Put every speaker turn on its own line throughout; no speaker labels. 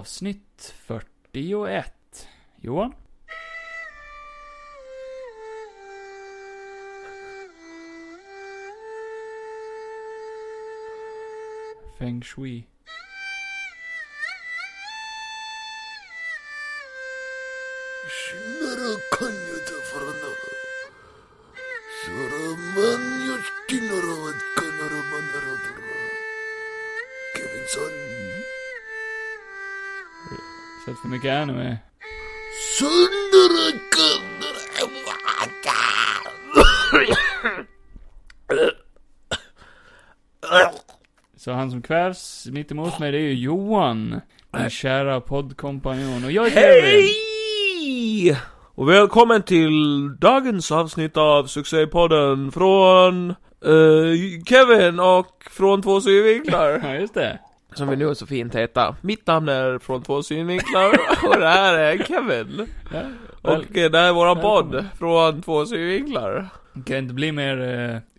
Avsnitt 41. Johan? Feng Shui.
신나라 칸여다 파라나 사람만 여시나라 왔가나라 만나라더라 개빈선
Sett för mycket anime.
선나라 깐나라 왔다
Så han som kvävs mitt emot mig, det är ju Johan.
Äh.
Min kära poddkompanjon. Och jag är Kevin.
Hej! Och välkommen till dagens avsnitt av Succépodden från eh, Kevin och Från två synvinklar.
Ja, just det.
Som vi nu så fint heter. Mitt namn är Från två synvinklar och det här är Kevin.
Ja, väl,
Och eh, det här är våran
Välkommen.
podd, Från två synvinklar.
kan inte bli mer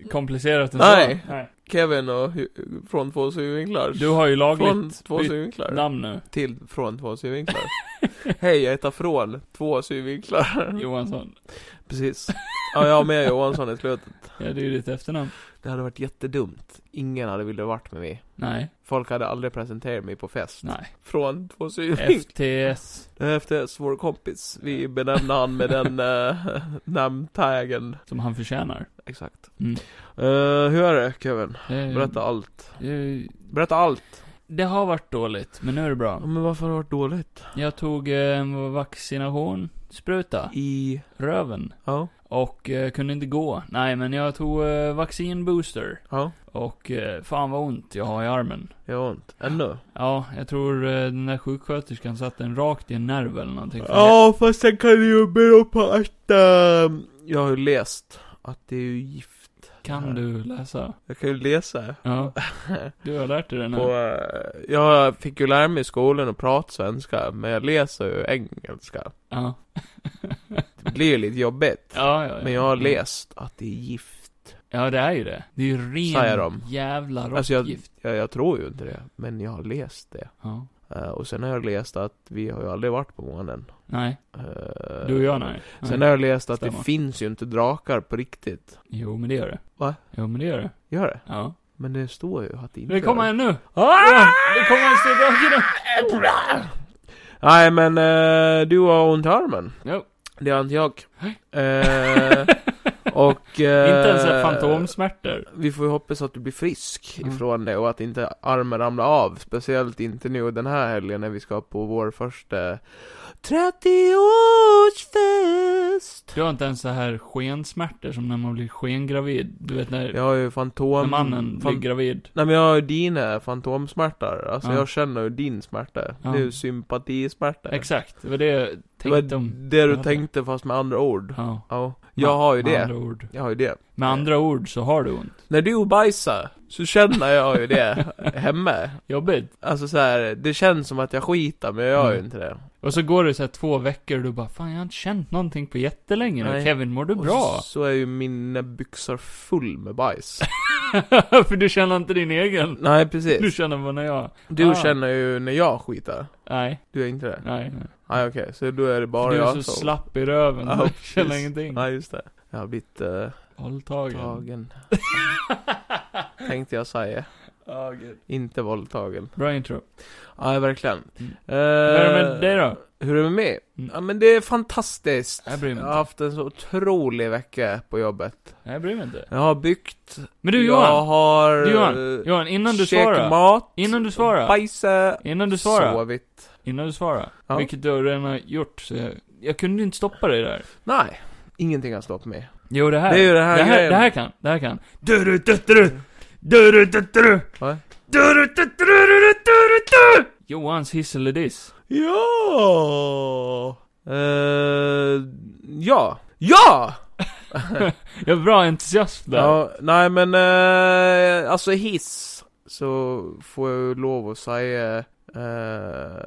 eh, komplicerat än
Nej.
så. Nej.
Kevin och hu- Från två synvinklar.
Du har ju
Från
lagligt
två
bytt
synvinklar.
namn nu.
Till Från två synvinklar. Hej, jag heter Från två synvinklar.
Johansson.
Precis. Ja, jag har med Johansson i slutet.
Ja, det är ju ditt efternamn.
Det hade varit jättedumt. Ingen hade velat varit med mig.
Nej,
Folk hade aldrig presenterat mig på fest.
nej.
Från två synvinklar.
FTS.
FTS, vår kompis. Vi benämner han med den uh, namntagen.
Som han förtjänar.
Exakt.
Mm.
Eh, hur är det Kevin?
Eh,
Berätta allt.
eh,
Berätta allt.
Det har varit dåligt, men nu är det
Ja,
bra.
men varför har det varit dåligt?
Jag tog eh, en vaccination, spruta,
I...
röven.
Ja.
Och eh, kunde inte gå. Nej, men jag tog eh, vaccinbooster.
Ja.
Och eh, fan vad ont jag har i armen.
Jag har ont. Ännu.
Ja, jag tror eh, den där sjuksköterskan satte den rakt i en nerv eller någonting.
Ja, fast det kan ju bero på att... eh, jag har ju läst att det är ju gift.
Kan du läsa?
Jag kan ju läsa.
Ja. Du har lärt dig det nu.
Och, eh, jag fick ju lära mig i skolan att prata svenska, men jag läser ju engelska.
Ja.
Det blir ju lite jobbigt.
Ja, ja, ja.
Men jag har läst att det är gift.
Ja, det är ju det. Det är ju
Säger
ren
de.
jävla
Alltså jag,
råttgift.
jag, jag tror ju inte det, men jag har läst det.
Ja.
Eh, och sen har jag läst att vi har ju aldrig varit på månen.
Nej,
Eh,
du och jag nej. nej.
Sen har jag läst att
Stämmer.
det finns ju inte drakar på riktigt.
Jo, men det gör det.
Va?
Jo, men det gör det.
Gör det?
Ja.
Men det står ju att det inte
Det kommer
gör
en nu!
Ah!
Det kommer en stor drake
Nej men eh, du har ont i armen.
nu! Jo.
Det har inte jag. Eh, och... Eh,
Inte ens här fantomsmärtor.
Vi får ju hoppas att du blir frisk
Mm.
ifrån det och att inte armen ramlar av. Speciellt inte nu den här helgen när vi ska på vår första 30-årsfest!
Du har inte ens så här skensmärtor som när man blir skengravid. Du vet när,
Jag har ju
när
fantom...
mannen
fan-
blir gravid.
Nej men jag har ju dina fantomsmärtor. Alltså
Ja.
jag känner ju din smärta.
Ja.
Det är ju sympatismärta.
Exakt, det var det jag
Det var
tänkte om.
det du
Ja.
tänkte fast med andra ord.
Ja.
Ja. Jag har ju
med Andra
det.
ord.
Jag har ju det.
Med andra ord så har du ont.
När du bajsar, så känner jag ju det hemma.
Jobbigt.
Alltså så här, det känns som att jag skiter men jag gör ju
Mm.
inte det.
Och så går det så här två veckor och du bara 'Fan, jag har inte känt någonting på jättelänge nu.
Nej.
Kevin, mår du
Och
bra?'
Så, så är ju mina byxor full med bajs.
För du känner inte din egen.
Nej
Du
precis.
känner vad när jag...
Du
Ah.
känner ju när jag skiter.
Nej,
Du är inte det?
nej. nej.
Nej okej, så då är det bara
du är
jag
så
som-
slapp i röven.
Ja,
du
precis.
känner ingenting.
Nej just det. Jag har blivit eh,
Hålltagen.
tagen. Tänkte jag säga. Inte våldtagen.
Bra intro.
Nej verkligen.
Mm.
Eh,
Hur är det med dig då?
Hur är det med mig?
Mm.
Ja men det är fantastiskt.
Jag bryr mig inte.
Jag har haft en så otrolig vecka på jobbet.
Nej, jag bryr mig inte.
Jag har byggt.
Men du
Jag
Johan!
har...
Du, Johan.
eh,
Johan, innan du
käkat
svarar.
mat.
Innan du svarar.
Bajsa.
Innan du svarar.
Sovit.
Innan du svarar.
Ja.
Vilket du redan har gjort. Så jag, jag kunde inte stoppa dig där.
Nej. Ingenting har stoppat mig.
Jo, det här.
Det är ju det här
det här,
grejen.
det här kan. Det här kan. Du-du-du-du-du. Du-du-du-du-du.
Va?
Du-du-du-du-du-du-du. Johans hiss eller diss.
Ja! Eh, ja. Ja!
Jag är bra entusiasm där.
ja! Nej men, eh, alltså hiss. Så får jag ju lov att säga eh,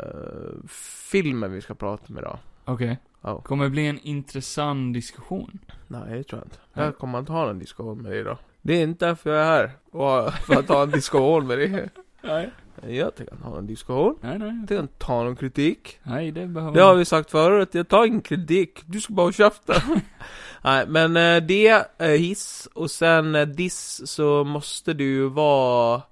filmen vi ska prata om idag.
Okej.
Ja.
Kommer bli en intressant diskussion.
Nej, det tror jag inte.
Nej.
Jag kommer inte ha en diskussion med dig idag. Det är inte därför jag är här. Och för att ha en diskussion med dig.
Nej.
Jag tänker inte ha någon diskussion.
Nej, nej.
Jag tänker inte ta någon kritik.
Nej, det behöver
Det har
man
vi sagt förut, jag tar ingen kritik, du ska bara köfta. Nej, men eh, det är hiss, och sen eh, diss så måste du ju vara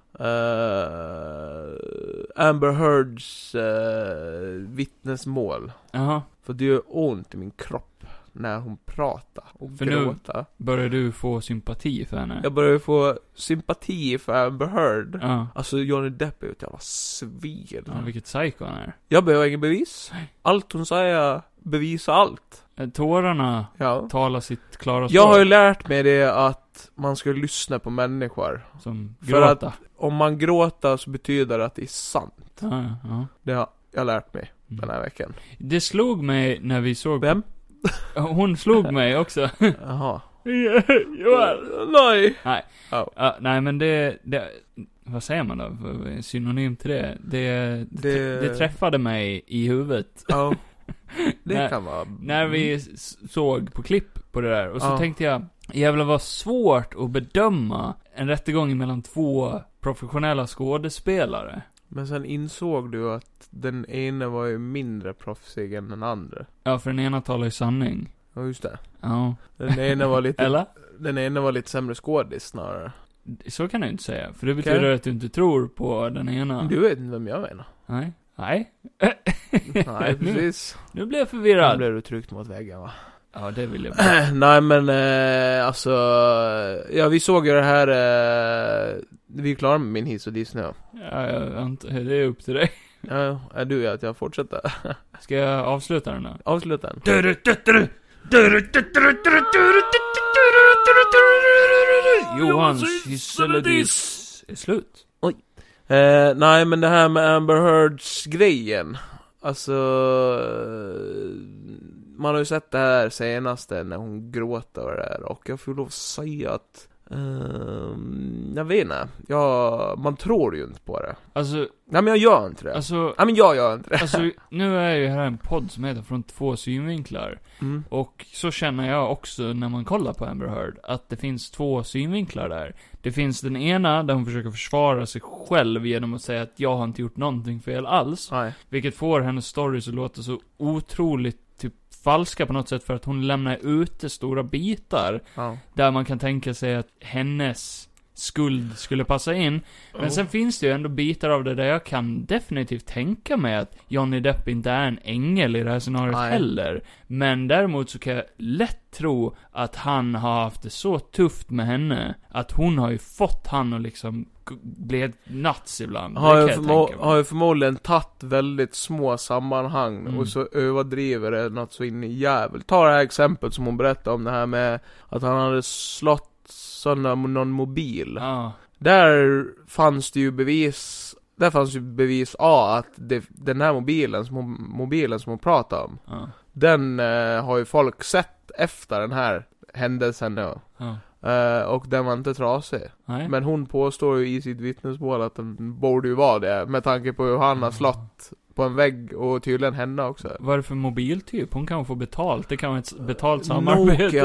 eh, Amber Heards eh, vittnesmål.
Jaha.
För det gör ont i min kropp när hon pratar och
För nu-
gråta.
Börjar du få sympati för henne?
Jag börjar ju få sympati för Amber Heard.
Ja.
Alltså Johnny Depp är ju ett jävla svin.
ja. Vilket psyko han är.
Jag behöver inga bevis. Allt hon säger bevisar allt.
Eh, Tårarna
Ja.
talar sitt klara språk.
Jag har ju lärt mig det att man ska lyssna på människor.
Som
För
gråta.
Om man gråter så betyder det att det är sant.
Ja, ja, ja.
Det har jag lärt mig den
Mm.
här veckan.
Det slog mig när vi såg...
Vem?
Hon slog mig också.
Jaha.
Johan!
Nej!
Ja, nej men det, det, vad säger man då? Synonym till det? Det, det,
Det-
det träffade mig i huvudet.
Ja. Det
När-
kan vara... Mm.
När vi s- såg på klipp på det där, och så
Ja.
tänkte jag, jävlar vad svårt att bedöma en rättegång mellan två professionella skådespelare.
Men sen insåg du att den ena var ju mindre proffsig än den andra.
Ja, för den ena talar ju sanning.
Ja, just det.
Ja.
Den ena var lite,
Eller?
den ena var lite sämre skådis snarare.
Så kan du inte säga, för det betyder
Okej.
att du inte tror på den ena.
Du vet inte vem jag menar.
Nej. Nej.
Nej, precis.
Nu blev jag
Nu
förvirrad.
blev du tryckt mot väggen va?
Ja, det vill jag.
Nej men eh, alltså, ja vi såg ju det här, eh, vi är klara med min hiss och diss nu.
Ja, jag antar, det är upp till dig.
Ja, är du att jag fortsätter?
Ska jag avsluta den här?
Avsluta den.
Johans hiss eller diss är slut.
Eh, nej men det här med Amber Heards grejen. Alltså, eh, man har ju sett det här senaste när hon gråter och det där och jag får lov att säga att ehm, jag vet inte, jag, man tror ju inte på det.
Alltså,
Nej men jag gör inte det.
alltså,
Nej men jag gör inte det.
alltså, nu är ju här en podd som heter Från två synvinklar.
Mm.
Och så känner jag också när man kollar på Amber Heard, att det finns två synvinklar där. Det finns den ena, där hon försöker försvara sig själv genom att säga att jag har inte gjort någonting fel alls.
Nej.
Vilket får hennes stories att låta så otroligt typ falska på något sätt för att hon lämnar ute stora bitar.
Ja.
Där man kan tänka sig att hennes skuld skulle passa in. Men sen finns det ju ändå bitar av det där jag kan definitivt tänka mig att Johnny Depp inte är en ängel i det här scenariot
Nej.
heller. Men däremot så kan jag lätt tro att han har haft det så tufft med henne att hon har ju fått han att liksom g- bli ett nuts ibland. Det
Har
kan
ju,
jag
förmo-
tänka mig.
har ju förmodligen tagit väldigt små sammanhang
Mm.
och så överdriver det något så in i jävel. Ta det här exemplet som hon berättade om det här med att han hade slått sönder någon mobil.
Ja.
Där fanns det ju bevis, där fanns ju bevis A att det, den här mobilen som, hon, mobilen som hon pratade om,
Ja.
den eh, har ju folk sett efter den här händelsen då.
Ja.
Eh, och den var inte trasig.
Nej.
Men hon påstår ju i sitt vittnesmål att den borde ju vara det, med tanke på hur
Mm.
han har slått på en vägg och tydligen henne också.
Vad är det för mobiltyp? Hon kan få betalt. Det kan vara ett s- betalt
Nokia
samarbete.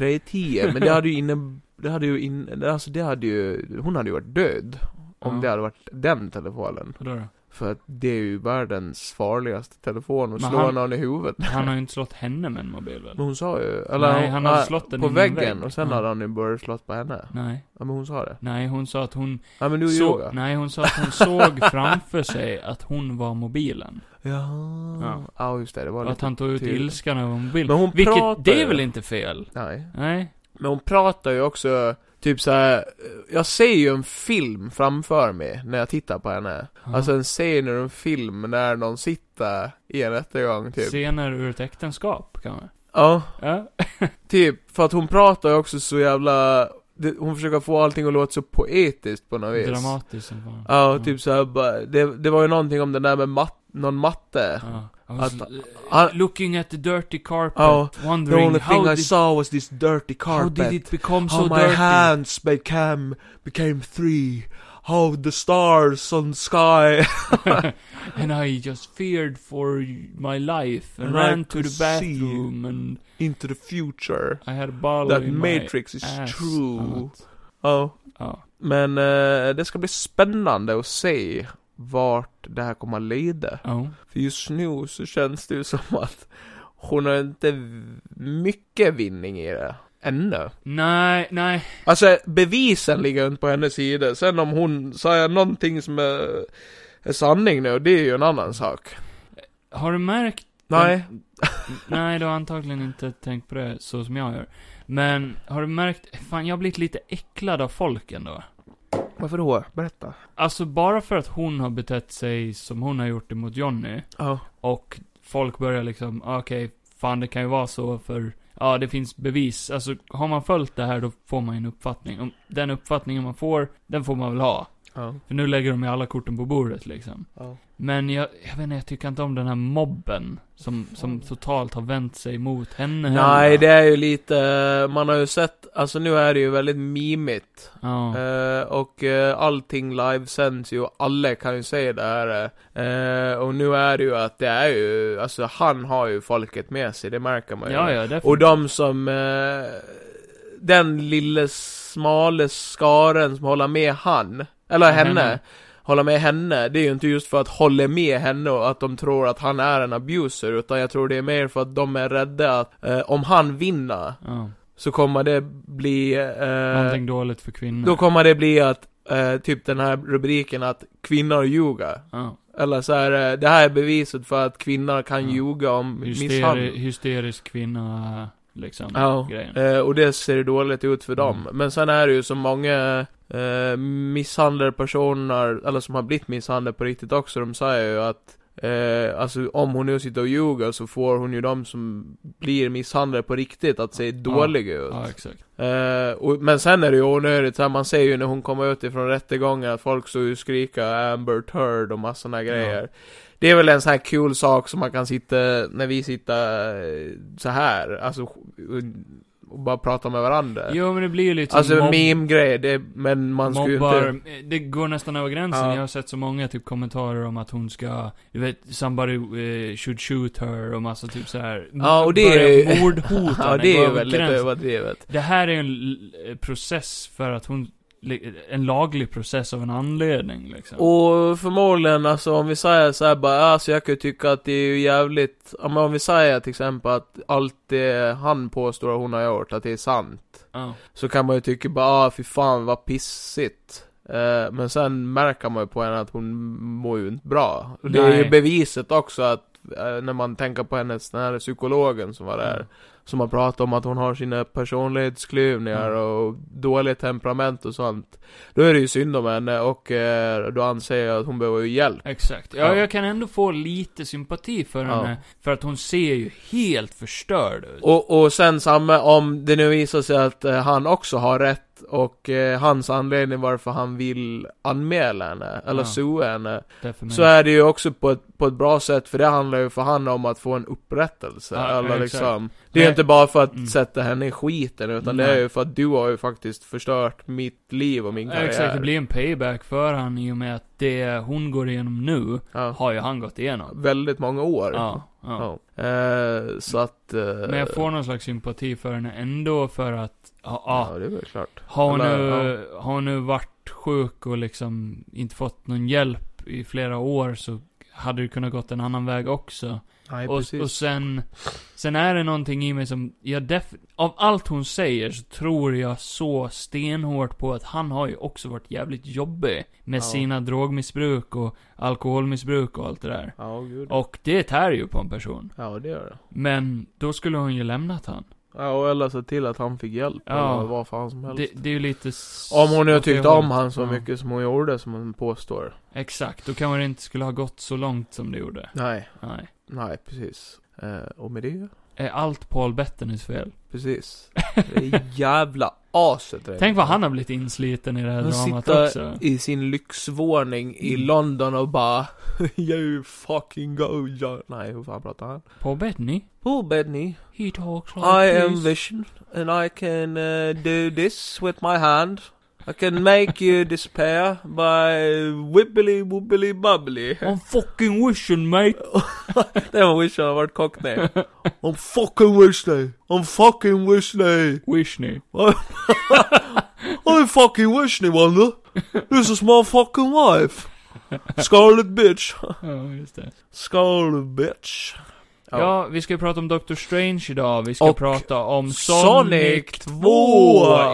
3310, men det hade ju inne... Det hade ju in, alltså det hade ju, hon hade ju varit död. Om
Ja.
det hade varit den telefonen.
Vadå då?
För att det är ju världens farligaste telefon att
Men
slå
han-
någon i huvudet.
Han har ju inte slått henne med en mobil väl?
Men hon sa ju, eller
Nej,
hon-
han hade
nej,
slått den
på
in i en
väggen
vägg.
och sen
Ja.
hade han ju börjat slått på henne.
Nej.
Ja men hon sa det.
Nej, hon sa att hon...
Ja men du är
Så,
yoga.
nej, hon sa att hon såg framför sig att hon var mobilen.
Jaha. Ja.
Ja.
just det, det var
Och att
lite...
han tog ut
tydligt.
ilskan över mobilen.
Men hon
Vilket,
pratar
det
ju.
är väl inte fel?
Nej.
Nej.
Men hon pratar ju också typ så här. eh, jag ser ju en film framför mig när jag tittar på henne.
Ja.
Alltså en scen ur en film när någon sitter i en rättegång typ.
Scener ur ett äktenskap, kan man.
Ja,
Ja.
typ. För att hon pratar ju också så jävla, det, hon försöker få allting att låta så poetiskt på något vis.
Dramatiskt som fan.
Ja, och typ så här, bara- det, det var ju någonting om den där med mat, någon matte.
Ja. I
Att-
was l-
han-
looking at the dirty carpet,
Ja. The
wondering
only
how
thing I
did,
saw was this dirty
how
carpet.
did it become
how
so
my
dirty?
hands became became three. How the stars on sky.
and I just feared for my life and
And I
ran to
could
the bathroom and
Into the future.
I had a bottle
That
in
matrix
my ass Oh,
is true.
annat.
Ja.
Ja.
Men eh, det ska bli spännande att se vart det här kommer att leda.
Ja.
För just nu så känns det ju som att hon har inte mycket vinning i det. Ännu.
Nej, nej.
Alltså bevisen ligger inte på hennes sida. Sen om hon säger någonting som är, är sanning nu, det är ju en annan sak.
Har du märkt?
Nej.
Nej, du har antagligen inte tänkt på det så som jag gör. Men, har du märkt? Fan, jag har blivit lite äcklad av folk ändå.
Varför då? Berätta.
Alltså, bara för att hon har betett sig som hon har gjort emot Johnny.
Ja.
Och folk börjar liksom, ah, okej, fan det kan ju vara så för, ja det finns bevis. Alltså har man följt det här då får man ju en uppfattning. Om den uppfattningen man får, den får man väl ha.
Ja.
För nu lägger de ju alla korten på bordet liksom.
Ja.
Men jag, jag vet inte, jag tycker inte om den här mobben. Som, som totalt har vänt sig mot henne
Nej,
heller.
det är ju lite, man har ju sett, alltså nu är det ju väldigt mimigt.
Ja.
Eh, och eh, allting livesänds ju och alla kan ju se det här. eh. Eh, och nu är det ju att det är ju, alltså han har ju folket med sig, det märker man ju.
ja, ja, definitivt.
Och de som, eh, den lille smale skaren som håller med han, eller
Ja,
henne,
Mm, henne.
håller med henne, det är ju inte just för att hålla med henne och att de tror att han är en abuser, utan jag tror det är mer för att de är rädda att eh, om han vinner,
ja.
så kommer det bli, eh,
Någonting dåligt för kvinnor.
då kommer det bli att, eh, typ den här rubriken att kvinnor ljuger.
ja.
Eller så här, eh, det här är beviset för att kvinnor kan
Ja.
ljuga om misshandel.
Hysteri- hysterisk kvinna, liksom.
Ja.
Grejen. Mm.
Eh, och det ser dåligt ut för dem. Men sen är det ju så många eh, misshandlarpersoner, eller som har blivit misshandlade på riktigt också, de säger ju att Eh, alltså om hon nu sitter och ljuger så får hon ju de som blir misshandlade på riktigt att se dåliga ut.
Ja, exakt.
Eh, och, men sen är det ju onödigt, så här, man ser ju när hon kommer ut ifrån rättegången att folk så ju skrika Amber Turd och massor såna grejer. Det är väl en sån här kul sak som man kan sitta, när vi sitter eh, så här, alltså och, och bara prata med varandra.
Jo, men det blir ju lite
alltså
typ mobb-
meme-grejer, det, men man skulle ju
mobbar, eh,
inte...
det går nästan över gränsen.
Ja.
Jag har sett så många typ kommentarer om att hon ska, du vet, somebody eh, should shoot her och massa typ så här.
Ja, och det är
börjar
ju-
Mordhot
Ja,
henne,
det
går
är ju
över
väldigt
gränsen.
överdrivet.
Det här är ju en l- eh, process för att hon, li- en laglig process av en anledning liksom.
Och förmodligen, alltså om vi säger så här bara, alltså jag kan ju tycka att det är ju jävligt, ja, men om vi säger till exempel att allt det han påstår att hon har gjort, att det är sant.
Ja.
Så kan man ju tycka bara, ah, fy fan vad pissigt. Eh, men sen märker man ju på henne att hon mår ju inte bra. Och det är
Nej.
ju beviset också att, eh, när man tänker på hennes, den här psykologen som var där.
Mm.
Som har pratat om att hon har sina personlighetsklyvningar
Mm.
och dåligt temperament och sånt. Då är det ju synd om henne och eh, då anser jag att hon behöver ju hjälp.
Exakt. Ja,
Ja.
jag kan ändå få lite sympati för
Ja.
henne. För att hon ser ju helt förstörd ut.
Och, och sen samma, om det nu visar sig att eh, han också har rätt och eh, hans anledning varför han vill anmäla henne, eller
Ja. Mm.
sua henne,
Därför
så är det ju också på ett, på ett bra sätt, för det handlar ju för han om att få en upprättelse,
Ja, exakt.
eller liksom. Det är
Nej.
ju inte bara för att
Mm.
sätta henne i skiten, utan det
Nej.
är ju för att du har ju faktiskt förstört mitt liv och min karriär.
Exakt, det blir en payback för han i och med att det hon går igenom nu,
ja.
har ju han gått igenom.
Väldigt många år.
Ja, ja.
Ja. Eh, så att... eh,
Men jag får någon slags sympati för henne ändå för att, ja,
Ja,
ja.
det är väl klart.
Har hon
Eller,
nu, har hon nu varit sjuk och liksom inte fått någon hjälp i flera år så hade det kunnat gått en annan väg också.
Nej,
och, och sen, sen är det någonting i mig som, jag def, av allt hon säger så tror jag så stenhårt på att han har ju också varit jävligt jobbig. Med
Ja.
sina drogmissbruk och alkoholmissbruk och allt det där.
Ja, gud.
Och det tär ju på en person.
Ja, det gör det.
Men då skulle hon ju lämnat han.
Ja, och eller se till att han fick hjälp,
Ja.
eller vad fan som helst.
Det, det är ju lite... s-
Om hon nu
åt det
tyckte om
hållet.
han så
Ja.
mycket som hon gjorde, som hon påstår.
Exakt, då kanske det inte skulle ha gått så långt som det gjorde.
Nej,
Nej.
nej precis. Eh, och med det,
Är allt Paul Bettenys fel?
Eh, precis. Det är jävla aset det.
Tänk vad han har blivit insliten i det här
Han
dramat
sitter
också.
i sin lyxvåning i
Mm.
London och bara You fucking go, ja. Nej, hur fan pratar han?
Paul Bettany?
Oh Benny,
He talks like
I am
this.
vision and I can eh, do this with my hand. I can make you despair by wibbly wobbly bubbly.
I'm fucking wishing mate.
Det var Wish har varit cockney. I'm fucking Wishley! I'm fucking Wishley!
Wishney.
I'm fucking Wishley wonder! This is my fucking wife! Scarlet bitch.
Ja, just det.
Scarlet bitch.
Ja. vi ska ju prata om Doctor Strange idag. Vi ska
Och
prata om
Sonic
Sonic
2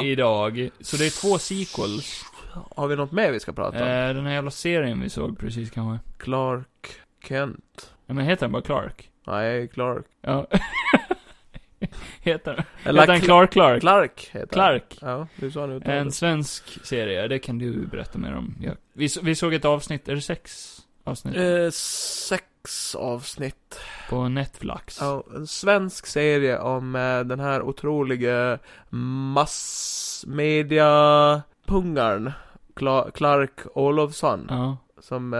2 idag. Så det är två sequels.
Har vi något mer vi ska prata om?
Eh, den här jävla serien vi såg precis kanske.
Clark Kent.
Ja, men heter den bara Clark?
Nej, Clark.
Ja. heter den?
Eller
heter den
Clark?
Clark Clark?
Clark heter
Clark.
han. Ja, du sa nu
En svensk serie, det kan du berätta mer om. Ja. Vi, så- vi såg ett avsnitt, är det sex avsnitt?
eh, Sex avsnitt.
På Netflix.
Ja, en svensk serie om eh, den här otroliga massmedia-pungaren. Cla- Clark Olofsson.
Ja.
Som eh,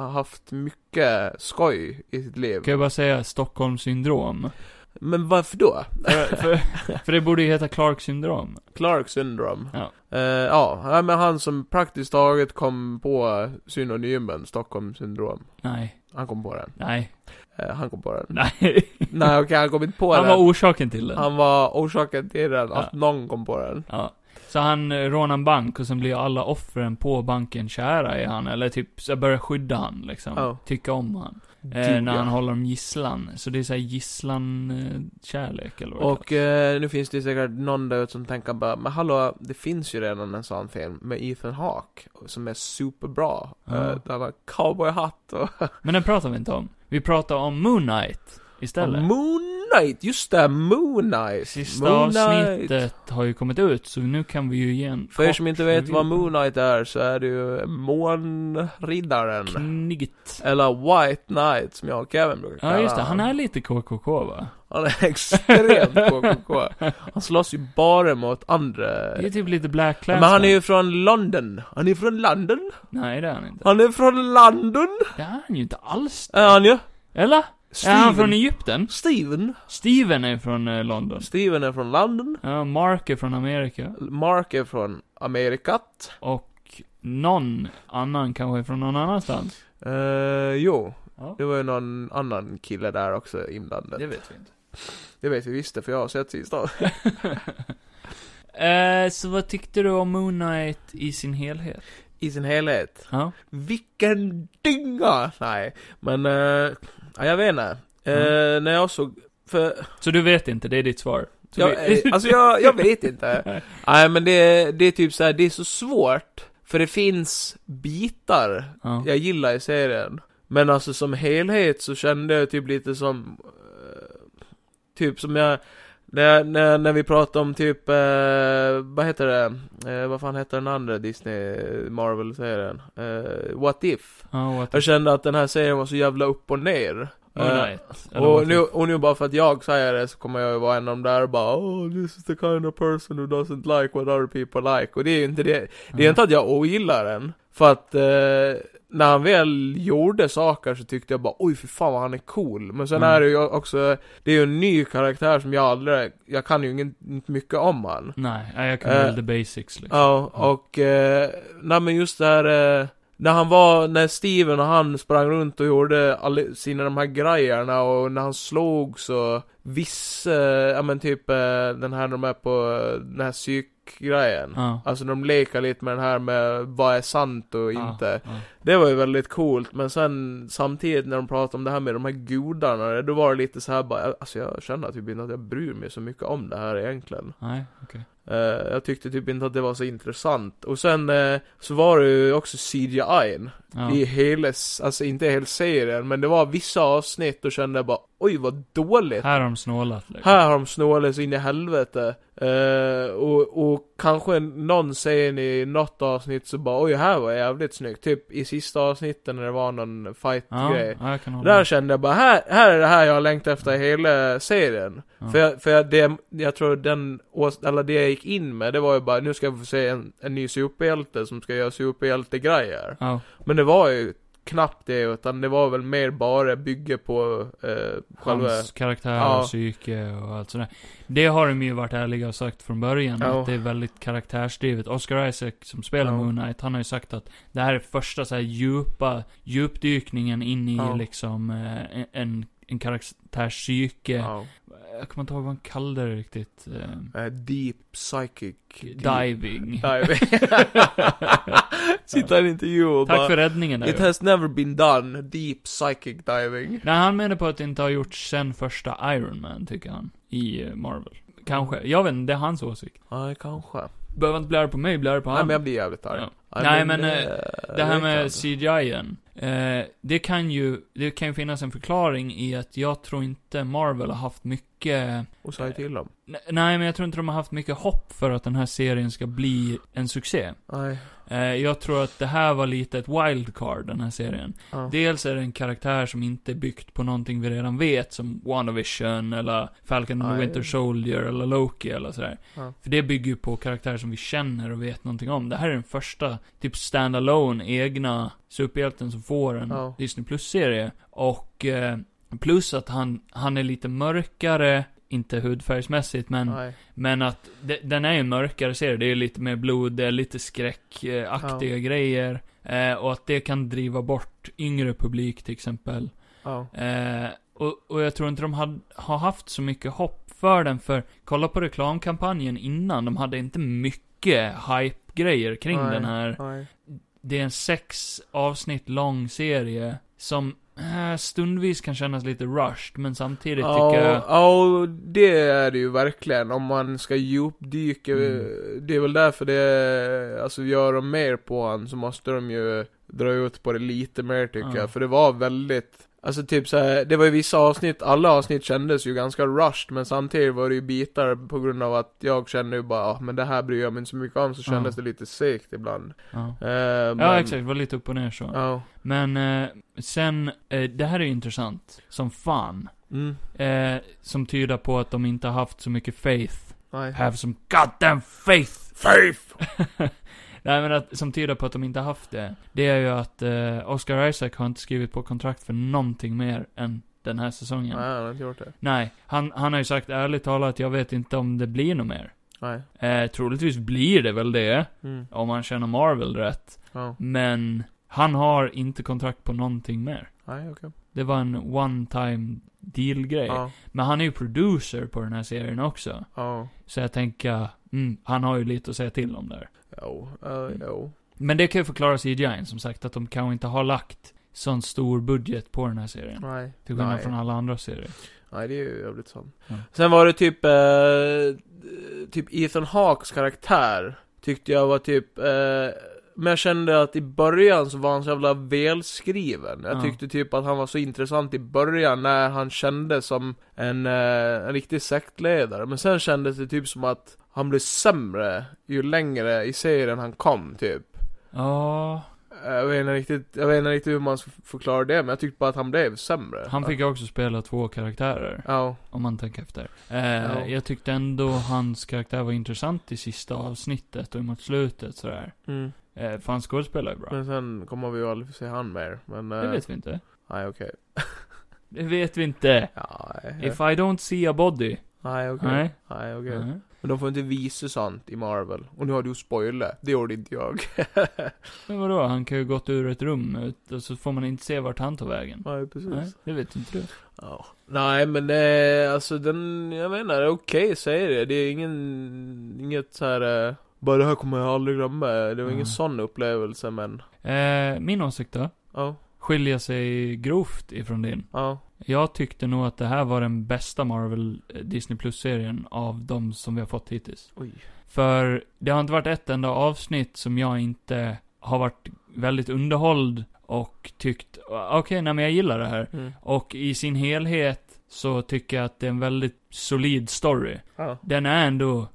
har haft mycket skoj i sitt liv.
Kan jag bara säga Stockholms syndrom?
Men varför då?
för, för, för det borde ju heta Clark syndrom.
Clark syndrome.
Ja.
Eh, ja, ja, men han som praktiskt taget kom på synonymen Stockholm syndrom.
Nej,
Han kom på den.
nej,
Eh, han kom på den.
nej.
Nej okej, han kom inte på
Han
den.
var orsaken till det.
han var orsaken till den, att
Ja.
någon kom på den.
Ja. Så han eh, rånar en bank och sen blir alla offren på banken kära i han, eller typ så börjar skydda han liksom.
Ja.
Tycka om han. Eh,
Duga.
när han håller dem gisslan. Så det är såhär gisslan-kärlek eller vad det
Och eh, nu finns det säkert någon där ute som tänker bara, men hallå, det finns ju redan en sån film med Ethan Hawke, som är superbra.
Ja.
Eh, där han har cowboyhatt och
kallas. Men den pratar vi inte om. Vi pratar om Moon Knight istället.
Moon Knight, just det, Moon Knight.
Sista
Moon Knight.
avsnittet har ju kommit ut, så nu kan vi ju ge en
För er
kort
som inte vet
review.
vad Moon Knight är så är det ju Månriddaren.
Knigt.
Eller White Knight som jag och Kevin brukar
Ja, just det. Han är lite KKK va?
han är extremt KKK. Han slåss ju bara mot andra.
Det är typ lite Black Clansman.
Men han är ju från London. Han är från London.
Nej, det är han inte.
Han är från London.
Det är han ju inte alls.
Är han ju.
Eller?
Steven.
Är han från Egypten?
Steven.
Steven är från eh, London.
Steven är från London.
Ja, Mark är från Amerika.
Mark är från Amerikat.
Och någon annan kanske är från någon annanstans.
Eh, jo.
Ja.
Det var ju någon annan kille där också inblandad.
vet vi inte.
Det vet vi visst det, för jag har sett sista.
Eh, så vad tyckte du om Moon Knight i sin helhet?
I sin helhet.
Ja.
Vilken dynga! Nej, men... eh, ja, jag vet inte. Eh,
Mm.
När jag såg... För,
Så du vet inte, det är ditt svar? Så
jag,
vi-
eh, alltså jag, jag vet inte. Nej men det, det är typ så här, det är så svårt. För det finns bitar
ja.
jag gillar i serien. Men alltså som helhet så kände jag typ lite som... eh, typ som jag... När, när, när vi pratade om typ, eh, vad heter det, eh, vad fan heter den andra Disney, Marvel-serien? Eh, What If?
Ja, what
Jag kände att den här serien var så jävla upp och ner.
Moon
Eh,
Knight. eller
och,
what
nu,
you-
och nu bara för att jag säger det så kommer jag ju vara en av de där och bara oh, this is the kind of person who doesn't like what other people like. Och det är ju inte det. Det är
Mm.
ju inte att jag ogillar den. För att eh, när han väl gjorde saker så tyckte jag bara oj för fan vad han är cool. Men sen
Mm.
är det ju också, det är ju en ny karaktär som jag aldrig, jag kan ju ingen, inte mycket om han.
Nej, nej, jag kan
Eh,
väl the basics liksom.
Ja, och eh, nej men just det här eh, när han var, när Steven och han sprang runt och gjorde all, sina de här grejerna och när han slog så viss, eh, ja men typ eh, den här de är på, eh, den här psykgrejen.
Ja.
Alltså de leker lite med den här med vad är sant och
Ja,
inte.
ja.
Det var ju väldigt coolt, men sen samtidigt när de pratade om det här med de här gudarna, då var det lite så här bara, alltså jag känner typ inte att jag bryr mig så mycket om det här egentligen.
Nej.
Eh, jag tyckte typ inte att det var så intressant. Och sen eh, så var det ju också CGI n
Ja.
i hela, s- alltså inte hela serien, men det var vissa avsnitt och kände jag bara oj vad dåligt.
Här har de snålat liksom.
Här har de snålat så in i helvete. Eh, och, och kanske någon säger i något avsnitt så bara oj här var jävligt snyggt. Typ i sista avsnitten när det var någon
Ja,
fight-grej.
ja, jag kan hålla
Där
med.
kände jag bara här, här är det här jag har längtat efter i hela serien.
Ja.
För, jag, för jag, det, jag tror den, ås- eller det jag gick in med, det var ju bara nu ska jag få se en, en ny superhjälte som ska göra superhjältegrejer.
Ja.
Men det var ju knappt det, utan det var väl mer bara bygga på eh, själva...
Hans karaktär
Ja.
och psyke och allt sådär. Det har de ju varit ärliga och sagt från början.
Ja.
Att det är väldigt karaktärsdrivet. Oscar Isaac som spelar
Ja.
Moon Knight, han har ju sagt att det här är första så här djupa, djupdykningen in i
Ja.
liksom eh, en, en en karaktärs psyke.
Ja.
Jag kommer inte ihåg vad han kallade det riktigt. eh,
Eh, deep psychic.
diving.
Diving. Sitta i en intervju och
Tack
bara...
för räddningen
It
där.
has never been done. Deep psychic diving.
Nej, han menar på att det inte har gjorts sen första Iron Man, tycker han. I eh, Marvel. Kanske. Jag vet inte, det är hans åsikt.
Nej, kanske.
Behöver inte bli arg på mig, bli arg på
Nej,
han.
men jag blir jävligt arg.
Ja.
Ja,
Nej, men,
eh,
eh, Det här
vet jag
med
inte. alltså.
CGI-en. Eh, det kan ju, det kan ju finnas en förklaring i att jag tror inte Marvel har haft mycket
Och säg till dem.
Ne- Nej, men jag tror inte de har haft mycket hopp för att den här serien ska bli en succé.
Nej.
Eh, jag tror att det här var lite ett wildcard, den här serien.
Ja.
Dels är det en karaktär som inte är byggt på någonting vi redan vet, som WandaVision, eller Falcon and the
Nej.
Winter Soldier, eller Loki, eller sådär.
Ja.
För det bygger ju på karaktärer som vi känner och vet någonting om. Det här är den första, typ stand-alone, egna superhjälten som får en
Ja.
Disney Plus-serie. Och, eh, plus att han, han är lite mörkare, inte hudfärgsmässigt, men
Nej.
men att de, den är ju en mörkare serie. Det är ju lite mer blod, det är lite skräckaktiga grejer. Eh, och att det kan driva bort yngre publik till exempel.
Ja.
Eh, och, och jag tror inte de had, har haft så mycket hopp för den, för kolla på reklamkampanjen innan. De hade inte mycket hype-grejer kring
Nej.
den här.
Nej.
Det är en sex avsnitt lång serie som eh, stundvis kan kännas lite rushed, men samtidigt tycker jag...
Ja, ja, det är det ju verkligen. Om man ska djupdyka.
Mm.
Det är väl därför det, alltså gör de mer på han så måste de ju dra ut på det lite mer tycker
Ja.
jag. För det var väldigt, alltså typ så här, det var ju vissa avsnitt, alla avsnitt kändes ju ganska rushed. Men samtidigt var det ju bitar på grund av att jag kände ju bara, ah, men det här bryr jag mig inte så mycket om. Så
Ja.
kändes det lite segt ibland.
Ja.
Eh,
ja,
men-
exakt. Det var lite upp och ner så.
Ja.
Men eh, sen, eh, det här är ju intressant som fan.
Mm.
Eh, som tyder på att de inte har haft så mycket faith.
Nej.
Have some goddamn faith!
Faith!
Nej men att, som tyder på att de inte har haft det. Det är ju att eh, Oscar Isaac har inte skrivit på kontrakt för någonting mer än den här säsongen.
Nej, han har inte gjort det.
Nej, han, han har ju sagt ärligt talat, jag vet inte om det blir något mer.
Nej.
Eh, troligtvis blir det väl det,
Mm. Oh.
om man känner Marvel rätt.
Ja.
Men, han har inte kontrakt på någonting mer.
Nej, okej.
Det var en one time deal grej.
Ja.
Men han är ju producer på den här serien också.
Ja.
Så jag tänker, mm, han har ju lite att säga till om där.
Jo, eh, jo.
Men det kan ju förklara CGI, som sagt, att de kanske inte har lagt sån stor budget på den här serien.
Nej.
Till skillnad
Nej.
från alla andra serier.
Nej, det är ju jävligt sant.
Ja.
Sen var det typ, eh, typ Ethan Hawks karaktär. Tyckte jag var typ, eh, men jag kände att i början så var han så jävla välskriven. Jag
Ja.
tyckte typ att han var så intressant i början när han kändes som en, eh, en riktig sektledare. Men sen kändes det typ som att han blev sämre ju längre i serien han kom typ.
Ja,
Jag vet, inte riktigt, jag vet inte riktigt hur man ska förklara det, men jag tyckte bara att han blev sämre.
han fick ju också spela två karaktärer,
Ja.
om man tänker efter. Eh,
Ja.
Jag tyckte ändå hans karaktär var intressant i sista avsnittet och mot slutet sådär.
Mm.
Eh, för han skådespelar ju bra.
Men sen kommer vi ju aldrig få se han mer. Men...
Det
eh,
vet vi inte.
Nej okej.
Det vet vi inte.
Ja, nej.
If I don't see a body.
Nej okej.
Nej.
Nej okej.
Nej.
Men de får inte visa sånt i Marvel. Och nu har du spoilat. Det gjorde inte jag.
Men vadå, han kan ju gått ur ett rum ut, och så får man inte se vart han tar vägen.
nej precis.
Nej, det vet inte du.
Ja. Nej men eh, alltså den, jag menar det är okej säger det. Det är ingen, inget så här. Eh, bara det här kommer jag aldrig glömma. Det var
Nej.
ingen sån upplevelse men.
Eh, min åsikt då?
Ja.
Skiljer sig grovt ifrån din.
Ja.
Jag tyckte nog att det här var den bästa Marvel eh, Disney Plus-serien av de som vi har fått hittills.
Oj.
För det har inte varit ett enda avsnitt som jag inte har varit väldigt underhålld och tyckt, "Ah, okej, nej men jag gillar det här.
Mm.
Och i sin helhet så tycker jag att det är en väldigt solid story.
Ja.
Den är ändå...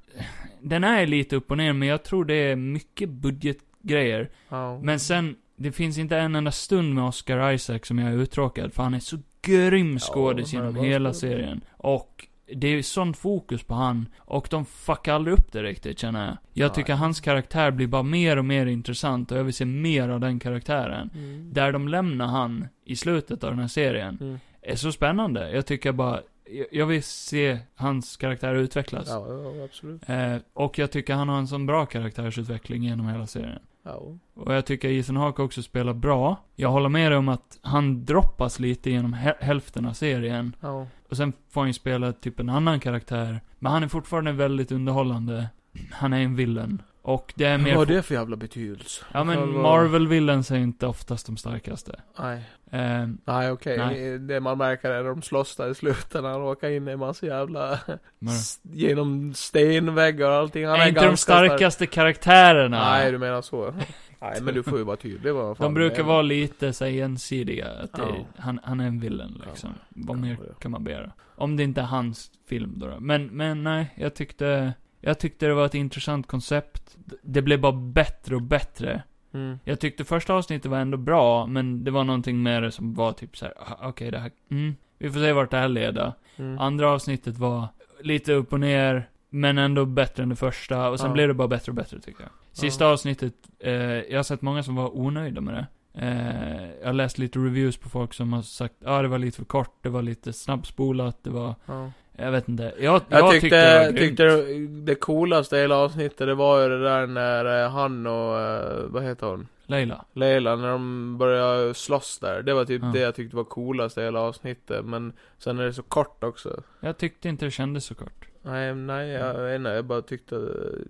Den är lite upp och ner, men jag tror det är mycket budgetgrejer.
Ja.
Men sen, det finns inte en enda stund med Oscar Isaac som jag är uttråkad, för han är så grym skådis
Ja, han är
genom
bra
hela
skådis.
serien. Och det är sån fokus på han, och de fuckar aldrig upp det riktigt, känner jag. Jag
Nej.
tycker hans karaktär blir bara mer och mer intressant, och jag vill se mer av den karaktären.
Mm.
Där de lämnar han i slutet av den här serien
Mm.
är så spännande. Jag tycker bara, jag- jag vill se hans karaktär utvecklas.
Ja, ja, absolut.
Eh, och jag tycker han har en sån bra karaktärsutveckling genom hela serien.
Ja.
Och jag tycker Ethan Hawke också spelar bra. Jag håller med dig om att han droppas lite genom hä- hälften av serien.
ja.
Och sen får han ju spela typ en annan karaktär. Men han är fortfarande väldigt underhållande. Han är en villain. Och det är mer...
Vad har det för jävla betydelse?
Ja men
Själva-
Marvel-villains är inte oftast de starkaste.
Nej.
Eh,
Nej okej,
Nej.
det man märker är när de slåss där i slutet, när han råkar in i en massa jävla...
men...
s- Genom stenväggar och allting. Han
är inte de
ganska stark.
starkaste karaktärerna.
Nej, du menar så. Nej, men du får ju vara tydlig vad fan
De brukar
det är.
vara lite så här, ensidiga. Att det,
Ja.
han, han är en villain liksom. Vad
Ja,
mer
ja.
kan man begära? Om det inte är hans film då. då. Men, men nej, jag tyckte, jag tyckte det var ett intressant koncept. D- Det blev bara bättre och bättre.
Mm.
Jag tyckte första avsnittet var ändå bra, men det var någonting med det som var typ så här, "Ah, okej det här, mm, vi får se vart det här leder.
Mm.
Andra avsnittet var lite upp och ner, men ändå bättre än det första. Och sen
Ja.
blev det bara bättre och bättre tycker jag. Sista
Ja.
avsnittet, eh, jag har sett många som var onöjda med det. Eh, jag har läst lite reviews på folk som har sagt ja ah, det var lite för kort, det var lite snabbspolat, det var...
Ja.
Jag vet inte. Jag, jag,
Jag, tyckte,
tyckte det var grymt.
tyckte det, det coolaste i hela avsnittet, det var ju det där när eh, han och, eh, vad heter hon?
Leila.
Leila, när de började slåss där. Det var typ
Ja.
det jag tyckte var coolast i hela avsnittet. Men sen är det så kort också.
Jag tyckte inte det kändes så kort.
Nej, nej, jag vet inte, jag bara tyckte,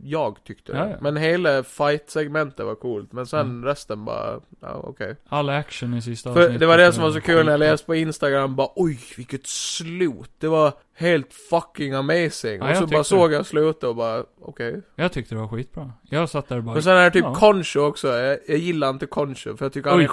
jag tyckte det.
Mm. Ja, ja.
Men hela fight-segmentet var coolt, men sen
Mm.
resten bara, ja okej.
All action i sista
För
avsnittet.
det var det som var så kul när jag
skitbra.
läste på Instagram, bara oj vilket slut, det var helt fucking amazing.
Ja,
och
jag
så bara
tyckte
såg jag slutet och bara, okej.
Jag tyckte det var skitbra. Jag satt där och bara...
Men sen är det typ
ja.
Concho också, jag, jag gillar inte Concho för jag tycker han
Oj.
är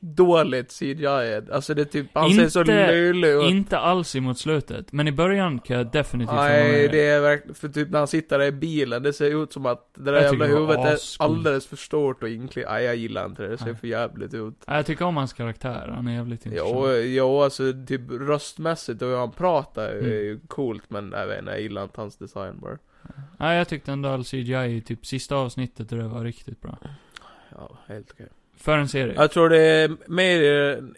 skitdåligt CGI. Alltså det är typ, han ser så
Inte-
löjlig ut.
Inte alls emot slutet, men i början kan jag definitivt hålla
Nej,
typ med dig.
det är verkligen, för typ när han sitter där i bilen, det ser ut som att det där
Jag
jävla
tycker det var
huvudet är
ascoolt.
alldeles för stort och inkli. Nej, jag gillar inte det, det ser
Nej.
för jävligt ut.
Ja, Jag tycker om hans karaktär, han är jävligt intressant.
Jo, jo, alltså typ röstmässigt och hur han pratar är
Mm.
ju coolt, men jag vet inte, jag gillar inte hans design bara.
Nej, jag tyckte ändå all CGI i typ sista avsnittet och det var riktigt bra.
Ja, helt okej.
För en serie.
Jag tror det är mer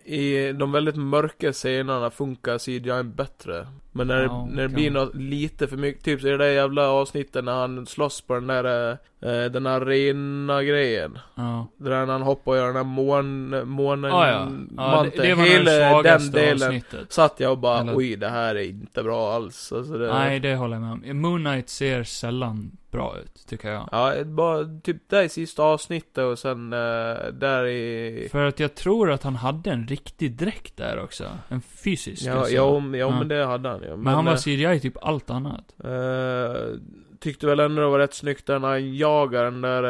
i- i de väldigt mörka scenerna funkar CGI bättre. Men när,
Ja,
när det
kan
blir
vara.
något lite för mycket, typ i det där jävla avsnittet när han slåss på den där, eh, den här rena grejen.
ja.
Det där när han hoppar och gör den här mån, månen,
Ah, ja. ja det,
mantel.
det var nog det
Hela eh, den
svagaste
delen
avsnittet.
satt jag och bara
Eller-
oj det här är inte bra alls. Alltså det,
Nej, det håller jag med om. Moon Knight ser sällan bra ut, tycker jag.
Ja, det bara typ där i sista avsnittet och sen eh, där i...
För att jag tror att han hade en riktig dräkt där också. En fysisk.
Ja,
alltså.
ja, men- ja,
Ja.
men eh, det hade han ju.
Men han var CGI i typ allt annat.
Eh, tyckte väl ändå det var rätt snyggt där när han jagar den där,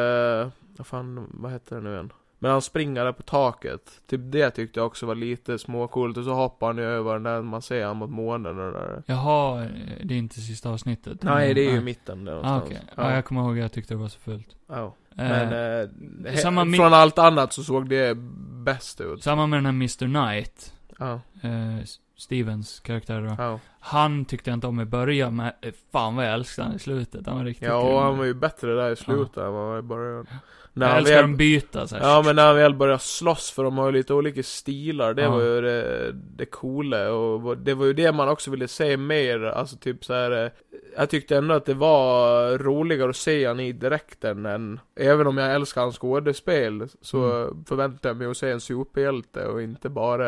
eh, vad fan, vad hette den nu igen? Men han springer där på taket. Typ det tyckte jag också var lite småcoolt. Och så hoppar han ju över den där man ser han mot månen och det där.
Jaha, eh, det är inte sista avsnittet.
Nej, det är ju i
mitt
mitten där
ah,
någonstans.
okej. Ja,
Ja,
jag kommer ihåg, jag tyckte det var så fult.
ja.
Eh,
Men eh, he-
samma mi-
från allt annat så såg det bäst ut.
Samma med den här Mr. Knight,
Ja,
eh, S- Stevens karaktär då.
ja.
Han tyckte jag inte om i början, men eh, fan vad jag älskade han i slutet. Han var riktigt
ja,
kul.
och han var ju bättre där i slutet än vad han var i början. När
Jag
han
älskar
väl-
dem byta såhär.
Ja men när han väl började slåss för de har ju lite olika stilar, det
Ja.
var ju det, det coola och vad- det var ju det man också ville se mer, alltså typ så här. eh, Jag tyckte ändå att det var roligare att se han i direkten än, även om jag älskar hans skådespel, så
Mm.
förväntade jag mig att se en superhjälte och inte bara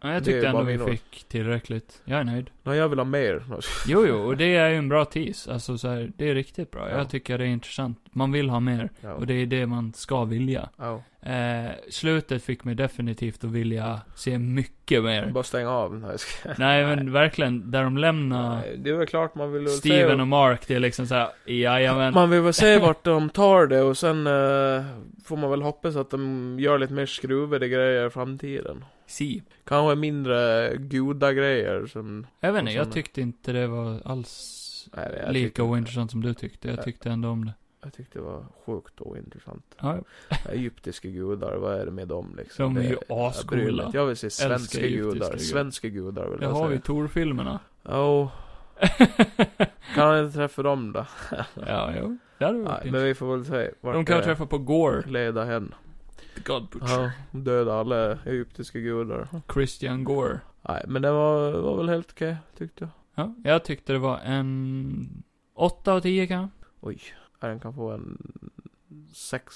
Ja, jag
det är
tyckte ändå
bara
vi
min åsikt.
fick tillräckligt. Jag är nöjd.
Nej jag vill ha mer.
Jo, jo, och det är ju en bra tease. Alltså så här, det är riktigt bra.
Ja.
Jag tycker det är intressant. Man vill ha mer.
Ja.
Och det är det man ska vilja.
Ja.
Eh, slutet fick mig definitivt att vilja se mycket mer.
Bara stänga av. Nej, jag ska-
Nej men verkligen, där de lämnar
Nej, Det är väl klart man vill väl se
Steven och Mark, det är liksom såhär, jajamän.
Man vill väl se vart de tar det och sen eh, får man väl hoppas att de gör lite mer skruvade grejer i framtiden.
Si.
Kanske mindre goda grejer som...
Jag vet inte,
Och
jag
såna.
tyckte inte det var alls
Nej, jag tyckte-
lika ointressant som du tyckte. Jag
Nej.
tyckte ändå om det.
Jag tyckte det var sjukt ointressant.
Ja,
Egyptiska gudar, vad är det med dem liksom?
de är
Det-
ju
jag bryr mig
ascoola.
inte. Jag vill se
Älskar
svenska
egyptiska
gudar.
gudar.
Svenska gudar vill
Det
jag
har vi
säga.
i Tor-filmerna.
Oh, kan han inte träffa dem då?
ja, jo. Det hade varit
Nej, men
intressant.
vi eh, får väl se vart
De kan
det
träffa på Gore.
leda hen.
God Butcher.
Ja, döda alla egyptiska gudar.
Christian Gore.
Nej, men det var, var väl helt okej, tyckte jag.
Ja, jag tyckte det var en 8 av 10 kanske.
Oj. Ja, Den kan få en sex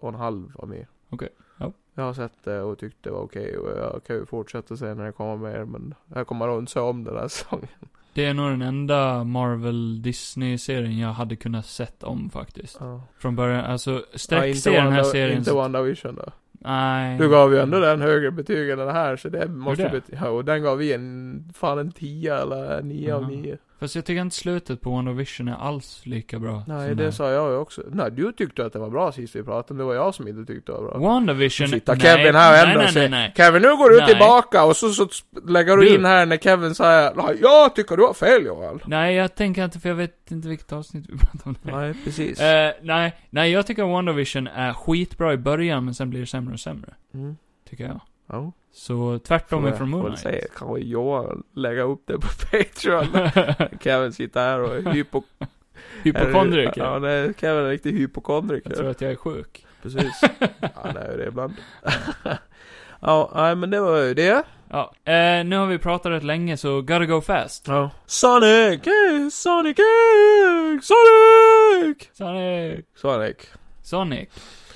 och en halv av mig.
Okej, ja.
Jag har sett det och tyckt det var okej och jag kan ju fortsätta se när det kommer mer men jag kommer nog inte se om den här säsongen.
Det är nog den enda Marvel Disney-serien jag hade kunnat sett om faktiskt.
Ja.
Från början, alltså
Ja,
sträck
inte
se den här
Wanda-
serien.
Inte WandaVision då.
Nej.
Du gav ju ändå den högre betyg än den här så det måste
det?
bety- ja, och den gav vi en, fan en 10 eller 9 av
Jaha.
9.
Fast jag tycker inte slutet på WandaVision är alls lika bra.
Nej
som
det
här.
sa jag ju också. Nej du tyckte att det var bra sist vi pratade men det var jag som inte tyckte det var bra.
WandaVision...
Sitta
nej,
Kevin här och ändra
nej, nej, nej,
sig.
nej.
Kevin nu går du
Nej.
tillbaka och så, så sp- lägger du,
Du.
in här när Kevin säger "Ja, Jag tycker du har fel Johan.
Nej, jag tänker inte för jag vet inte vilket avsnitt vi pratar om.
Nej precis.
Eh, nej, nej, jag tycker WandaVision är skitbra i början men sen blir det sämre och sämre.
Mm.
Tycker jag.
Ja.
Så tvärtom
Får jag-
ifrån
får
Moon
väl
Knight.
säga, Kanske Johan lägga upp det på Patreon. Kevin sitter här och är hypo...
Hypokondriker.
Ja, nej, Kevin är en riktig
Jag tror
hypokondriker.
att jag är sjuk.
Precis. Han är ju det ibland. ja, nej men det var ju det.
Ja, eh, nu har vi pratat rätt länge så gotta go fast.
Ja. Sonic! eh, Sonic! eh, Sonic!
Sonic.
Sonic.
Sonic.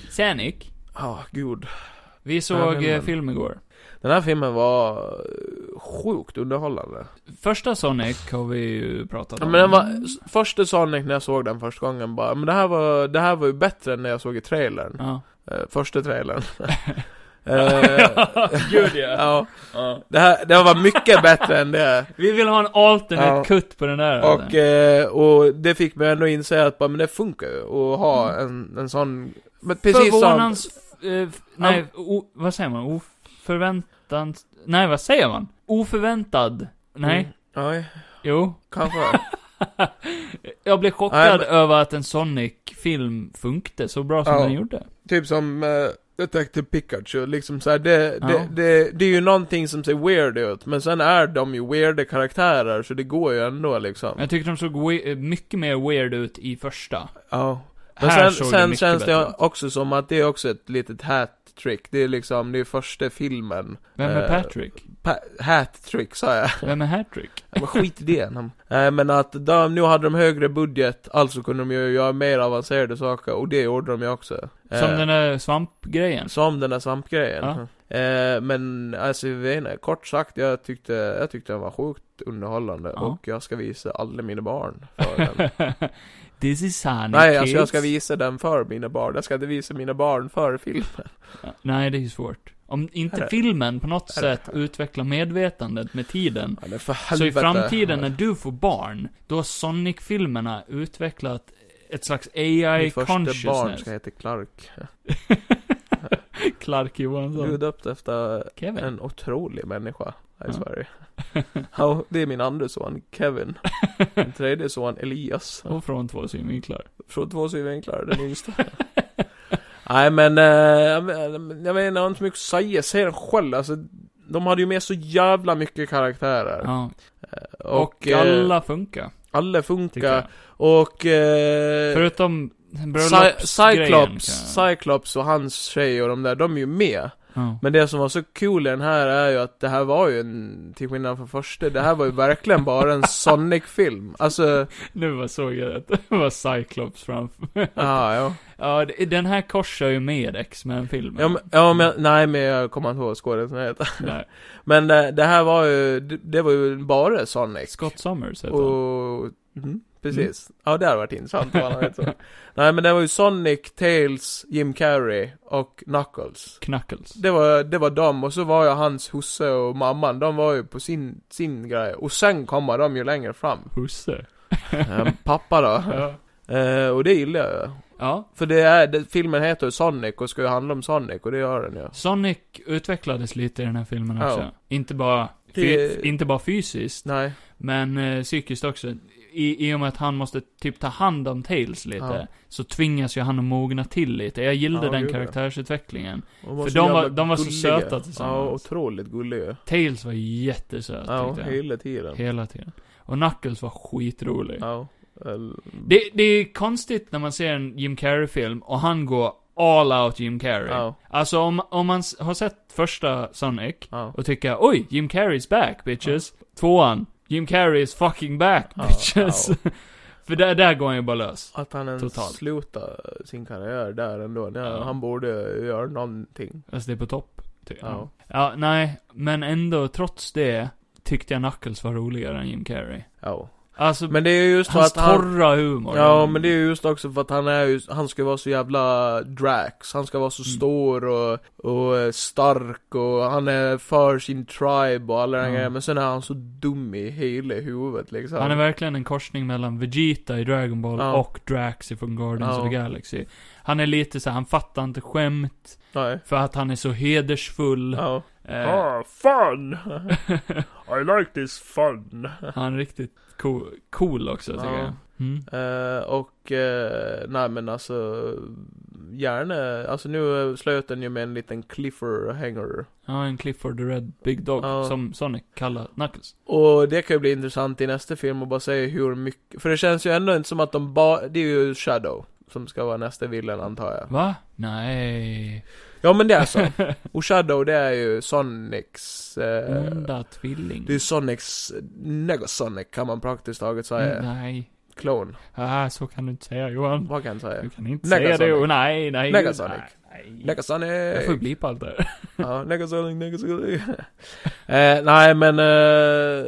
Sonic.
Ja, gud.
Vi
Ja,
såg
men-
eh, film igår.
Den här filmen var eh, sjukt underhållande.
Första Sonic har vi ju pratat
Ja,
om.
men den var, s- första Sonic när jag såg den första gången bara, men det här var, det här var ju bättre än när jag såg i trailern.
Ja.
Eh, första trailern. Eh,
Gud ja.
ja, det här, det här var mycket bättre än det.
Vi vill ha en alternate
Ja.
cut på den där.
Och,
eller?
eh, och det fick mig ändå inse att bara, men det funkar ju att ha
Mm.
en, en sån, men precis som...
Förvånans... eh, f- nej, o, vad säger man? Oförväntans... Nej, vad säger man? Oförväntad. Nej,
Mm, nej,
jo.
kanske.
Jag blev chockad
Nej, men-
över att en Sonic-film funkade så bra som
Ja.
den gjorde.
Typ som uh, Detective Pikachu, liksom så här, det,
Ja.
det, det, det är ju någonting som ser weird ut, men sen är de ju weirda karaktärer, så det går ju ändå liksom.
Jag tyckte de såg we- eh, mycket mer weird ut i första.
Ja. Men
Här
sen,
såg det
sen
mycket
känns
bättre
det också som att det är också ett litet hat-trick, det är liksom, det är första filmen.
Vem är
Eh,
Patrick?
Pa- hat-trick sa jag.
Vem är Hattrick?
Men skit i det. nam. Eh, men att de, nu hade de högre budget, alltså kunde de ju göra mer avancerade saker, och det gjorde de ju också.
Som
Eh,
den där svampgrejen.
Som den där svampgrejen.
Ja.
Eh, men alltså, jag vet inte, kort sagt, jag tyckte, jag tyckte den var sjukt underhållande
Ja.
och jag ska visa alla mina barn för den.
This is Sonic
Nej,
kids.
alltså jag ska visa den för mina barn. Jag ska inte visa mina barn för filmen.
Ja, Nej, det är ju svårt. Om inte
Här är-
filmen på något
här är-
sätt utvecklar medvetandet med tiden,
Ja, men för
så i
helvete.
framtiden när du får barn, då har Sonic-filmerna utvecklat ett slags AI
Mitt första barn
consciousness.
ska heta Clark.
Clark Johansson.
Gud döpt efter
Kevin.
en otrolig människa här
Ja.
i Sverige. Ja, det är min andra son, Kevin. Min tredje son, Elias.
Och från två synvinklar.
Från två synvinklar, den yngsta. Nej men, eh, jag men- jag menar, jag har inte så mycket att säga. Säg den själv, alltså. De hade ju med så jävla mycket karaktärer.
Ja.
Eh,
Och,
eh,
alla funkar,
alla
tycker jag.
funkar. Och... Eh,
Förutom
Cy-
bröllopsgrejen.
Cyclops,
kan jag-
Cyclops och hans tjej och de där, de är ju med.
Ja.
Men det som var så cool i den här är ju att det här var ju en, till skillnad från första, det här var ju verkligen bara en Sonic-film. Alltså,
Nu bara såg jag att det var Cyclops framför.
ah, ja.
Ja, det- den här korsar ju med X-Men-filmen.
Ja men, ja, men nej men jag kommer inte ihåg skådespelaren heter.
Nej.
Men eh, det, det här var ju, det, det var ju bara Sonic.
Scott Summers heter han.
Och, mm, precis. Ja, det hade varit intressant om han hade hetat så. Nej men det var ju Sonic, Tails, Jim Carrey och Knuckles.
Knuckles.
Det var, det var dem, och så var ju hans husse och mamman, de var ju på sin, sin grej. Och sen kommer de ju längre fram.
Husse.
Eh, Pappa då.
Ja.
Eh, och det gillar jag ju.
ja.
För det är, det, filmen heter ju Sonic och ska ju handla om Sonic, och det gör den ju.
Sonic utvecklades lite i den här filmen också.
Ja.
Inte, bara, fy,
Det-
inte bara fysiskt,
Nej.
men eh, psykiskt också. I, I och med att han måste typ ta hand om Tails lite,
Ja.
så tvingas ju han att mogna till lite. Jag gillade
Ja,
den
gud, ja.
karaktärsutvecklingen.
De var
För
så
de var-
jävla
de var så
gulliga.
söta tillsammans.
Ja, otroligt gulliga.
Tails var jättesöt,
Ja,
tyckte jag.
hela tiden.
Hela tiden. Och Knuckles var skitrolig.
Ja. El-
Det, det är konstigt när man ser en Jim Carrey-film och han går all out Jim Carrey.
Ja.
Alltså om, om man s- har sett första Sonic
Ja.
och tycker oj, Jim Carrey's back bitches. Tvåan, Jim Carrey is fucking back
Ja,
bitches.
ja.
För där, där går han ju bara lös.
Att han ens
Totalt.
slutar sin karriär där ändå. Ja,
Ja.
Han borde göra någonting.
Alltså det är på topp. tycker jag.
Ja.
ja, nej. Men ändå, trots det, tyckte jag Knuckles var roligare än Jim Carrey.
Ja.
Alltså,
Men det är ju just för
hans
att han...
torra humor.
Ja, men det är ju just också för att han är ju, han ska vara så jävla Drax, han ska vara så
Mm.
stor och, och eh, stark och han är för sin tribe och alla den
Ja.
grejen, men sen är han så dum i hela huvudet liksom.
Han är verkligen en korsning mellan Vegeta i Dragon Ball
Ja.
och Drax från Guardians
Ja.
of the Galaxy. Han är lite så här, han fattar inte skämt,
Nej.
för att han är så hedersfull.
Ja.
Eh,
Ah, fun! I like this fun!
Eh, han är riktigt cool, cool också, tycker
Ja.
jag. Mm.
och, eh, nej men alltså, gärna, alltså nu eh, slöt den ju med en liten cliffhanger.
Ja, en Clifford the Red Big Dog,
Ja.
som Sonic kallar Knuckles.
Och det kan ju bli intressant i nästa film och bara se hur mycket, för det känns ju ändå inte som att de bara, det är ju Shadow som ska vara nästa villain antar jag.
Va? Nej.
Ja men det är så. Och Shadow det är ju Sonics, eh,
Onda tvilling.
det är Sonics, Negasonic kan man praktiskt taget säga.
Mm, Nej.
Klon,
Ah, så kan du inte säga Johan.
vad kan jag säga?
Du kan inte
Negasonic.
säga det. Och nej, nej.
Negasonic.
Nej, nej. Jag får
Negasonic!
blipa allt där.
Ja, Negasonic, Negasonic. eh, nej men, eh,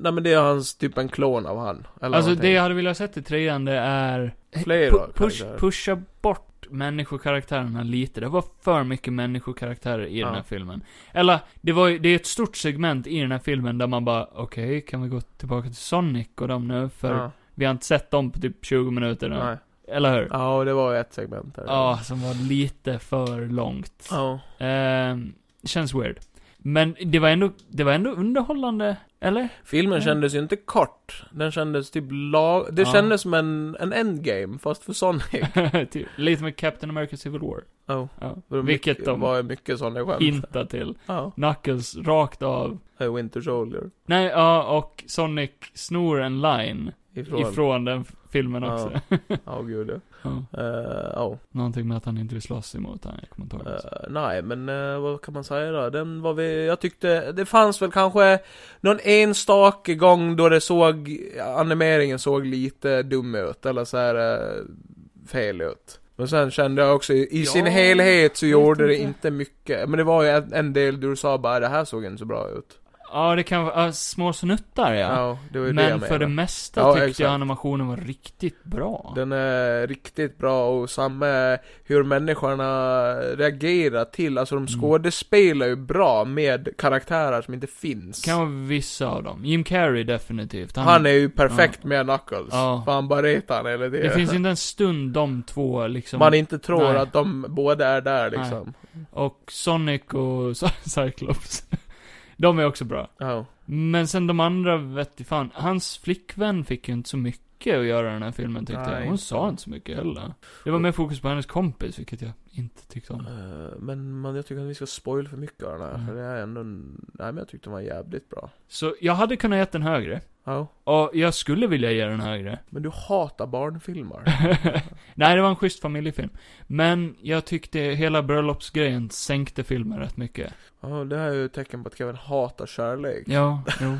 nej men det är hans, typ en klon av han. Eller
Alltså det
någonting.
jag hade velat sett i trean det är...
Fler
Pu-
då,
push,
kanske.
pusha bort människokaraktärerna lite. Det var för mycket människokaraktärer i den här
Ja.
filmen. Eller, det var ju, det är ett stort segment i den här filmen där man bara, okej, kan vi gå tillbaka till Sonic och dem nu? För
Ja,
vi har inte sett dem på typ 20 minuter nu.
nej.
Eller hur? Ja,
ja, och det var ju ett segment där.
som var lite för långt.
Ja.
Ehm, känns weird. Men det var ändå, det var ändå underhållande, eller?
Filmen
Mm.
kändes ju inte kort. Den kändes typ lag... Det
Ja.
kändes som en, en endgame, fast för Sonic.
Typ, lite med Captain America Civil War.
Oh.
Ja.
Det var
Vilket
mycket,
de
var ju mycket sådana skämt.
hintar till.
Ja.
Knuckles rakt av.
Eh, Winter Soldier.
Nej, ja, och Sonic snor en line
Ifrån.
ifrån, den f- filmen
Ja.
också.
Ja, gud ja.
Ja.
Eh, ja.
Någonting med att han inte vill slåss emot han, jag kommer inte ihåg. det.
Eh, nej, men eh, vad kan man säga då? Den var vi... Jag tyckte... Det fanns väl kanske någon enstaka gång då det såg... Animeringen såg lite dum ut, eller så här eh, fel ut. Men sen kände jag också, i
Ja,
sin helhet så
vet
gjorde det
inte.
inte mycket. Men det var ju en, en del du sa bara, det här såg inte så bra ut.
Ja, det kan vara, ja, små snuttar ja.
Ja, det var ju det
Men
jag
för det
menade.
mesta
Ja,
tyckte jag
exakt.
animationen var riktigt bra.
Den är riktigt bra och samma hur människorna reagerar till, alltså de
Mm.
skådespelar ju bra med karaktärer som inte finns.
Kan vara vissa av dem. Jim Carrey definitivt.
han, är ju perfekt med Knuckles.
Ja.
För han bara retar han hela
Det
tiden.
finns inte en stund de två liksom.
Man inte tror
Nej.
att de båda är där liksom.
Och Sonic och Cyclops. de är också bra.
Ja.
Men sen de andra vet i fan. Hans flickvän fick ju inte så mycket att göra i den här filmen tyckte
Nej,
jag. Hon
inte.
sa inte så mycket heller. Det var mer fokus på hennes kompis, vilket jag inte tyckte om.
Eh, Men man, jag tycker att vi ska spoil för mycket av den här,
Mm.
för det är ändå en... Nej men jag tyckte den var jävligt bra.
Så jag hade kunnat ge den högre.
Ja.
Och jag skulle vilja ge den högre.
Men du hatar barnfilmer.
Nej, det var en schysst familjefilm. Men jag tyckte hela bröllopsgrejen sänkte filmen rätt mycket.
Ja, det här är ju ett tecken på att Kevin hatar kärlek.
Ja, jo.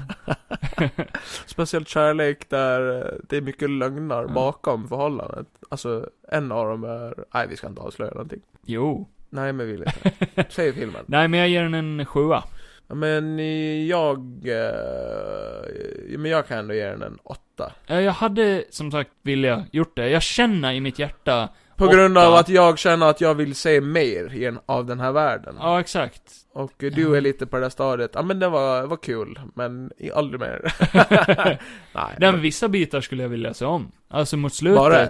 Speciellt kärlek där eh, det är mycket lögner
Ja.
bakom förhållandet. Alltså, en av dem är... Nej, vi ska inte avslöja någonting.
Jo.
Nej, men vill inte. Säg filmen.
Nej, men jag ger den en sjua.
Ja, Men eh, jag... eh, Men jag kan ändå ge den en åtta.
Eh, Jag hade, som sagt, vilja gjort det. Jag känner i mitt hjärta.
På
Åtta.
grund av att jag känner att jag vill se mer i en, av den här världen.
Ja, exakt.
Och eh, du är lite på det där stadiet, ja men det var, var kul, men i- aldrig mer. Nej.
Den
men
vissa bitar skulle jag vilja se om. Alltså mot slutet.
Bara-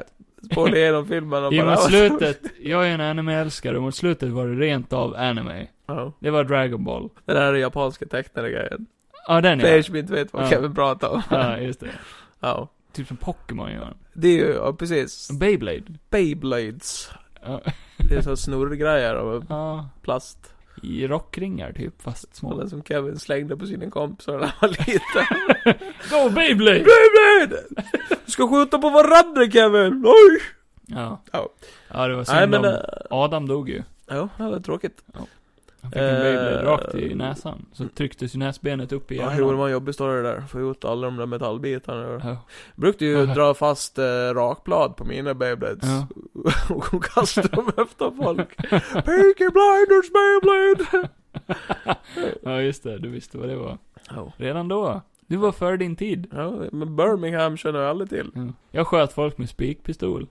Spola igenom filmen och
I
bara...
mot slutet, jag är en anime-älskare, mot slutet var det rent av anime.
Ja.
Det var Dragon Ball.
Den här japanska tecknade grejen.
Ja, den
För er
ja.
som inte vet vad
Ja.
Kevin pratar om.
Ja, just det.
Ja.
Typ som Pokémon gör.
Det är ju, ja, precis.
Beyblade.
Beyblades.
Ja.
Det är så här snurrgrejer av
Ja,
plast.
i rockringar typ, fast små.
Sådana som Kevin slängde på sina kompisar när han var liten.
Go Beyblade!
Beyblade! Du ska skjuta på varandra Kevin! Oj!
Ja.
Ja.
Ja, det var
Nej
synd
men,
om...
äh,
Adam dog ju.
ja, det var tråkigt.
Han fick en Beyblade rakt i näsan. Så trycktes ju näsbenet upp i
eh, Ja,
hjärnan.
jo, det var en jobbig story det där. Få ut alla de där metallbitarna.
Ja.
Brukte ju dra fast eh, rakblad på mina Beyblades.
Ja.
och kasta dem efter folk. Peaky Blinders Beyblade!
ja, just det. Du visste vad det var.
Ja.
Redan då. Du var före din tid.
Ja, men Birmingham känner jag aldrig till.
Ja. Jag sköt folk med spikpistol.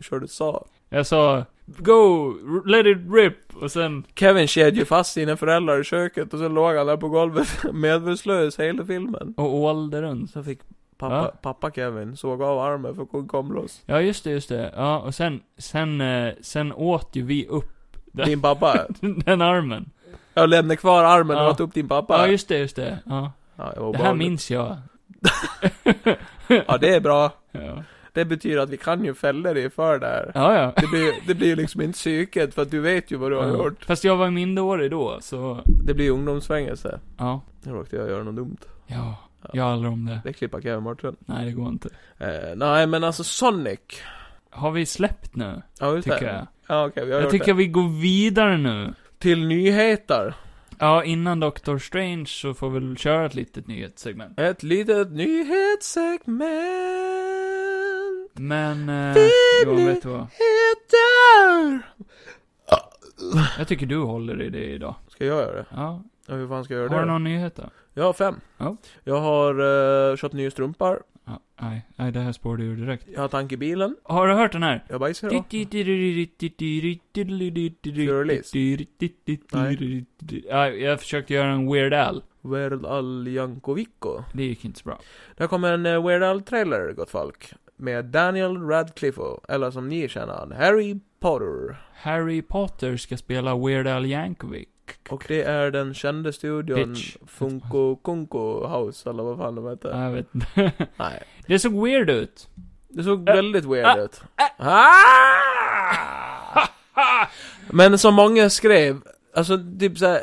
Körde sa.
Jag sa Go, r- let it rip! Och sen,
Kevin kedjade ju fast sina föräldrar i köket och så låg han där på golvet medvetslös hela filmen.
och ålde runt.
Så fick pappa,
Ja.
pappa Kevin såg av armen för hon kom loss.
Ja, just det, just det. Ja, och sen, sen, eh, sen åt ju vi upp Ja.
Din pappa.
den armen.
Jag lämnade kvar armen och
Ja.
åt upp din pappa.
Ja, just det, just det. Ja.
Ja, det,
Det
var
här
obehagligt.
minns jag.
Ja, det är bra.
Ja,
Det betyder att vi kan ju fälla dig för det här.
ja. ja.
Det blir, det blir ju liksom inte psyket för att du vet ju vad du har
Ja.
gjort.
Fast jag var minderårig då, så...
Det blir ju ungdomsfängelse.
Ja.
Nu råkade jag göra något dumt.
Ja. Jag aldrig om det.
Det klipper Kevin Martin.
Nej, det går inte.
Eh, nej men alltså Sonic.
Har vi släppt nu?
Ja just
Tycker
det.
jag.
Ja okej, vi har
Jag
gjort
tycker
det.
vi går vidare nu.
Till nyheter.
Ja, innan Doctor Strange så får vi väl köra ett litet nyhetssegment.
Ett litet nyhetssegment.
Men, eh, Johan, vet du vad?
Nyheter!
Jag tycker du håller i det idag.
Ska jag göra det?
Ja.
Ja, hur fan ska jag göra
Har du
det? då?
någon nyhet då?
Jag har fem.
Ja.
Jag har uh, köpt nya strumpor.
Ja, nej, nej, det här spårade ur direkt.
Jag har tank i bilen.
Har du hört den här?
Jag bajsar idag.
Nej, jag försökte göra en Weird Al.
Weird Al Jankovico.
Det gick inte så bra.
Där kommer en eh, Weird Al-trailer, gott folk. Med Daniel Radcliffe, eller som ni känner han, Harry Potter.
Harry Potter ska spela Weird Al Yankovic.
Och det är den kända studion
Bitch.
Funko Kunko House, eller vad fan de heter.
Jag vet inte.
Nej.
Det såg weird ut.
Det såg
Äh,
väldigt weird ut. Ah! Men som många skrev, alltså typ såhär,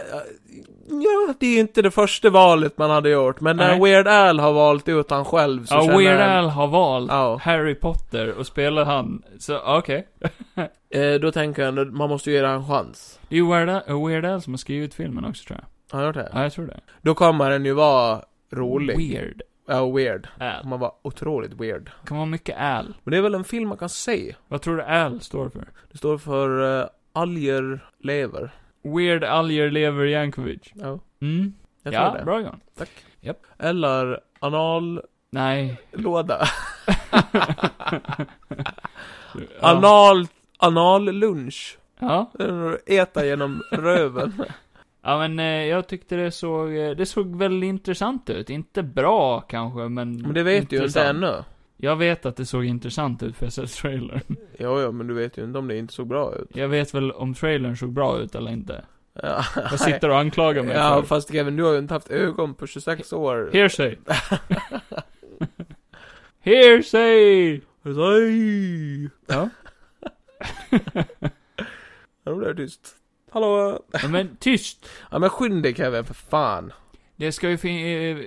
ja, det är inte det första valet man hade gjort, men när
Nej.
Weird Al har valt ut han själv så
Ja,
känner
Weird
jag-
Al har valt
Ja.
Harry Potter och spelar han. Så, okej.
Eh, då tänker jag ändå, man måste ju ge det en chans.
Det är ju Weird Al, Weird Al som har skrivit filmen också tror jag.
Har du gjort det?
Ja, jag tror det.
Då kommer den ju vara rolig.
Weird
Ja, weird. Den
Al.
kommer vara otroligt weird.
Kan vara mycket Al.
Men det är väl en film man kan se?
Vad tror du Al står för?
Det står för uh, alger lever.
Weird Alger Lever Yankovic.
Ja,
Mm.
jag
ja,
tror det.
bra Johan.
Tack.
Japp.
Eller anallåda.
Nej. ja.
Anal, anallunch.
ja.
Äta genom röven.
Ja men eh, jag tyckte det såg, eh, det såg väldigt intressant ut. Inte bra kanske men
Men det vet du ju inte
intressant.
ännu.
Jag vet att det såg intressant ut för jag har sett trailern.
Jo, jo, men du vet ju inte om det inte såg bra ut.
Jag vet väl om trailern såg bra ut eller inte.
Ja,
Jag sitter och anklagar mig
Ja,
för.
fast Kevin, du har ju inte haft ögon på 26 år.
Hearsay. Hearsay!
Hej!
Ja.
Nu blev det tyst. Hallå!
Ja, Men tyst!
Ja men skynda dig Kevin, för fan.
Det ska ju fin- eh,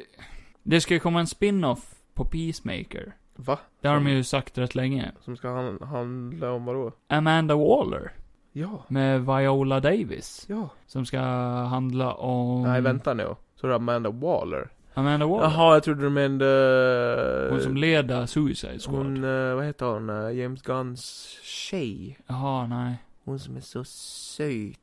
Det ska ju komma en spin-off på Peacemaker.
Va?
Det har de ju sagt rätt länge.
Som ska han, handla om vadå?
Amanda Waller.
Ja.
Med Viola Davis.
Ja.
Som ska handla om...
Nej vänta nu. Så det är Amanda Waller.
Amanda Mm. Waller.
Jaha, jag trodde du menade...
Hon som leder Suicide Squad.
Hon, eh, vad heter hon? Eh, James Gunns tjej.
Jaha, nej.
Hon som är så söt.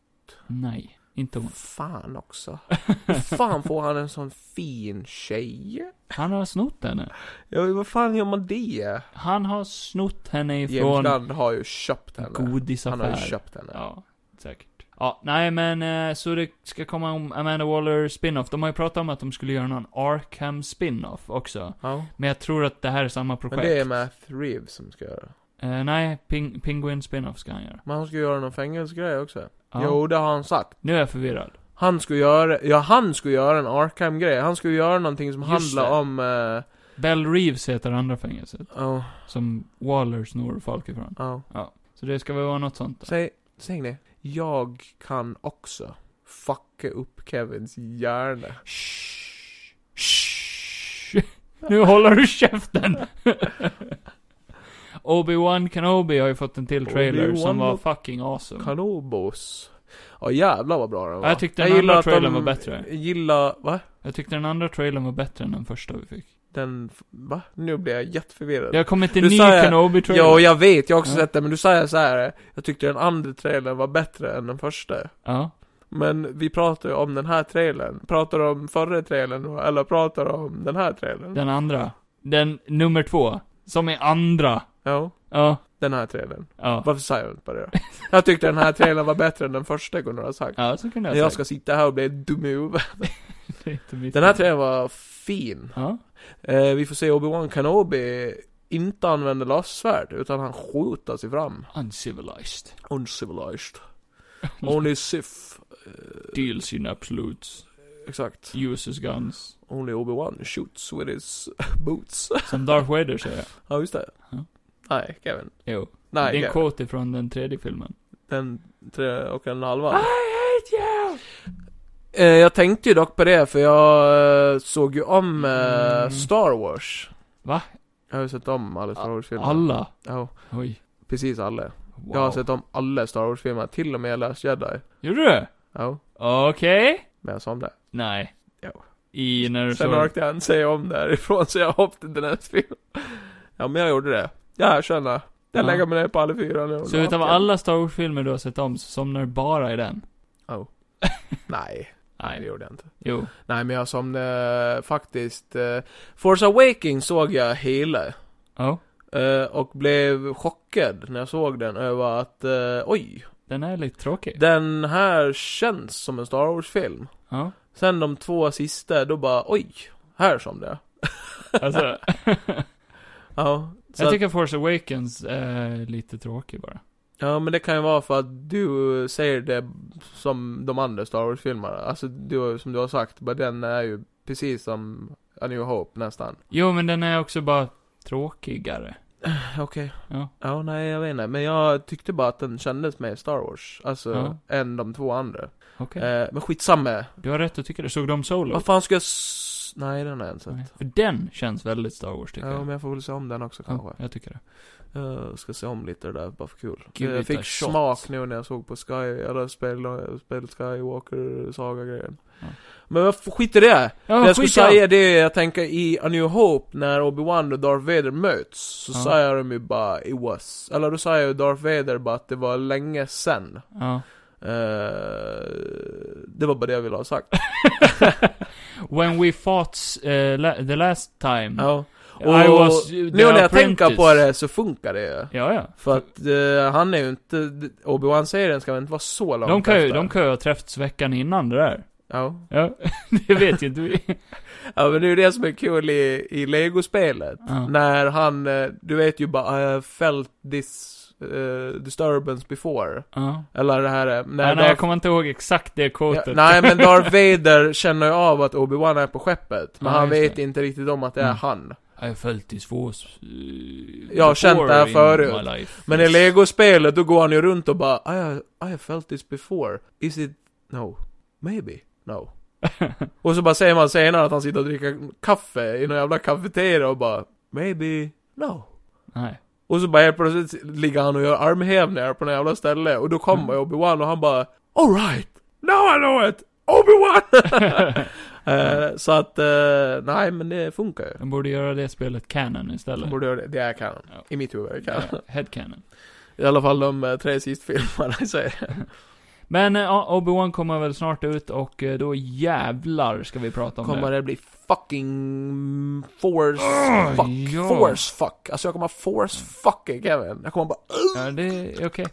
Nej. Inte hon.
Fan också. Hur fan får han en sån fin tjej?
Han har snott henne.
Ja, vad fan gör man det?
Han har snott henne
James
ifrån
Gunn har ju köpt henne.
godisaffär.
Han har ju köpt henne.
Ja, säkert. Ja, nej men eh, så det ska komma om Amanda Waller spin-off. De har ju pratat om att de skulle göra någon Arkham spin-off också.
Ja.
Men jag tror att det här är samma projekt.
Men det är Matt Reeves som ska göra.
Eh, nej, ping Penguin spin-off ska han göra.
Men han ska göra någon fängelsegrej också.
Ja.
Jo, det har han sagt.
Nu är jag förvirrad.
Han skulle göra, ja han skulle göra en Arkham-grej. Han skulle göra någonting som
Just
handlar
det.
om, eh, oh,
Bell Reeves heter andra fängelset.
ja,
Som Waller snor folk ifrån.
ja.
Så det ska väl vara något sånt. då.
oh. Säg, säg det. Jag kan också fucka upp Kevins hjärna.
Shh. Shh. Nu håller du käften! Obi-Wan Kenobi har ju fått en till trailer som
Obi-Wan
var
och
fucking awesome.
Kanobos. Ja jävlar vad bra den var.
Jag tyckte den andra
att de
trailern var bättre.
Gilla, va?
Jag tyckte den andra trailern var bättre än den första vi fick.
Den, va? Nu blir jag jätteförvirrad.
Det har kommit en
Eh, Du
ny
sa jag-
Kenobi-trailer.
Ja, och jag vet, jag har också
Ja.
sett den, men du säger så här. jag tyckte den andra trailern var bättre än den första.
ja.
Men vi pratar ju om den här trailern. Pratar du om förra trailern, då, eller pratar du om den här trailern?
Den andra. Den nummer två. Som är andra.
Ja,
Ja.
den här trailern.
Ja.
Varför säger jag inte bara det då? Jag tyckte den här trailern var bättre än den första, kunde du ha sagt.
Ja, så kunde
Men
jag,
jag
sagt.
ska sitta här och bli dum i huvudet.
Det är inte mitt
Den här
fel.
trailern var fin.
Ja.
Eh, vi får se Obi-Wan Kenobi inte använder lastsvärd, utan han skjuter sig fram.
Uncivilized.
Uncivilized. Only Sif.
Deals in absolutes.
Exakt.
Uses guns.
Only Obi-Wan shoots with his boots.
Som Darth Vader säger.
ja, just det.
Ja.
Nej, Kevin.
Jo.
Nej,
det är en
Kevin.
quote ifrån den tredje filmen.
Den tre och en halva. Eh, jag tänkte ju dock på det, för jag eh, såg ju om eh,
Mm.
Star Wars.
Va?
Jag har ju sett om alla Star Wars-filmer.
Alla.
Ja,
Oj.
precis alla.
Wow.
Jag har sett om alla Star Wars-filmer, till och med Last Jedi.
Gjorde du?
Ja,
Okej.
men jag somnade.
Nej.
Jo.
I när du
Sen
såg...
orkade jag inte säga om därifrån så jag hoppade till nästa film. Ja men jag gjorde det. Jag erkänner. Jag
Ja.
lägger mig ner på alla fyra nu.
Så utav alla Star Wars-filmer du har sett om, så somnar du bara i den?
Nej, nej det
Nej.
gjorde jag inte.
Jo.
Nej men jag somnade faktiskt. Eh, Force Awakens såg jag hela.
Ja.
Eh, och blev chockad när jag såg den över att, eh, oj.
Den är lite tråkig.
Den här känns som en Star Wars-film.
Ja.
Sen de två sista, då bara, oj. Här somnade jag.
Alltså,
Ja. så
jag
att-
tycker Force Awakens är lite tråkig bara.
Ja men det kan ju vara för att du säger det som de andra Star Wars-filmerna. Alltså du, som du har sagt, bara den är ju precis som A New Hope nästan.
Jo, men den är också bara tråkigare.
Okej.
Ja.
Ja, nej jag vet inte. Men jag tyckte bara att den kändes mer Star Wars. Alltså,
Ja.
än de två andra.
Okej.
Eh, men skitsamma.
Du har rätt att tycka det. Såg de Solo?
Vad fan ska jag s- Nej, den har jag inte
Nej.
sett.
För den känns väldigt Star Wars tycker
Ja,
jag.
men jag får väl se om den också kanske.
Ja, jag tycker det.
Jag ska se om lite det där, bara för kul.
Give
jag
it a
fick
shot.
smak nu när jag såg på Sky, eller spel, spel Skywalker Saga-grejen.
Ja.
Men vad f- skit i det!
Ja,
det jag skulle
skit i allt.
säga det är, jag tänker i A New Hope, när Obi-Wan och Darth Vader möts, så
Ja.
säger de ju bara 'It was' Eller då säger ju Darth Vader bara att det var länge sen.
Ja.
Eh, det var bara det jag ville ha sagt.
When we fought eh, la- the last time.
ja.
I was Mm. the
nu när jag tänker
apprentice.
på det så funkar det ju.
Ja, ja.
För att eh, han är ju inte, Obi-Wan-serien ska väl inte vara så långt
De kan, ju,
efter.
de kan ju ha träffats veckan innan det där.
Ja.
Ja, det vet ju inte vi.
ja, men det är ju det som är kul i, i Lego-spelet.
Ja.
När han, eh, du vet ju bara, I have felt this eh, disturbance before.
Ja.
Eller det här, eh, när
Nej, nej, jag
Darth,
kommer inte ihåg exakt det quotet.
ja, nej men Darth Vader känner ju av att Obi-Wan är på skeppet. Men
Ja,
han
just
vet
det.
inte riktigt om att det är
Mm.
han.
I have felt this force.
Jag har känt det här förut. Men i
Lego...
Lego-spelet, då går han ju runt och bara, I have, I have felt this before. Is it, no, maybe, no. Och så bara säger man senare att han sitter och dricker kaffe i någon jävla kafeteria och bara Maybe, no.
Nej.
Och så bara helt plötsligt ligger han och gör armhävningar på något jävla ställe och då
Mm.
kommer Obi-Wan och han bara Alright, now I know it! Obi-Wan! Eh, så att, eh, nej men det funkar ju.
De borde göra det spelet canon
De
istället.
Borde göra det, det är kanon.
Ja.
I mitt huvud är det kanon.
Ja, head canon.
I alla fall de eh, tre sist filmerna i serien.
Men eh, ja, Obi-Wan kommer väl snart ut och eh, då jävlar ska vi prata om
Kommer
det.
det bli fucking force fuck,
ja.
force fuck. Alltså jag kommer force fucking Kevin. Jag kommer bara
Ja, det är okej.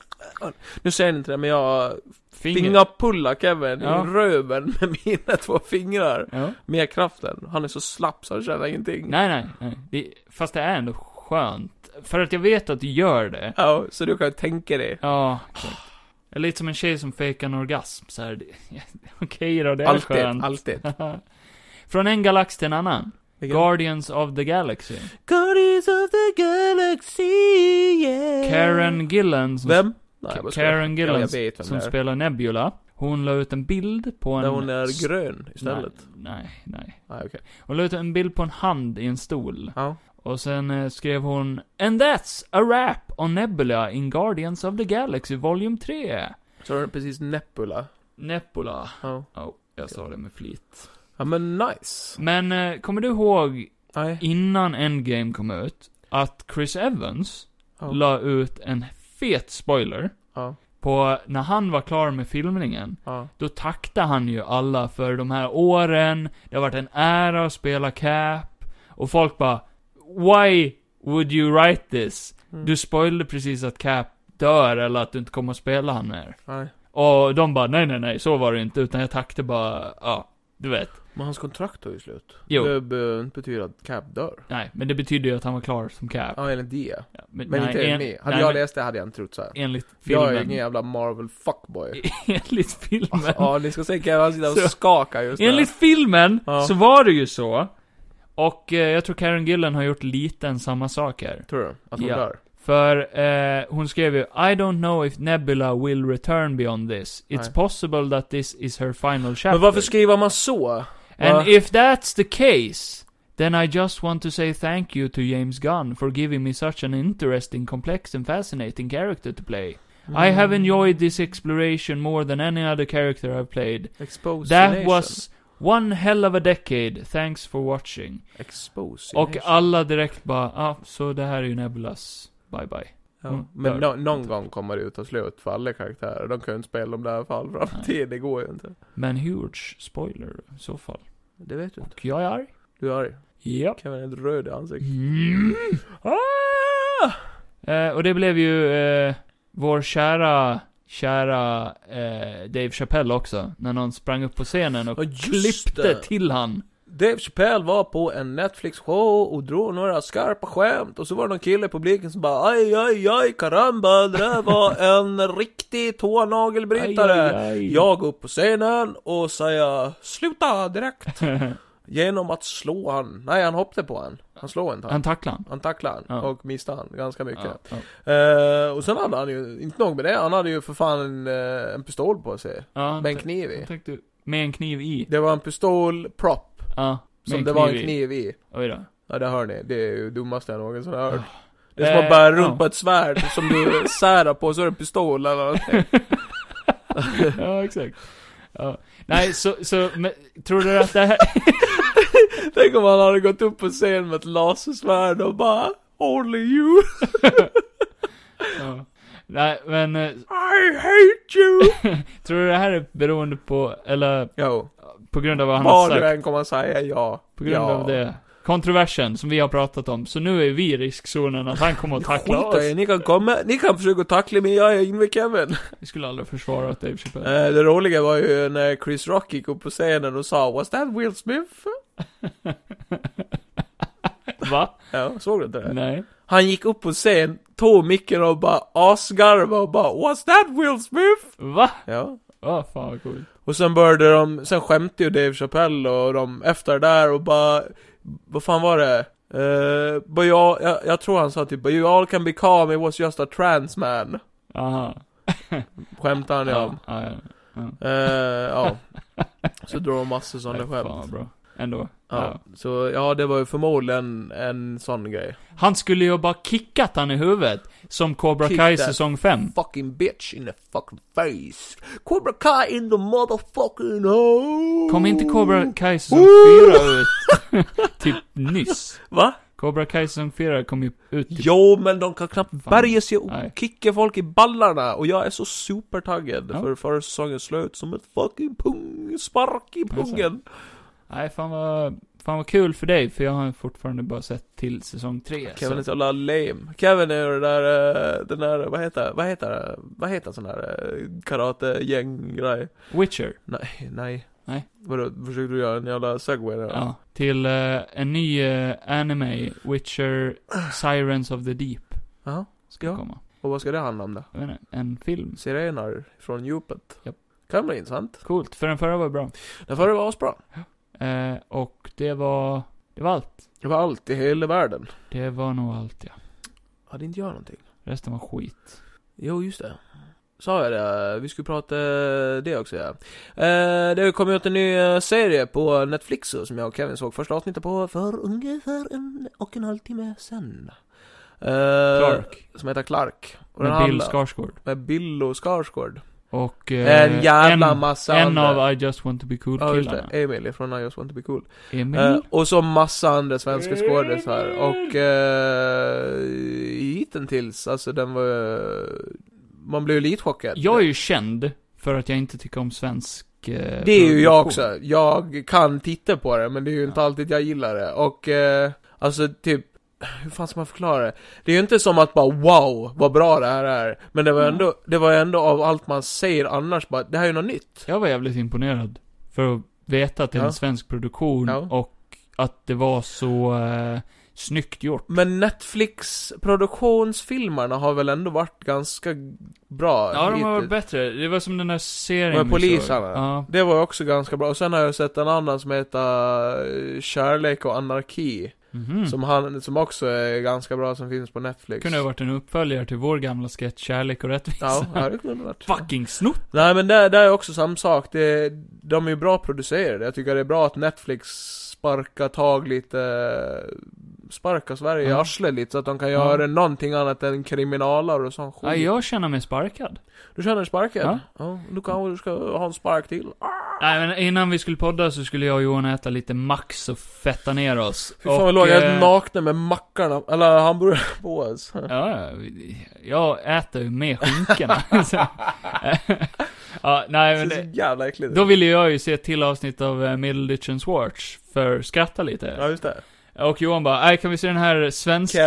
Nu säger ni inte det, men jag
Finger.
fingerpullar Kevin
Ja.
i röven med mina två fingrar.
Ja.
Med kraften. Han är så slapp så han känner ingenting.
Nej, nej, nej. Det, fast det är ändå skönt. För att jag vet att du gör det.
Ja, så du kan ju tänka dig.
Ja, exakt. Jag är lite som en tjej som fejkar en orgasm så här. det- Okej då, det är
Alltid,
skönt.
alltid.
Från en galax till en annan.
Vilken-
Guardians of the Galaxy.
Guardians of the Galaxy, yeah.
Karen Gillan, som,
Vem? Nej,
Ka-
jag bara skojar.
Karen
Ja,
Gillan
jag vet vem
som
det är.
spelar Nebula, hon la ut en bild på en...
När hon
s-
är grön istället.
Nej, nej.
Nej, okej.
Hon la ut en bild på en hand i en stol.
Ja.
Och sen eh, skrev hon 'And that's a wrap on Nebula in Guardians of the Galaxy Volume 3'
Så var det precis Nebula.
Nebula.
Ja.
Oh, jag sa det med flit.
ja, men nice.
Men eh, kommer du ihåg
Nej.
innan Endgame kom ut att Chris Evans
Ja.
la ut en fet spoiler
Ja.
på när han var klar med filmningen.
Ja.
Då tackade han ju alla för de här åren, det har varit en ära att spela Cap. Och folk bara Why would you write this?
Mm.
Du spoilade precis att Cap dör eller att du inte kommer att spela han mer.
Nej.
Och de bara nej, nej, nej, så var det inte, utan jag tackade bara, ja, du vet.
Men hans kontrakt tar ju slut.
Jo.
Det behöver inte betyda att Cap dör.
Nej, men det betyder ju att han var klar som Cap.
Ja, enligt det.
Ja,
Men
nej,
inte
en-
med. Hade
nej, men
jag läst det hade jag inte trott såhär.
Enligt
Jag är
filmen.
ingen jävla Marvel fuckboy.
enligt filmen.
Ja, ni ska se Kevin sitta
Så-
och skaka just nu.
Enligt filmen
Ja.
så var det ju så. Och eh, jag tror Karen Gillen har gjort lite en samma sak här.
Tror du? Att hon
Ja.
dör?
För eh, hon skrev ju I don't know if Nebula will return beyond this. It's
Nej.
possible that this is her final chapter.
Men varför skriver man så?
And
Va?
if that's the case, then I just want to say thank you to James Gunn for giving me such an interesting, complex and fascinating character to play. I
Mm.
have enjoyed this exploration more than any other character I've played. That
Exposition.
was one hell of a decade. Thanks for watching.
Exposition.
Och alla direkt bara, ah, så det här är ju Nebulas. Bye bye.
Ja.
Mm,
Men
dör.
no, någon gång kommer det ut ta slut för alla karaktärer. De kan ju inte spela dem där för all framtid. Det går ju inte.
Men huge spoiler i så fall.
Det vet du inte.
Och jag är arg.
Du är arg.
Japp.
Kevin är helt röd i ansiktet.
Mm.
Ah!
Eh, och det blev ju eh, vår kära, kära eh, Dave Chappelle också. När någon sprang upp på scenen och
Ja, just
klippte
det.
till han.
Dave Chappelle var på en Netflix-show och drog några skarpa skämt och så var det någon kille i publiken som bara aj, aj, aj, karamba, det där var en riktig tånagelbrytare.
Aj, aj, aj.
Jag går upp på scenen och säger sluta direkt. Genom att slå han. Nej, han hoppade på han. Han slog inte
Han
han.
tacklade han.
Han tacklade han
Ja.
och missade han ganska mycket.
Ja, ja.
Eh, och sen hade han ju, inte nog med det, han hade ju för fan en, eh, en pistol på sig.
Ja, han
Med en
ta-
kniv
han
i.
tänkte, med en kniv i.
Det var en pistol prop
Ja, med
som det var en kniv i.
Oj då.
Ja det hör ni, det är ju dummaste jag någonsin har hört.
Ah.
Det är som
Eh,
att bära runt
ja.
på ett svärd som du särar på, så är det en pistol eller någonting.
ja, exakt. Ja. Nej, så, så men, tror du att det här...
Tänk om han hade gått upp på scen med ett lasersvärd och bara Only you,
ja. Nej, men eh,
I hate you!
tror du det här är beroende på, eller
Jo,
på grund av vad han har
vad
sagt?
du än kommer att säga ja.
På grund
ja.
av det. Kontroversen som vi har pratat om. Så nu är vi i riskzonen att han kommer att tackla
Skit i
oss.
er, ni kan komma, ni kan försöka tackla mig, jag är inne Kevin.
Vi skulle aldrig försvara åt Dave Chappelle.
Eh, det roliga var ju när Chris Rock gick upp på scenen och sa Was that Will Smith?
Va?
Ja, såg du inte det?
Nej.
Han gick upp på scen, tog micken och bara asgarvade och bara Was that Will Smith?
Va?
Ja.
Åh, fan vad coolt.
Och sen började de, sen skämtade ju Dave Chappelle och de efter det där och bara Vad fan var det? Uh, but you all, jag, jag tror han sa typ 'But you all can be calm, it was just a trans man'
Aha.
Skämtade han ju om.
ja, ja.
Eh, Ja. Så drog de massor
Nej,
sådana
fan
skämt.
vad bra. Ändå.
Ja. Så ja, det var ju förmodligen en sån grej.
Han skulle ju bara kickat han i huvudet. Som Cobra
Kick
Kai
that
säsong 5.
Fucking bitch in the fucking face. Cobra Kai in the motherfucking hole.
Kom inte Cobra Kai säsong
Ooh.
4 ut? typ nyss.
Va?
Cobra Kai säsong 4 kom ju ut typ.
Jo, men de kan knappt
Fan.
bärga sig och
Nej.
kicka folk i ballarna. Och jag är så supertaggad
Ja.
för förra säsongens slut som ett fucking pung, spark i
Jag ser.
pungen.
Nej, fan vad, fan vad kul för dig. För jag har fortfarande bara sett till säsong 3.
Kevin är så jävla lame. Kevin är ju det där, eh, den där, vad heter, vad heter, vad heter sån här eh, karate-gäng-grej?
Witcher.
Nej, nej.
Nej.
Vadå, försökte du göra en jävla segway där?
Ja, till eh, en ny eh, anime, Witcher Sirens of the Deep,
Jaha.
ska
Ja.
komma.
Och vad ska det handla om då?
Jag vet inte, en film.
Sirener från djupet.
Japp.
Kan bli intressant.
Coolt, för den förra var bra.
Den förra var asbra.
Eh, och det var, det var allt.
Det var allt i hela världen.
Det var nog allt ja.
Hade inte jag någonting?
Resten var skit.
Jo, just det. Sa jag det? Vi skulle prata eh, det också ja. Eh, det har ju kommit ut en ny eh, serie på Netflix eh, som jag och Kevin såg första avsnittet på för ungefär en och en halv timme sen. Eh,
Clark.
Som heter Clark. Och den
Med Bill
handlar-
Skarsgård.
Med Bill och Skarsgård.
Och eh,
En jävla
en,
massa
en
andra.
av I just want to be
Ja, just
cool-killarna.
det. Emil från I just want to be cool.
Emil?
Eh, och så massa andra svenska skådisar. Och eh, hittills, alltså den var eh, Man blev ju litchockad.
jag är ju känd för att jag inte tycker om svensk eh,
Det är ju jag
produktion.
också. Jag kan titta på det, men det är ju inte alltid jag gillar det. Och, eh, alltså typ, hur fan ska man förklara det? Det är ju inte som att bara wow, vad bra det här är. Men det var
Mm.
ändå, det var ändå av allt man säger annars bara, det här är ju något nytt.
Jag var jävligt imponerad. För att veta att det är
Ja.
en svensk produktion
Ja.
och att det var så eh, snyggt gjort.
Men Netflix-produktionsfilmerna har väl ändå varit ganska bra
Ja, de har varit
hittills.
bättre. Det var som den där serien
Med
vi
poliserna.
såg. Ja.
Det var också ganska bra. Och sen har jag sett en annan som heter eh, Kärlek och anarki.
Mhm.
Som, han, som också är ganska bra, som finns på Netflix.
Kunde ha varit en uppföljare till vår gamla sketch Kärlek och rättvisa.
Ja, ja, det kunde det varit.
Fucking snott!
Nej men där, där är också samma sak, det, de är ju bra producerade. Jag tycker det är bra att Netflix sparkar tag lite, sparkar Sverige i
Ja.
arslet lite så att de kan
Ja.
göra någonting annat än kriminaler och sån skit.
Ja, jag känner mig sparkad.
Du känner dig sparkad?
Ja.
Ja. Du kanske ska ha en spark till?
Nej, men innan vi skulle podda så skulle jag och Johan äta lite Max och fetta ner oss. eh,
Fy fan vad låg, jag är nakna med mackarna, eller hamburgarna på oss.
Ja, ja, vi- jag äter ju med skinkorna. Så- ja, nej
Det
men
är
det,
så jävla äckligt.
Då ville jag ju se ett till avsnitt av eh, Middleditchens Watch, för skratta lite.
Ja just det.
Och Johan bara, nej kan vi se den här svenska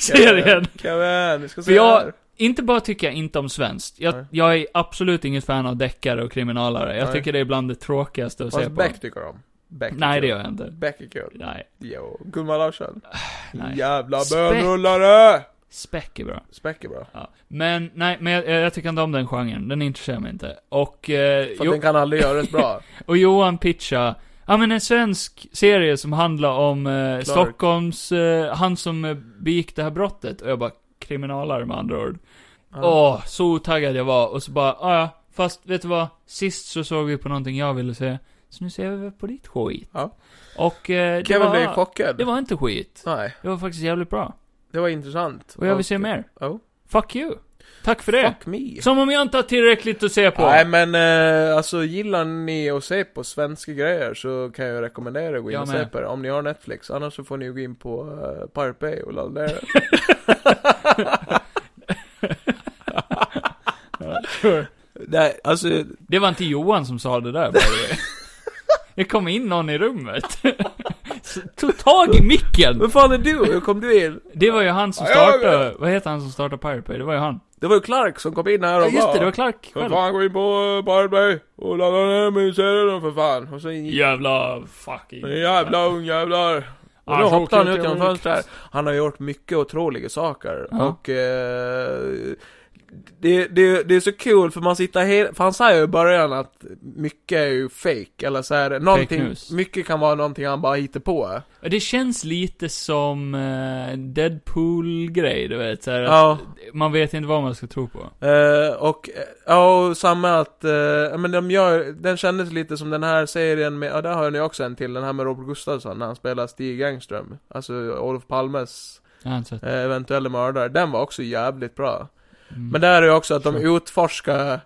serien?
Kevin, Kevin, vi ska
För
se
jag-
det här.
Inte bara tycker jag inte om svenskt. Jag,
Nej.
jag är absolut inget fan av deckare och kriminalare. Jag
Nej.
tycker det är bland det tråkigaste att se
Fast
på.
Beck tycker om. Beck är
Nej,
kul.
det gör jag inte.
Beck är kul.
Nej,
Jo, Gunnar Larsson.
nej.
Jävla
Späck.
bönrullare!
Späck är bra.
Späck är bra.
Ja. Men, nej, men jag, jag tycker inte om den genren. Den intresserar mig inte. Och, eh,
För
Jo-
att den kan aldrig göras bra.
Och Johan pitcha ja men en svensk serie som handlar om eh, Stockholms, eh, han som eh, begick det här brottet. Och jag bara, kriminalare med andra ord. Åh, så otaggad jag var. Och så bara, "Ah, ja, fast vet du vad? Sist så såg vi på någonting jag ville se. Så nu ser vi väl på ditt skit.
Ja.
Och eh, det,
Kevin blev
var,
chockad.
det var inte skit.
Nej,
Det var faktiskt jävligt bra.
det var intressant.
Och jag vill se mer.
Ja.
Fuck you. Tack för det.
Fuck me.
Som om jag inte har tillräckligt att se på.
Nej men eh, alltså gillar ni att se på svenska grejer så kan jag rekommendera att gå in
Jag
och
med.
se på det. Om ni har Netflix. Annars så får ni ju gå in på uh, Pirate Bay och ladda ner det. Nej, alltså,
Det var inte Johan som sa det där by the way. Det kom in någon i rummet. Så Tog tag i micken!
vem fan är du? Hur kom du in?
Det var ju han som startade, vad heter han som startade Pirate Bay? Det var ju han.
Det var ju Clark som kom in här och
Ja, just det, det var
bara,
Clark
För
själv.
fan gå in på Pirate Bay och ladda ner min serie då för fan. Och så gick
Jävla fucking...
Men Jävla ungjävlar. Och då
Ah, så
hoppade han
kul
ut genom
jag var.
fönstret. Han har gjort mycket otroliga saker.
Ja.
Och eh, det, det, det är så kul för man sitter helt, för han säger ju i början att mycket är ju fake eller så här, någonting,
news.
mycket kan vara någonting han bara hittar på.
Det känns lite som eh, Deadpool-grej, du vet. Så här, att
Ja.
Man vet inte vad man ska tro på.
Eh, och, eh, ja, och samma att, eh, ja, men de gör, den kändes lite som den här serien med, ja där har ni också en till, den här med Robert Gustafsson när han spelar Stig Engström. Alltså Olof Palmes
Jag har inte sett.
eh, eventuella mördare. Den var också jävligt bra.
Mm.
Men där är ju också att de
Sure.
utforskar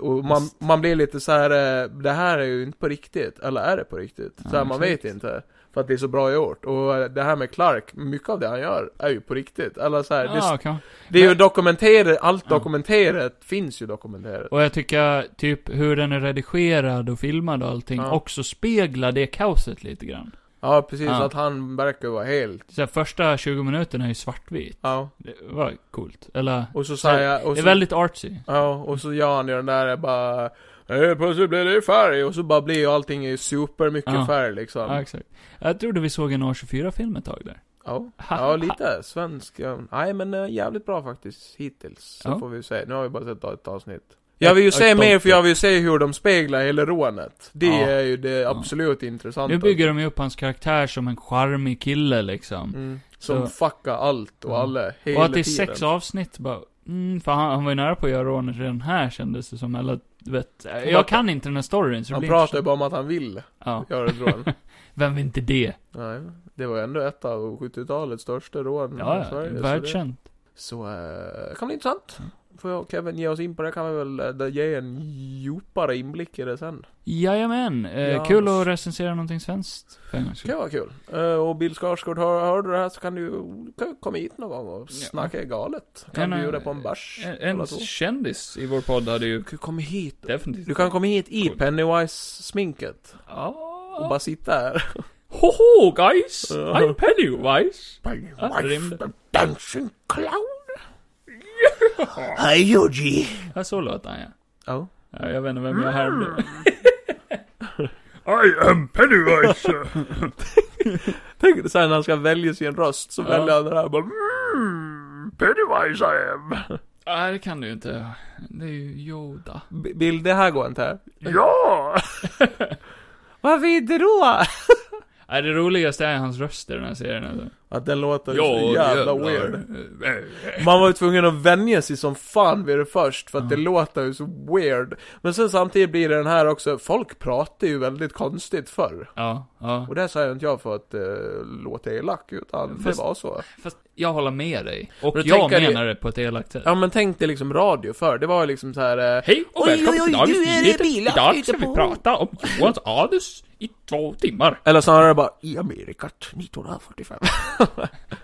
och man, man blir lite så här. eh, det här är ju inte på riktigt, eller är det på riktigt?
Ja,
så här, man
exakt.
vet inte. För att det är så bra gjort. Och eh, det här med Clark, mycket av det han gör är ju på riktigt. Eller så här, det,
Ja, kan...
det är ju
men-
dokumenterat, allt
Ja.
dokumenterat finns ju dokumenterat.
Och jag tycker typ hur den är redigerad och filmad och allting
Ja.
också speglar det kaoset lite grann.
Ja, precis.
Ja.
Att han verkar vara helt,
Så här, första 20 minuterna är ju svartvit.
ja.
Det var coolt. Eller,
Och så
Så här,
säger jag, och
det är
så,
väldigt artsy.
ja, och så gör han ju den där bara, "Eh, plötsligt blir det färg. Och så bara blir ju allting i supermycket
Ja.
färg liksom.
Ja, exakt. Jag trodde vi såg en A24-film ett tag där.
Ja,
Ha, ha.
ja lite svensk. ja. Nej men eh, jävligt bra faktiskt hittills. Så
Ja.
får vi se. Nu har vi bara sett ett avsnitt. Jag vill ju se
ett
mer
avsnitt.
för jag vill se hur de speglar hela rånet. Det
Ja.
är ju det absolut intressanta.
Nu bygger de ju upp hans karaktär som en charmig kille liksom.
mm.
Så-
Som fuckar allt och
Mm.
alla hela
Och att det är
tiden.
sex avsnitt bara, mm, för han, han var ju nära på att göra rånet redan här kändes det som, eller du vet. Jag kan inte den här storyn så det
Han
blir
pratar ju
intressant.
bara om att han vill
Ja.
göra ett rån.
Vem vill inte det?
Nej, det var ju ändå ett av 70-talets största rån i
Ja, ja.
Sverige. så det-
Världskänt.
Så, eh, det kan bli intressant. får Kevin ge oss in på det kan vi väl eh, där ge en djupare inblick i det sen.
Jajamän. Eh,
Ja.
Kul att recensera någonting svenskt. för en gångs
Det
skull.
kan vara kul. Eh, och Bill Skarsgård, hör, hör du det här så kan du kan du komma hit någon gång och
Ja.
snacka galet. Kan
En,
du
eh,
bjuda på en bärs?
En,
eller
en
två?
kändis i vår podd hade ju
Du kan komma hit.
definitivt...
Du kan komma hit i Pennywise-sminket och
Ja.
bara sitta här.
Hoho guys!
Ja.
I'm Pennywise! Ja, det
Pennywise
rymde.
the dancing clown. Hej Georgie.
Ja, så låt han ja.
Ja.
ja. Jag vet inte
Mm.
vem jag härmde.
I am Pennywise.
Tänk dig sen när han ska välja sin röst så
Ja.
väljer han den här bara...
Mm, Pennywise I am.
Nej, det kan du ju inte. Det är ju Yoda.
"B- Bill, det här går inte här.
Ja.
Varför inte då?
Nej, Äh, det roligaste är hans röst i den här serien alltså.
Att den låter så jävla
jävlar.
weird.
Eh, eh.
Man var ju tvungen att vänja sig som fan vid det först, för att
Ja.
det låter ju så weird. Men sen samtidigt blir det den här också, folk pratar ju väldigt konstigt förr.
Ja, ja.
Och det här säger inte jag för att eh, låta elak, utan
Fast-
det var så.
Fast jag håller med dig. Och
Men då
jag
tänker jag-
menar det på ett elakt sätt.
Ja men tänk dig liksom radio förr, det var ju liksom så här. Eh,
Hej och
Oj,
välkommen
oj,
till
oj,
dagens
du är
nyheter.
bilakt
Idag
ute
ska vi
på-
prata om Johans anus i två timmar.
eller snarare bara,
I Amerikat 1945.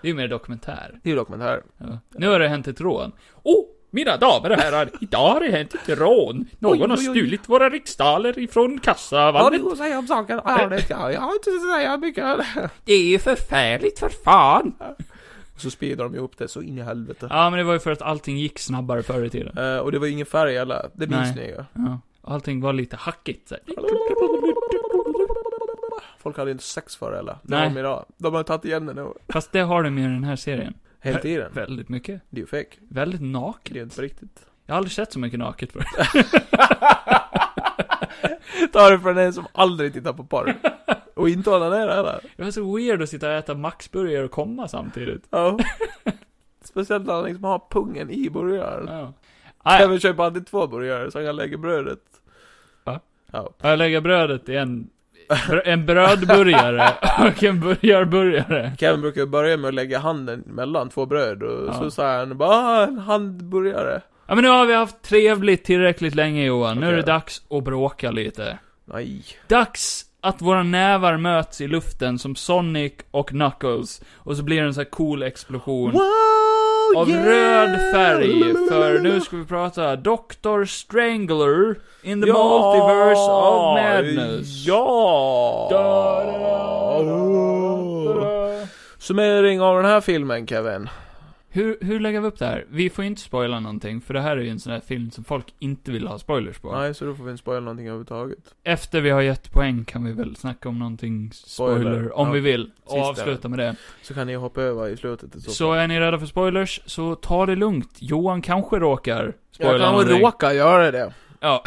Det är ju mer dokumentär.
det är ju dokumentär.
Ja. Nu har det hänt ett rån. Oh, mina damer och herrar, idag har det hänt ett rån. Någon
Oj, oj,
har
oj.
stulit våra riksdaler ifrån
Ja, det
kassavalvet.
går att säga om saken. Ja, det, ja, jag har inte så säga mycket.
det är ju förfärligt för fan.
Och så speedar de ju upp det så in i helvete.
Ja, men det var ju för att allting gick snabbare förr i tiden.
Eh, och det var ju ingen färg heller, det
Nej.
minns ni ju.
Ja. Allting var lite hackigt så här.
Folk hade inte sex förr eller? Det
Nej.
har de idag. De har tagit igen det nu.
Fast det har de med i den här serien.
Hela tiden.
Väldigt mycket.
Det är ju fake.
Väldigt
Det är
naket.
inte på riktigt.
Jag har aldrig sett så mycket naket förr.
Ta det från en som aldrig tittar på porr. Och inte håller ner det heller.
Det var så weird att sitta och äta Maxburgare och komma samtidigt.
Ja. Speciellt när han liksom har pungen i burgaren.
Ja.
Jag
Nej,
vill köpa alltid två burgare så han kan lägga brödet.
jag lägger brödet i en, br- en brödburgare och en burgarburgare.
Kevin brukar ju börja med att lägga handen mellan två bröd och
Ja.
så säger han bara "Ah, en handburgare.
Ja men nu har vi haft trevligt tillräckligt länge Johan. Nu är det
Okej.
dags att bråka lite.
Nej.
Dags att våra nävar möts i luften som Sonic och Knuckles. Och så blir det en sån här cool explosion.
Wow,
Av
yeah!
röd färg, för nu ska vi prata Dr. Strangler in the
Ja!
multiverse of madness.
Ja!
Da, da, da, da,
Oh.
da.
Summering av den här filmen Kevin.
Hur, hur lägger vi upp det här? Vi får ju inte spoila någonting, för det här är ju en sån här film som folk inte vill ha spoilers på.
Nej, så då får vi inte spoila någonting överhuvudtaget.
Efter vi har gett poäng kan vi väl snacka om någonting spoiler,
Spoiler,
om
ja.
vi vill, och
Sista.
avsluta med det.
Så kan ni hoppa över i slutet i så
Så är ni rädda för spoilers, så ta det lugnt. Johan kanske råkar spoila
Jag kanske
någonting.
råkar göra det.
Ja.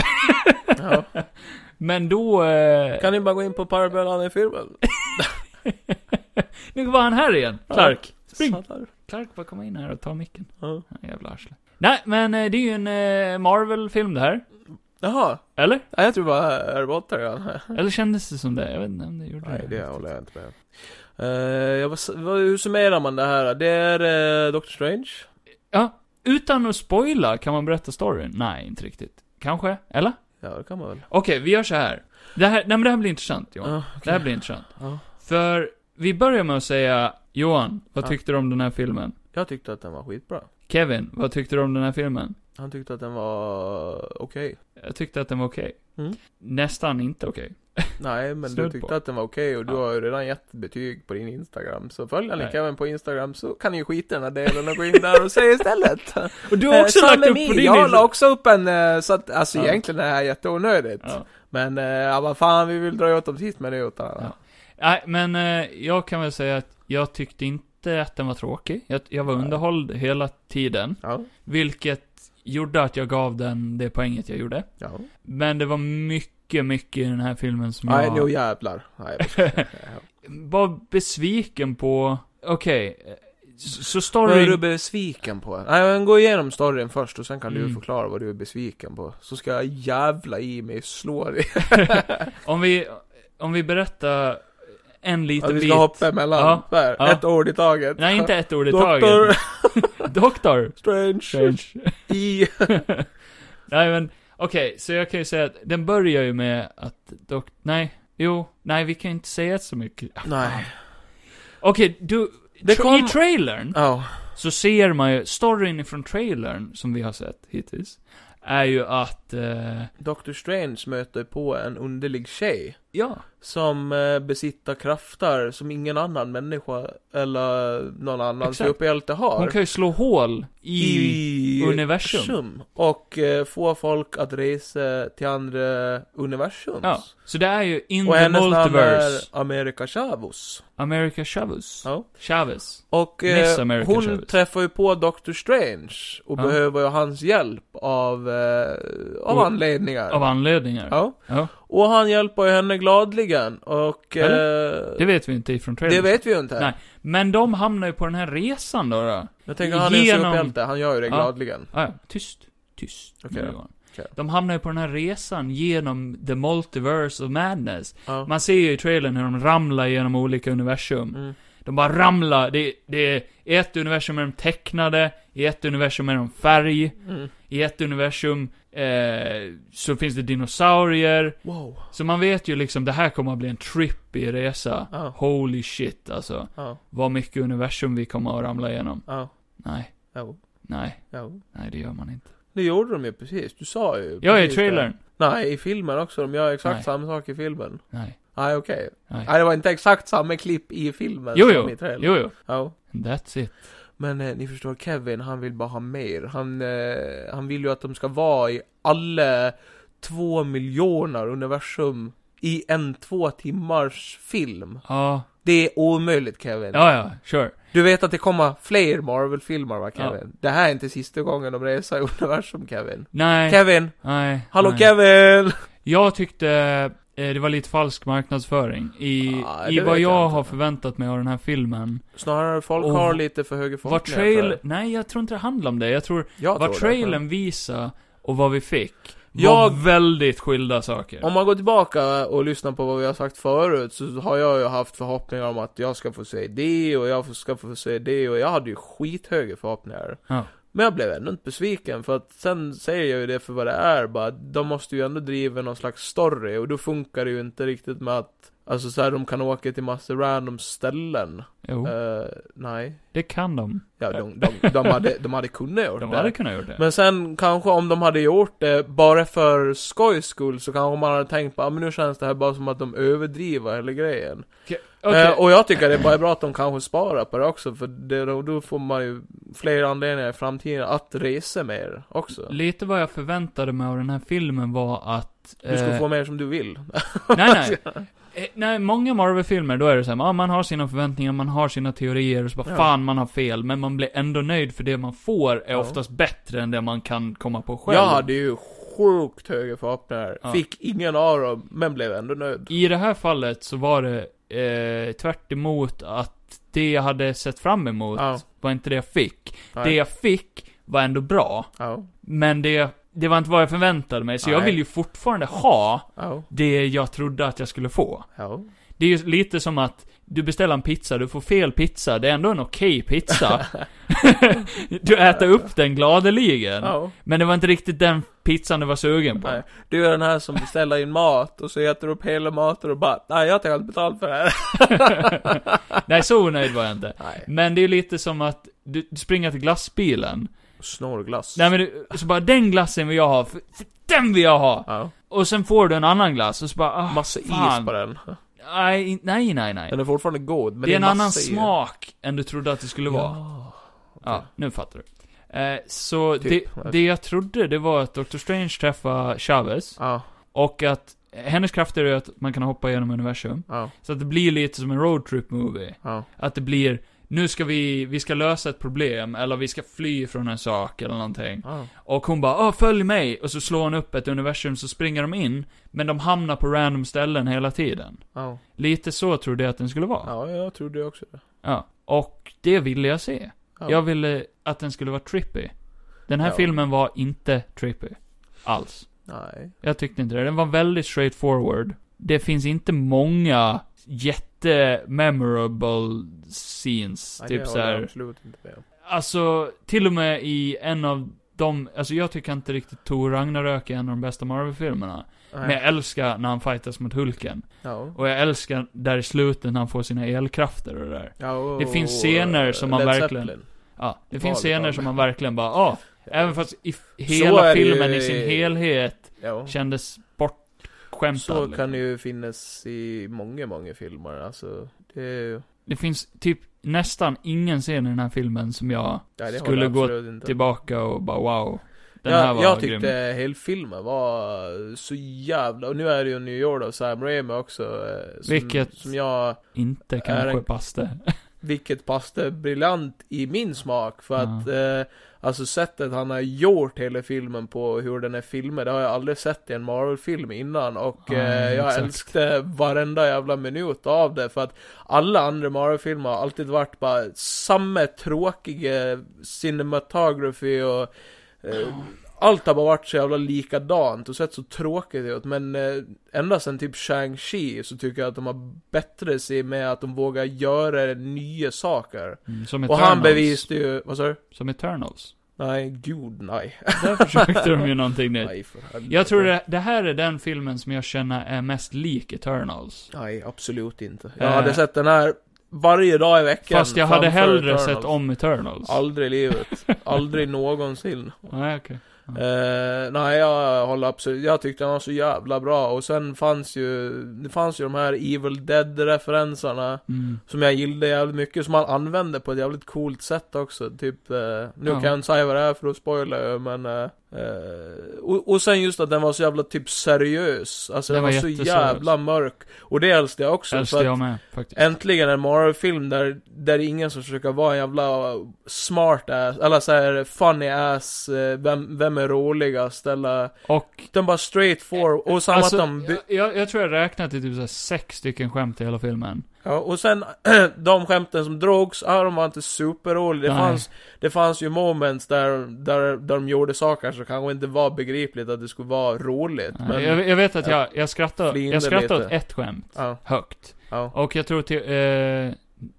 Ja.
Men då... Eh...
Kan ni bara gå in på parabellan i filmen?
Nu var han här igen, Clark. Spring.
Sattar.
Clark bara komma in här och ta micken.
Ja.
Ja, Jävla arsle. Nej, men eh, det är ju en eh, Marvel-film det här.
Jaha.
Eller?
Nej, jag tror bara är robotar igen.
Eller kändes det som det? Jag vet inte om det gjorde
Nej,
det.
det håller jag inte med om. Eh, jag var, vad, hur summerar man det här? Det är eh, Doctor Strange.
Ja, utan att spoila, kan man berätta storyn? Nej, inte riktigt. Kanske? Eller?
Ja, det kan man väl.
Okej, vi gör så här. Det här, nej men det här blir intressant, Johan.
Ja,
Det här blir intressant.
Ja.
För, vi börjar med att säga, Johan, vad
Ja.
tyckte du om den här filmen?
Jag tyckte att den var skitbra.
Kevin, vad tyckte du om den här filmen?
Han tyckte att den var okej.
Jag tyckte att den var okej.
Mm.
Nästan inte okej.
Nej, men
Snudd
du tyckte
på.
att den var okej och du
Ja.
har ju redan gett betyg på din Instagram. Så följer ni
Nej.
Kevin på Instagram så kan ni ju skita i den här delen och gå in där och säga istället.
Och du har också
Eh,
lagt
Sam
upp
Lee,
på din
Jag
Insta-
la också upp en, eh, så att alltså
Ja.
egentligen är det här jätteonödigt.
Ja.
Men eh, ja, vad fan, vi vill dra ut dem sist med det utan.
Ja. Nej, men eh, jag kan väl säga att jag tyckte inte att den var tråkig. Jag, jag var
Nej.
underhålld hela tiden,
Ja.
vilket gjorde att jag gav den det poänget jag gjorde.
ja.
Men det var mycket, mycket i den här filmen som
Nej, nu
jag
jävlar. Nej, jag ska...
var besviken på. Okej, eh, så så
Vad är du
storyn...
besviken på? Nej, men gå igenom storyn först och sen kan
Mm.
du förklara vad du är besviken på. Så ska jag jävla i mig slå dig.
om vi, om vi berättar en liten
Att vi
bit.
ska hoppa emellan.
Ja,
Där,
ja.
Ett ord i taget.
Nej, inte ett ord i
Doktor-
taget. Doktor!
Strange.
Strange.
I...
nej men, okej, så jag kan ju säga att den börjar ju med att dok- Nej, jo, nej vi kan inte säga så mycket.
Nej.
Okej, du...
Det
tra-
kom-
I trailern
Ja.
så ser man ju, storyn ifrån trailern som vi har sett hittills, är ju att, eh,
Doctor Strange möter på en underlig tjej.
ja,
Som eh, besitter krafter som ingen annan människa eller någon annan
Exakt.
superhjälte har.
hon kan ju slå hål i... universum.
Och eh, få folk att resa till andra universum.
Ja, så det är ju in
Och
the
hennes namn är
multiverse,
America Chavos.
America Chavez.
Ja.
Chavez.
Och
Miss
eh, hon
America Chavez.
träffar ju på Doctor Strange och
Ja.
behöver ju hans hjälp av, eh, av
Och-
anledningar.
Av anledningar.
Ja.
Ja.
Och han hjälper ju henne gladligen och... Eh,
Det
det,
vet vi inte ifrån trailern.
vet vi ju inte.
Nej. Men de hamnar ju på den här resan då. då.
Jag tänker han är
Genom-
ju superhjälte, han gör ju det
Ja.
gladligen.
Ah, ja. tyst. Tyst.
Okej då.
Johan.
Okej.
De hamnar ju på den här resan genom the multiverse of madness.
Ja.
Man ser ju i trailern hur de ramlar genom olika universum.
Mm.
De bara ramlar. Det, det är, i ett universum är de tecknade, i ett universum är de färg,
Mm.
i ett universum eh, så finns det dinosaurier.
Wow.
Så man vet ju liksom, det här kommer att bli en trippy resa.
Ja.
Holy shit alltså.
Ja.
Vad mycket universum vi kommer att ramla igenom.
Ja.
Nej,
Ja.
nej,
Ja.
nej det gör man inte.
Det gjorde de ju precis, du sa ju.
Jag är i
precis det.
trailern.
Nej, i filmen också. De gör exakt
Nej.
samma sak i filmen.
Nej,
Nej, okej.
nej.
Nej, det var inte exakt samma klipp i filmen
Jo,
som
jo.
i trailern.
Jo, jo.
Ja.
That's it.
Men eh, ni förstår, Kevin, han vill bara ha mer. Han, eh, han vill ju att de ska vara i alla två miljoner universum i en två timmars film.
Ja,
Det är omöjligt, Kevin.
ja, ja, sure.
Du vet att det kommer fler Marvel-filmer, va, Kevin? Det här är inte sista gången de reser i universum, Kevin.
Nej,
Kevin!
nej.
Hallå,
nej.
Kevin!
Jag tyckte eh, det var lite falsk marknadsföring i,
Ja, det
i vad
vet
jag,
jag inte.
har förväntat mig av den här filmen.
Snarare, folk
Och
har lite för höga
Vad
förhoppningar. tror
trail...
jag.
Nej, jag tror inte det handlar om det. Jag tror
Jag
vad
tror det.
trailern visade och vad vi fick
Jag-
var väldigt skilda saker.
Om man går tillbaka och lyssnar på vad vi har sagt förut så har jag ju haft förhoppningar om att jag ska få se det och jag ska få se det och jag hade ju skithöga förhoppningar.
Ja.
Men jag blev ändå inte besviken för att sen säger jag ju det för vad det är bara, de måste ju ändå driva någon slags story och då funkar det ju inte riktigt med att Alltså såhär, de kan åka till massa random ställen.
Jo,
Eh, nej.
det kan de.
Ja, de, de, de, hade, de hade kunnat göra
De
det.
hade kunnat göra det.
Men sen kanske om de hade gjort det bara för skojs skull så kanske man hade tänkt på ah, men nu känns det här bara som att de överdriver hela grejen.
Okej.
Eh, och jag tycker det är bara bra att de kanske sparar på det också för det, då, då får man ju fler anledningar i framtiden att resa mer också.
Lite vad jag förväntade mig av den här filmen var att...
Du ska
eh,
få mer som du vill.
nej, nej. Eh, nej, många Marvel-filmer, då är det så här, ah, man har sina förväntningar, man har sina teorier, och så bara
Ja.
fan man har fel, men man blir ändå nöjd för det man får är
Ja.
oftast bättre än det man kan komma på själv.
jag hade ju sjukt höga förhoppningar.
Ja.
Fick ingen av dem, men blev ändå nöjd.
I det här fallet så var det eh, tvärt emot att det jag hade sett fram emot
Ja.
var inte det jag fick.
Nej.
Det jag fick var ändå bra,
Ja.
men det, det var inte vad jag förväntade mig, så jag
Nej.
vill ju fortfarande ha
Ja.
det jag trodde att jag skulle få.
Ja.
Det är ju lite som att du beställer en pizza, du får fel pizza, det är ändå en okej pizza. du äter upp den gladeligen.
ja.
Men det var inte riktigt den pizzan du var sugen på.
Nej, du är den här som beställer in mat och så äter du upp hela maten och bara Nej jag tänker inte betala för det här.
Nej, så onöjd var jag inte.
Nej.
Men det är lite som att du, du springer till glassbilen.
Snorglass.
Nej men du, så bara den glassen vill jag ha, för, för den vill jag ha!
Ja.
Och sen får du en annan glass och så bara ah,
Massa
fan.
is på den.
Nej, nej, nej, nej.
Den är fortfarande god men
det är en
massa
annan
i.
smak än du trodde att det skulle vara.
Ja.
Ja, nu fattar du. Eh, så
Typ.
det, det jag trodde, det var att Dr. Strange träffade Chavez,
Ja,
och att hennes krafter är att man kan hoppa genom universum.
ja,
Så att det blir lite som en roadtrip movie.
ja.
Att det blir, nu ska vi, vi ska lösa ett problem, eller vi ska fly från en sak, eller någonting.
ja.
Och hon bara, ah, följ mig! Och så slår hon upp ett universum, så springer de in, men de hamnar på random ställen hela tiden.
Ja,
Lite så trodde jag att den skulle vara.
ja, jag trodde också det.
Ja. Och det ville jag se.
Ja.
Jag ville att den skulle vara trippy. Den här
Ja.
filmen var inte trippy. Alls.
Nej.
Jag tyckte inte det. Den var väldigt straight forward. Det finns inte många jätte-memorable scenes.
Nej, det
typ
håller jag
såhär,
absolut inte med om.
Alltså, till och med i en av de, alltså jag tycker inte riktigt Thor Ragnarök är en av de bästa Marvel-filmerna. Men jag älskar när han fightas mot Hulken.
Ja.
Och jag älskar där i slutet när han får sina elkrafter och det där.
Ja, och,
Det finns scener som man
Led
verkligen-
Zeppelin.
Ja, det
Valet
finns scener
av-
som man verkligen bara, ah, även fast i f-
är
hela
det ju
filmen i
i-
sin helhet
Ja.
kändes bortskämtad.
Så
liksom.
kan det ju finnas i många, många filmer. Alltså, det, ja,
Det finns typ nästan ingen scen i den här filmen som jag
det håller
Skulle gå
absolut inte.
tillbaka och bara wow. Den
jag,
här var
jag tyckte
grym.
hela filmen var så jävla... Och nu är det ju New York av Sam Raimi också. eh, Som,
Vilket-
Som jag...
Inte kanske
en-
pass det.
Vilket passade briljant i min smak. För
Ja.
att... Eh, alltså sättet han har gjort hela filmen på, hur den är filmad. Det har jag aldrig sett i en Marvel-film innan. Och
Nej,
eh, jag
exakt.
älskade varenda jävla minut av det. För att alla andra Marvel-filmer har alltid varit bara samma tråkiga cinematography och... Eh, allt har bara varit så jävla likadant och sett så tråkigt ut, men eh, ända sen typ Shang-Chi så tycker jag att de har bättre sig med att de vågar göra nya saker.
Mm, som
Och
Eternals.
han bevisade ju, vad sa du?
Som Eternals.
Nej, gud nej.
Där försökte de ju någonting nytt.
nej för helvete.
Jag tror det, det här är den filmen som jag känner är mest lik Eternals.
Nej, absolut inte. Jag
Eh.
hade sett den här varje dag i veckan.
Fast jag hade
framför
hellre
Eternals.
sett om Eternals.
Aldrig i livet. Aldrig någonsin.
Nej, okej.
Eh, nej, jag håller absolut, jag tyckte den var så jävla bra. Och sen fanns ju, det fanns ju de här Evil Dead-referenserna.
Mm.
Som jag gillade jävligt mycket, som han använde på ett jävligt coolt sätt också. Typ, eh, nu
Ja.
kan jag inte säga vad det är för att spoila ju, men... Eh, eh, och, och sen just att den var så jävla typ seriös. Alltså
Den
den var,
var
så
jätteseriös.
jävla mörk. Och det älskade jag också.
Älskar
för
jag
att
med, faktiskt.
äntligen en Marvel-film där, där det är ingen som försöker vara en jävla smart ass, eller såhär funny ass, eh, vem, vem är roligast eller...
Och...
Utan bara straight forward. Och samma
Alltså,
att de... by-
jag, jag, jag tror jag räknat till typ så här sex stycken skämt i hela filmen.
Ja, och sen de skämten som drogs, ja, de var inte superroliga. Det
Nej.
fanns, det fanns ju moments där, där, där de gjorde saker som kanske inte var begripligt att det skulle vara roligt. Men, ja,
Eh, jag, jag vet att jag, jag skrattar,
Flinade
jag skrattar åt
lite.
ett skämt.
ja,
Högt. Och jag tror te- eh,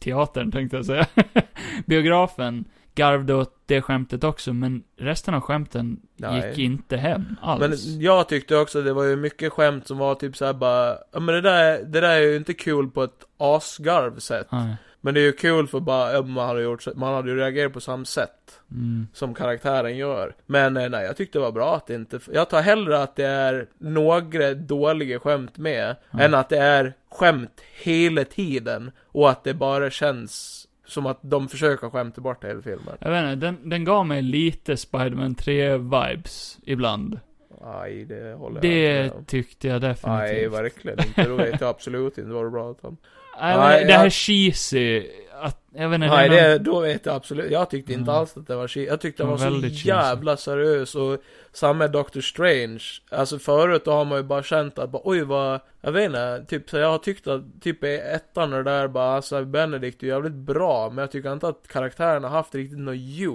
teatern, tänkte jag säga. Biografen garvde åt det skämtet också, men resten av skämten
Nej.
gick inte hem
Men
alls.
jag tyckte också att det var ju mycket skämt som var typ såhär bara, ja men det där, det där är ju inte kul på ett asgarv sätt.
Nej.
Men det är ju kul för bara, ja, man hade gjort, så- man hade ju reagerat på samma sätt.
Mm.
som karaktären gör. Men eh, nej, jag tyckte det var bra att det inte... Jag tar hellre att det är några dåliga skämt med,
Mm.
än att det är skämt hela tiden, och att det bara känns som att de försöker skämta bort hela filmen.
Jag vet inte, den, den gav mig lite Spiderman 3-vibes ibland.
Aj, det håller jag
Det
inte med om.
tyckte jag
Nej,
definitivt.
verkligen inte. Då vet jag absolut inte vad du pratar om.
Nej, men
Nej,
det här
jag-
cheesy, att, jag vet inte,
Nej,
det är någon-
det, då vet jag absolut. Jag tyckte inte
Mm.
alls att det var cheesy. Jag tyckte
Det
det
var
var så
väldigt cheesy.
jävla seriös och samma Doctor Strange. Alltså förut då har man ju bara känt att bara, oj vad, jag vet inte, typ så jag har tyckt att typ i ettan och det där bara, alltså Benedict är ju jävligt bra, men jag tycker inte att karaktären har haft riktigt något djup.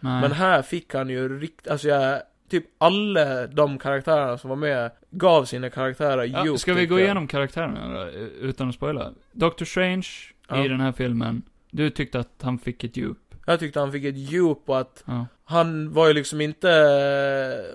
Nej.
Men här fick han ju riktigt, alltså jag, typ alla de karaktärerna som var med gav sina karaktärer
Ja,
djup.
ska vi
tyckte
gå
jag.
igenom karaktärerna då, utan att spoila? Doctor Strange i
Ja.
den här filmen, du tyckte att han fick ett djup.
Jag tyckte han fick ett djup och att
Ja.
Han var ju liksom inte,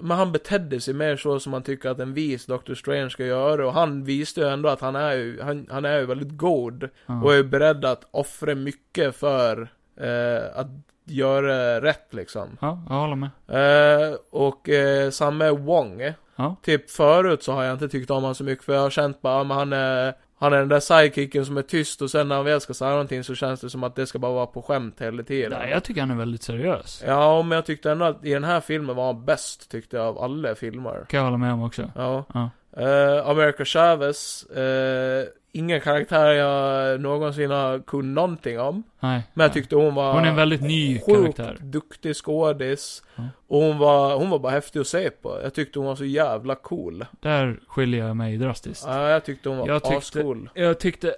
men han betedde sig mer så som man tycker att en vis Dr. Strange ska göra och han visste ju ändå att han är ju, han, han är ju väldigt god
ja.
och är beredd att offra mycket för eh, att göra rätt liksom.
ja, jag håller med.
Eh, och eh, samma Wong.
Ja.
Typ förut så har jag inte tyckt om honom så mycket för jag har känt bara, ja, men han är, han är den där sidekicken som är tyst och sen när han väl ska säga någonting så känns det som att det ska bara vara på skämt hela tiden.
Nej, jag tycker han är väldigt seriös.
Ja, men jag tyckte ändå att i den här filmen var han bäst, tyckte jag, av alla filmer.
Kan jag hålla med om också.
Ja.
Ja.
Eh, America Chavez, eh, ingen karaktär jag någonsin har kunnat någonting om.
Nej.
Men jag tyckte hon var...
Hon är en väldigt ny
sjukt
karaktär.
duktig skådis.
Ja.
Och hon var, hon var bara häftig att se på. Jag tyckte hon var så jävla cool.
Där skiljer jag mig drastiskt.
Ja, jag tyckte hon var
Jag tyckte-
ascool.
Jag tyckte,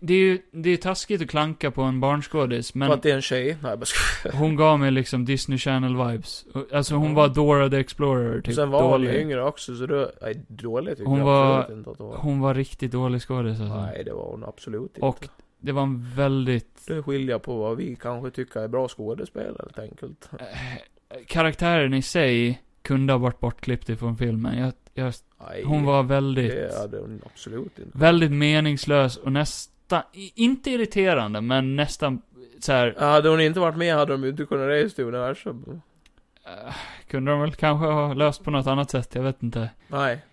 det är ju, det är taskigt att klanka på en barnskådis,
För
men
att det är en tjej. Nej, jag bara skojar.
hon gav mig liksom Disney Channel-vibes. Alltså hon
Ja.
var Dora the Explorer, typ.
Sen var hon
dålig.
yngre också, så det... Nej, dålig tyckte
Hon
jag
var-
absolut inte att hon var.
Hon var riktigt dålig skådis alltså.
Nej, det var hon absolut inte.
Och Det var en väldigt...
Det skiljer på vad vi kanske tycker är bra skådespelare helt enkelt.
Eh, karaktären i sig kunde ha varit bortklippt ifrån filmen. Jag, jag,
Nej,
hon var väldigt...
Det hade hon absolut inte.
Väldigt meningslös och nästan, i- inte irriterande, men nästan så här.
Hade hon inte varit med hade de ju inte kunnat resa till universum.
eh, kunde de väl kanske ha löst på något annat sätt, jag vet inte.
Nej.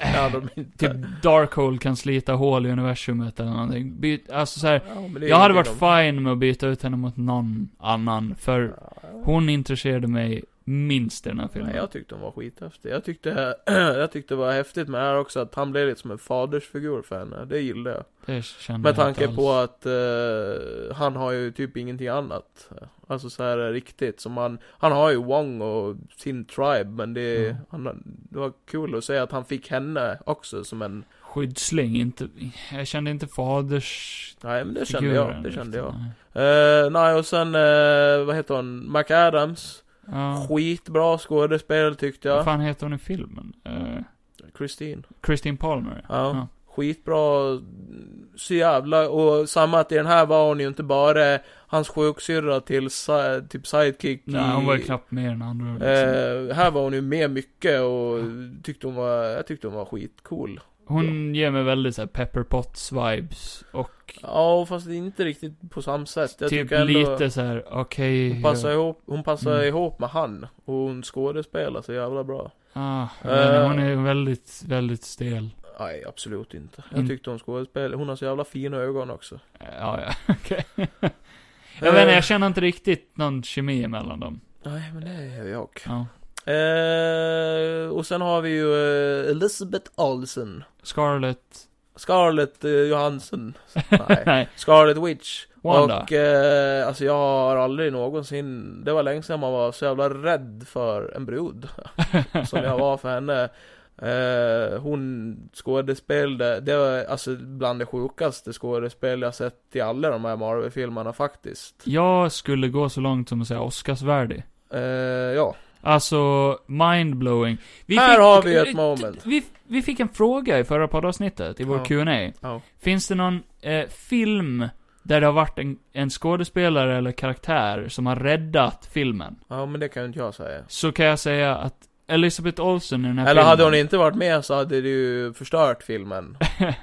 det hade de inte.
Typ Darkhold kan slita hål i universumet eller någonting. Byt, alltså så här,
Ja, men det är
jag hade varit
ingenting de-
fine med att byta ut henne mot någon annan, för
Ja.
hon intresserade mig minst i den här
Nej,
filmen.
jag tyckte hon var skithäftig. Jag tyckte, jag tyckte det var häftigt med det här också, att han blev lite som en fadersfigur för henne. Det gillade jag.
Det kände
Med
jag
tanke
inte
på
alls.
att eh, han har ju typ ingenting annat. Alltså så här riktigt, som han, han har ju Wong och sin tribe, men det,
Mm.
han, har- det var kul att se att han fick henne också som en,
Skyddsling, inte... Jag kände inte faders...
nej men det kände
figuren liksom.
jag, det kände
riktigt,
jag.
nej.
Eh, nej och sen, eh, vad heter hon, McAdams.
Ja.
Skitbra skådespel tyckte
Vad
jag.
fan heter hon i filmen? Eh,
Christine.
Christine Palmer?
Ja. Skitbra, så jävla, och samma att i den här var hon ju inte bara hans sjuksyrra till si- typ sidekick
Nej, hon var ju
i-
knappt med i den andra. Liksom.
Mm. Eh, här var hon ju med mycket och tyckte hon var, jag tyckte hon var skitcool.
Hon ger mig väldigt såhär Pepper Potts-vibes. Och
Ja, fast inte riktigt på samma sätt. Jag
typ
tycker ändå
lite såhär, okej. eh,
hon passar, ihop, hon passar
Mm.
ihop med han. Och hon skådespelar så jävla bra.
ah,
Eh.
men Hon är väldigt, väldigt stel.
Nej, absolut inte. Jag
Mm.
tyckte hon skådespelade, hon har så jävla fina ögon också.
Eh, Ja, ja, okej. jag vet inte,
Eh.
jag känner inte riktigt någon kemi emellan dem.
Nej, men det är jag.
Ja.
Eh, och sen har vi ju eh, Elizabeth Olsen.
Scarlett.
Scarlett eh, Johansson. Nej.
Nej.
Scarlet Witch.
Wanda.
Och eh, alltså jag har aldrig någonsin, det var länge sedan man var så jävla rädd för en brud. som jag var för henne. Eh, hon skådespelade, det var alltså bland det sjukaste skådespel jag sett i alla de här Marvel-filmerna faktiskt.
Jag skulle gå så långt som att säga Oscarsvärdig.
Eh, ja.
Alltså, mindblowing. Vi
Här har vi ett moment.
Vi, vi fick en fråga i förra poddavsnittet, i vår
Ja.
Q&A.
Ja.
Finns det någon eh, film där det har varit en, en skådespelare eller karaktär som har räddat filmen?
ja, men det kan ju inte jag säga.
Så kan jag säga att Elizabeth Olsen i den här
Eller
filmen...
hade hon inte varit med så hade det ju förstört filmen.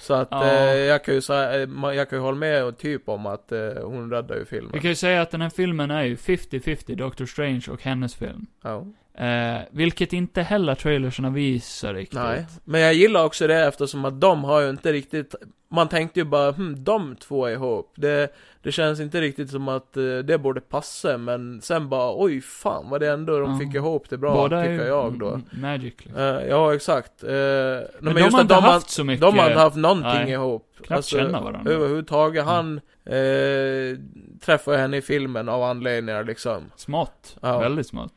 Så att
Ja.
eh, jag kan ju säga, eh, jag kan ju hålla med och typ om att eh, hon räddar ju filmen.
Vi kan ju säga att den här filmen är ju 50-50 Doctor Strange och hennes film.
Ja.
Eh, vilket inte heller trailerserna visar riktigt.
Nej, men jag gillar också det eftersom att de har ju inte riktigt Man tänkte ju bara, hm, de två är ihop det, det känns inte riktigt som att eh, det borde passa men sen bara, oj fan vad det ändå de
Ja.
fick ihop det bra,
Båda är
tycker
ju
jag då
m- Magic liksom.
Eh, Ja, exakt uh, Men,
Men, de har inte haft så mycket...
de har inte haft någonting
Nej.
ihop. Alltså,
Knappt känna varandra.
Överhuvudtaget, han eh, träffar henne i filmen av anledningar liksom.
Smått.
Ja.
Väldigt smått.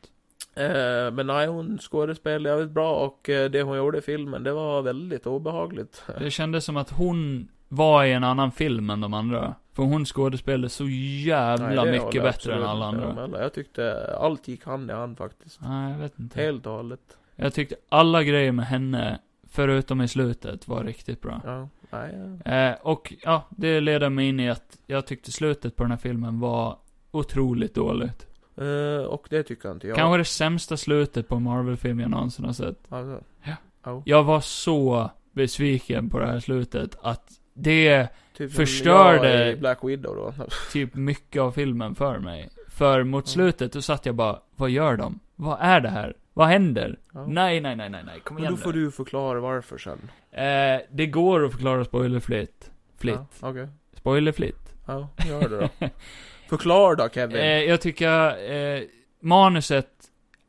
Eh, men nej, hon skådespelade jävligt bra och eh, det hon gjorde i filmen, det var väldigt obehagligt.
Det kändes som att hon var i en annan film än de andra. För hon skådespelade så jävla
Nej, det håller
mycket
jag
bättre än
absolut
alla
inte
andra.
med om heller. Jag tyckte allt gick hand i hand faktiskt.
Nej, jag vet inte.
Helt och hållet.
Jag tyckte alla grejer med henne, förutom i slutet, var riktigt bra.
Ja, nej. ja.
Eh, och ja, det leder mig in i att jag tyckte slutet på den här filmen var otroligt dåligt.
Eh, och det tycker inte jag.
Kanske det sämsta slutet på en Marvel-film jag någonsin har sett.
Alltså,
Ja.
ja,
Jag var så besviken på det här slutet att det
typ som
Förstörde-
jag i Black Widow då.
typ mycket av filmen för mig. För mot
Ja.
slutet, då satt jag bara, vad gör de? Vad är det här? Vad händer?
Ja.
Nej, nej, nej, nej, nej, kom
Men
igen
då får
nu.
du förklara varför sen.
Eh, det går att förklara spoilerfritt. Flitt.
Ja, Okej.
Spoilerfritt.
Ja, gör det då. Förklara då Kevin.
eh, jag tycker, eh, manuset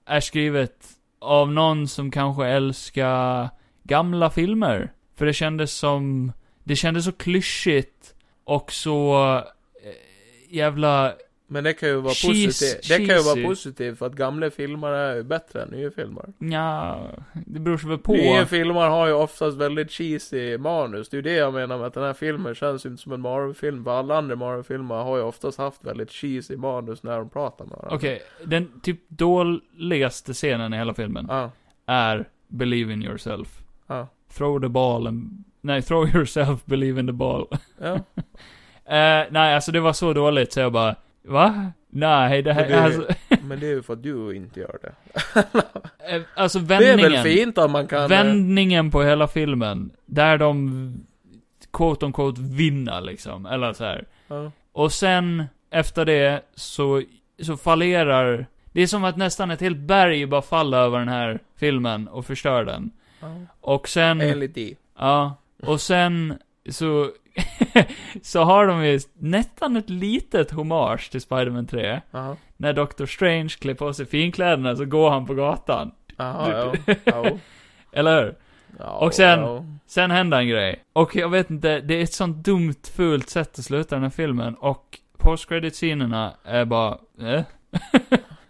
är skrivet av någon som kanske älskar gamla filmer. För det kändes som, det kändes så klyschigt och så eh, jävla
Men det kan ju vara
Cheese-
positivt. Det kan ju
cheesy.
vara positivt för att gamla filmer är ju bättre än nya filmer.
Ja, det beror sig väl på.
Nya filmer har ju oftast väldigt cheesy manus. Det är ju det jag menar med att den här filmen känns ju inte som en Marvel-film. För alla andra Marvel-filmer har ju oftast haft väldigt cheesy manus när de pratar med varandra.
Okej, den typ dåligaste scenen i hela filmen
Ja,
är Believe in yourself.
ja.
Throw the ball and Nej, throw yourself, believe in the ball.
Ja.
Eh, nej, alltså det var så dåligt så jag bara, va? Nej, det här,
Men det-
alltså,
Men det är ju för att du inte gör det.
eh, alltså
Det är
vändningen.
väl fint att man kan... eh,
vändningen på hela filmen, där de quote on quote vinner liksom, eller så här.
eh, Ja.
Och sen, efter det, så, så fallerar... Det är som att nästan ett helt berg bara faller över den här filmen och förstör den.
Ja.
Och sen...
Enligt dig.
Ja. Och sen så... så har de ju nästan ett litet hommage till Spider-Man 3.
Jaha.
När Doctor Strange klär på sig finkläderna så går han på gatan.
Jaha, Ah, ja. ja.
Eller hur?
ja.
Och sen-
ja.
Sen händer en grej. Och jag vet inte, det är ett sånt dumt, fult sätt att sluta den här filmen. Och post-credit-scenerna är bara... Eh? Äh,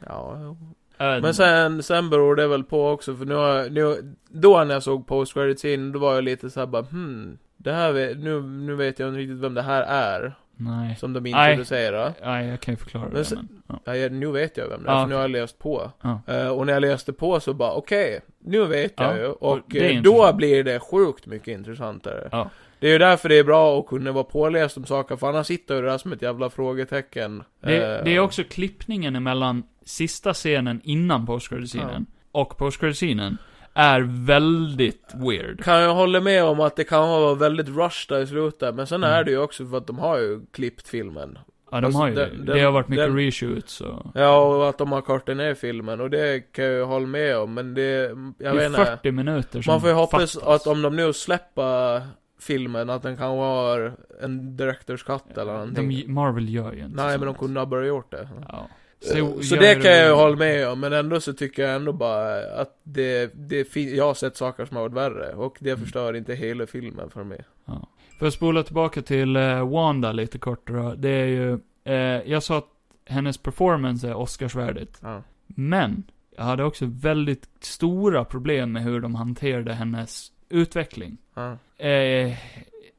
Ja, jo.
Jag vet
Men
inte.
sen, sen beror det väl på också, för nu, har jag- nu då när jag såg post credits in, då var jag lite såhär bara hmm, det här vet, nu, nu vet jag inte riktigt vem det här är,
Nej.
som de
Nej.
introducerar.
Nej, jag kan ju förklara
Men
det
sen-
men. Ja.
Ja, jag- nu vet jag vem det är,
Ja,
för nu har jag läst på.
Ja.
Eh, och när jag läste på så bara, okej, nu vet
Ja,
jag ju.
och
Och
det är
eh, då
intressant.
blir det sjukt mycket intressantare.
Ja.
Det är ju därför det är bra att kunna vara påläst om saker, för annars sitter ju det där som ett jävla frågetecken.
Det,
Eh,
det är också klippningen emellan sista scenen innan post-credit-scenen och post-credit-scenen är väldigt weird.
Kan jag hålla med om att det kan vara väldigt rush där i slutet, men sen
Mm.
är det ju också för att de har ju klippt filmen.
Ja, de
Alltså,
har ju det.
den-
Det har varit mycket
den-
reshoots och...
Ja, och att de har kortat ner filmen, och det kan jag ju hålla med om, men det, jag
det
vet
är
inte.
40 minuter som
Man får ju hoppas
fattas.
att om de nu släpper filmen, att den kan vara en director's cut eller någonting.
de, Marvel gör ju inte
Nej,
sånt.
men de kunde ha börjat gjort det.
Ja.
Så,
gör
det
ju
kan jag ju
väl-
hålla med om, men ändå så tycker jag ändå bara att det, det fin- jag har sett saker som har varit värre, och det
Mm.
förstör inte hela filmen för mig.
För att spola tillbaka till eh, Wanda lite kort då. Det är ju, eh, jag sa att hennes performance är Oscarsvärdigt.
Ja.
Men, jag hade också väldigt stora problem med hur de hanterade hennes utveckling.
Ja.
Eh,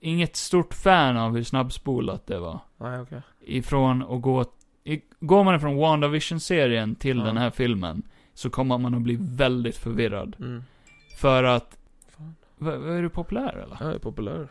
inget stort fan av hur snabbspolat det var.
Nej, okej.
Ifrån att gå, i, går man ifrån WandaVision-serien till
Ja.
den här filmen, så kommer man att bli väldigt förvirrad.
Mm.
För att,
Fan.
vad är du populär eller?
Jag är populär.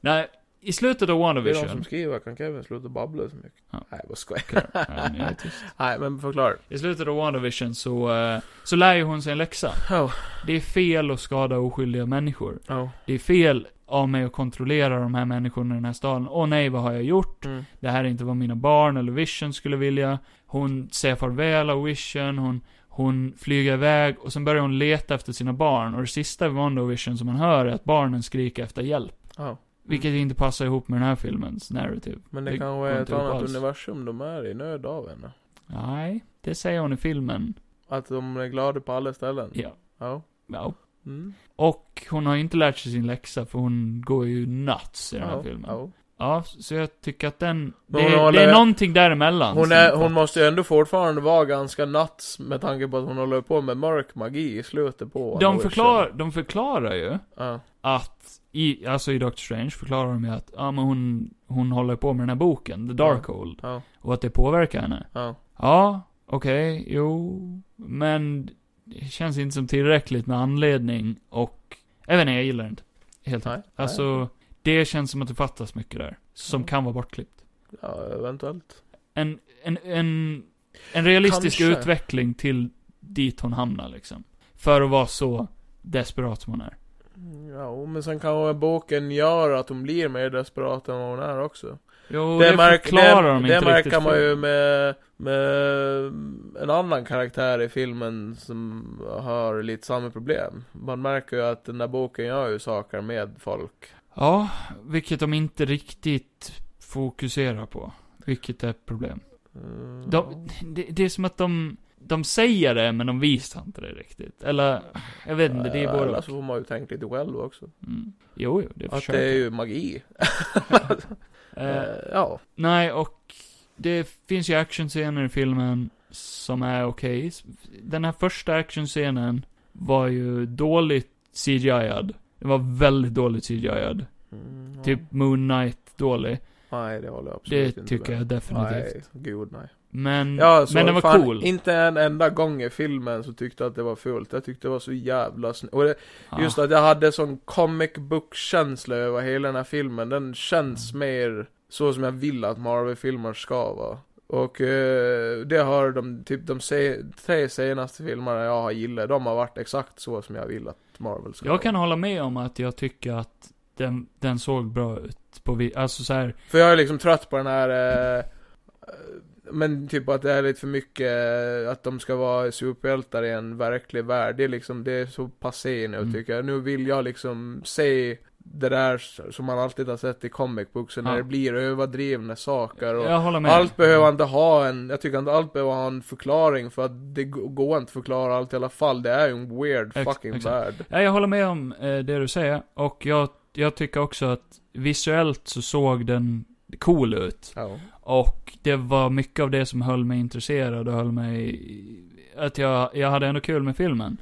Nej, i slutet av
Det är de
WandaVision.
som skriver, kan Kevin sluta babbla så mycket?
Ja.
Nej, vad skojar.
Ja, men jag är tyst.
Nej, men förklara.
I slutet av WandaVision så, eh, så lär ju hon sig en läxa.
Oh.
Det är fel att skada oskyldiga människor.
Oh.
Det är fel av mig att kontrollera de här människorna i den här staden. Åh nej, vad har jag gjort?
Mm.
Det här är inte vad mina barn eller Vision skulle vilja. Hon säger farväl av Vision, hon, hon flyger iväg och sen börjar hon leta efter sina barn. Och det sista i WandaVision som man hör är att barnen skriker efter hjälp.
Ja.
Vilket inte passar ihop med den här filmens narrative.
Men det,
Det
kanske
går
är ett
inte ihop
annat
alls.
universum de är i nöd av henne.
Nej, det säger hon i filmen.
Att de är glada på alla ställen.
Ja.
Ja.
ja.
Mm.
Och hon har inte lärt sig sin läxa för hon går ju nuts i den här
Ja.
filmen.
Ja.
Ja, så jag tycker att den... Det,
Men hon
är- det
håller-
är någonting däremellan.
Hon,
som
är,
jag
hon måste ju ändå fortfarande vara ganska nuts med tanke på att hon håller på med mörk magi i slutet på
fattar. de,
One Wish.
förklar, de förklarar ju
Ja.
att... I, alltså i Doctor Strange förklarar de ju att ja, men hon, hon håller på med den här boken, The Darkhold.
Ja.
Och att det påverkar henne.
Ja.
Ja, okej, jo. Men det känns inte som tillräckligt med anledning och... Jag vet inte, jag gillar det inte. Helt
Nej,
enkelt.
nej.
Alltså, det känns som att det fattas mycket där. Som
Ja.
kan vara bortklippt.
ja, eventuellt.
en, en, en, en realistisk
Kanske.
utveckling till dit hon hamnar liksom. För att vara så desperat som hon är.
Ja, men sen kanske boken gör att hon blir mer desperat än vad hon är också.
Jo, det,
det, märk,
förklarar
det,
de
det
inte riktigt.
märker man
för.
ju med, med en annan karaktär i filmen som har lite samma problem. Man märker ju att den där boken gör ju saker med folk.
Ja, vilket de inte riktigt fokuserar på. Vilket är ett problem.
Mm.
De, det, det är som att de, de säger det, men de visar inte det riktigt. Eller, jag vet inte, det är
Ja,
både
Eh, Eller
och.
så får man ju tänka lite själv också.
mm. Jo, jo, det
Att
försöker
det är ju magi.
jag. Eh,
Eh, ja.
Nej, och det finns ju actionscener i filmen som är okej. Den här första actionscenen var ju dåligt CGI-ad. Den var väldigt dåligt CGI-ad.
Mm, ja.
Typ Moon Typ Knight dålig.
Nej, det håller jag absolut
Det
inte
tycker
med.
jag definitivt.
Nej, gud nej.
Men,
Ja, så
men den var
fan,
cool.
Inte en enda gång i filmen så tyckte jag att det var fult. Jag tyckte det var så jävla snyggt. Och det,
Ja.
just att jag hade sån comic book-känsla över hela den här filmen. Den känns
Mm.
mer så som jag vill att Marvel-filmer ska vara. Och eh, det har de, typ de se, tre senaste filmerna jag har gillat, de har varit exakt så som jag vill att Marvel ska
Jag kan
vara.
hålla med om att jag tycker att den, den såg bra ut på vi, alltså så här,
För jag är liksom trött på den här... eh, eh, men typ att det är lite för mycket eh, att de ska vara superhjältar i en verklig värld. Det är liksom, det är så passé nu
Mm.
tycker jag. Nu vill jag liksom se det där s- som man alltid har sett i comic booksen.
Ja.
När det blir överdrivna saker och...
jag håller med.
Allt behöver inte ha en, jag tycker inte allt behöver ha en förklaring för att det g- går inte att förklara allt i alla fall. Det är ju en weird
Ex-
fucking
exakt.
värld.
Ja, jag håller med om eh, det du säger, och jag, jag tycker också att visuellt så såg den cool ut.
Ja.
Och det var mycket av det som höll mig intresserad och höll mig... Att jag, jag hade ändå kul med filmen.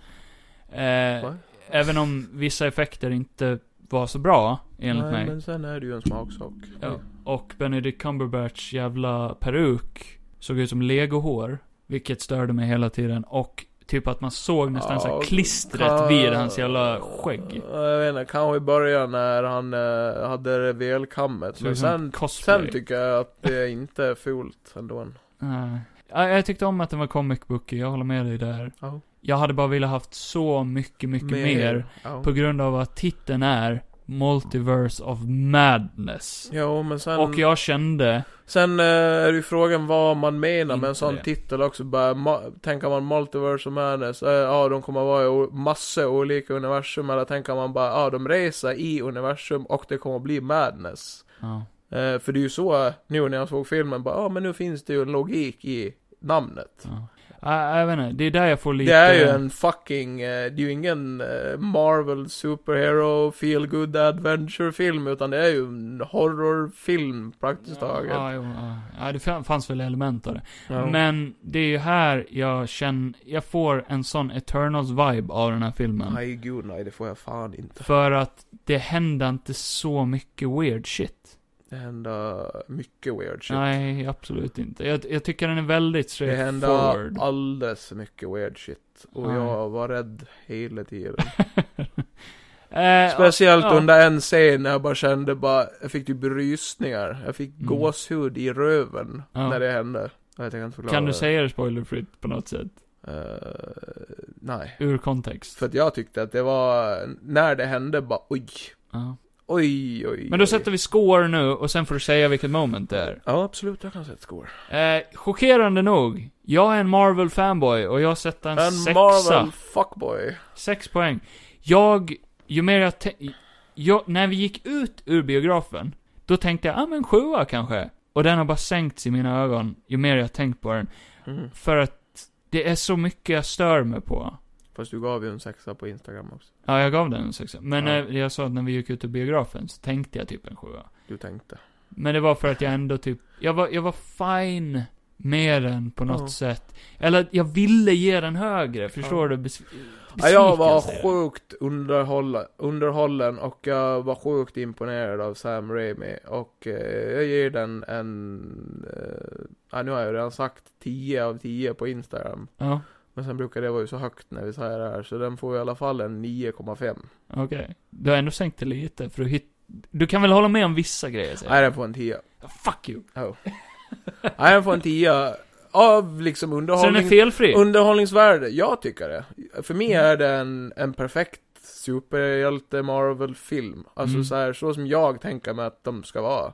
Eh,
Va?
även om vissa effekter inte var så bra, enligt
Nej,
mig.
men sen är det ju en smaksak.
Ja, och Benedict Cumberbatchs jävla peruk såg ut som legohår, vilket störde mig hela tiden. Och typ att man såg nästan så här
Ja,
klistret
kan-
vid hans jävla skägg.
Jag vet inte, kanske i början när han eh, hade revelkammet.
Såg
Men
ut som
sen,
liksom cosplay.
sen tycker jag att det inte är fult ändå.
Nej. Ja, jag tyckte om att den var comic booky, jag håller med dig där.
Ja.
Jag hade bara velat haft så mycket, mycket mer.
Ja.
På grund av att titeln är Multiverse of Madness.
Jo, men sen,
Och jag kände,
sen eh, är ju frågan vad man menar
Inte
med en sån
det.
titel också. Bara, ma- tänker man Multiverse of Madness, eh, ja de kommer vara i o- massa olika universum. Eller tänker man bara, ja de reser i universum och det kommer bli Madness.
ja,
Eh, för det är ju så, nu när jag såg filmen, bara, ja men nu finns det ju en logik i namnet.
ja. Jag, jag vet inte, det är där jag får lite...
Det är ju en fucking, eh, det är ju ingen eh, Marvel Superhero Feel Good Adventure film utan det är ju en horrorfilm praktiskt taget.
Ja, jo, ja. ja, det fan- fanns väl element av det.
Ja.
Men det är ju här jag känner, jag får en sån Eternals vibe av den här filmen.
Nej gud nej, det får jag fan inte.
För att det händer inte så mycket weird shit.
Det händer mycket weird shit.
Nej, absolut inte. Jag, jag tycker den är väldigt
det
straightforward.
händer alldeles för mycket weird shit. Och
Nej.
jag var rädd hela tiden.
Eh,
Speciellt
ja.
under en scen när jag bara kände bara, jag fick typ rysningar. Jag fick
Mm.
gåshud i röven
Ja.
när det hände. Jag tänker inte förklara
Kan du
det.
säga det spoilerfritt på något sätt?
Eh, nej.
Ur kontext.
För att jag tyckte att det var, när det hände bara oj,
Ja.
oj, oj.
Men då sätter vi score nu och sen får du säga vilket moment det är.
Ja, absolut, jag kan sätta score.
Eh, chockerande nog, jag är en Marvel-fanboy och jag sätter en,
En
sexa.
Marvel fuckboy.
Sex poäng. Jag, ju mer jag, tän- jag när vi gick ut ur biografen, då tänkte jag, ah men sjua kanske. Och den har bara sänkts i mina ögon, ju mer jag tänkt på den.
Mm.
För att det är så mycket jag stör mig på.
Fast du gav ju en sexa på Instagram också.
Ja, jag gav den en sexa. Men
Ja.
eh, jag sa att när vi gick ut ur biografen så tänkte jag typ en sjua.
Du tänkte.
Men det var för att jag ändå typ, jag var, jag var fine med den på något
Ja.
sätt. Eller jag ville ge den högre, förstår du? Bes-
Ja, jag var
besvikelse.
sjukt underhålla, underhållen och jag var sjukt imponerad av Sam Raimi. Och eh, jag ger den en, eh, ja, nu har jag redan sagt 10 av 10 på Instagram.
Ja,
Men sen brukar det vara ju så högt när vi säger det här, så den får i alla fall en 9,5.
okej. Du har ändå sänkt det lite, för du hit... Du kan väl hålla med om vissa grejer? säger
Nej, den får en 10.
jag. Fuck you!
Nej, den får en 10 av liksom
Så den är
underhållning,
felfri?
underhållningsvärde. Jag tycker det. För mig
Mm.
är det en, en perfekt superhjälte Marvel-film. Alltså
Mm.
så här, så som jag tänker mig att de ska vara.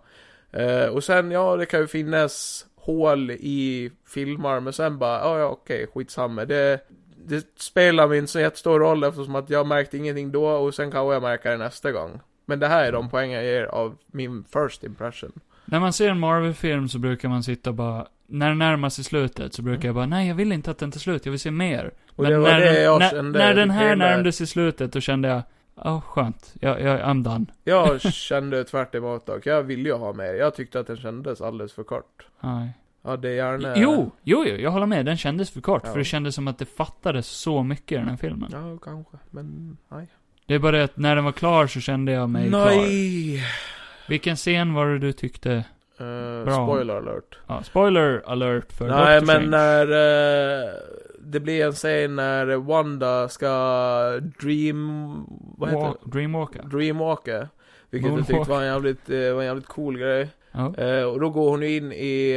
Eh, och sen, ja, det kan ju finnas hål i filmer, men sen bara, ja, ja, okej, skitsamma. Det, det spelar min så jättestor roll eftersom att jag märkte ingenting då och sen kanske jag märker det nästa gång. Men det här är de poängen jag ger av min first impression.
När man ser en Marvel-film så brukar man sitta och bara... När den närmar sig slutet så brukar jag bara, nej jag vill inte att den tar slut, jag vill se mer.
Mm. Och det var
när,
det
den-
jag
när,
kände typ
när den här
hela-
närmade sig slutet, då kände jag, åh skönt, jag, jag, I'm done.
Jag kände tvärt emot dock. Jag ville ju ha mer. Jag tyckte att den kändes alldeles för kort.
Nej.
Ja, det är gärna...
Jo, jo, jo, jag håller med. Den kändes för kort,
eh, Ja.
för det kändes som att det fattades så mycket i den här filmen.
Ja, kanske. Men, nej.
Det är bara det att när den var klar så kände jag mig klar.
nej!
Vilken scen var det du tyckte?
Eh,
Bra.
spoiler alert.
Ja, spoiler alert för
Nej
Doctor
men
Strange.
när eh, det blir en scen när Wanda ska dream... Vad heter
Wa- Dreamwalker.
det? Dreamwalka. Vilket
Moonwalk.
jag tyckte var en jävligt, eh, var en jävligt cool grej.
Ja.
Eh, och då går hon ju in i,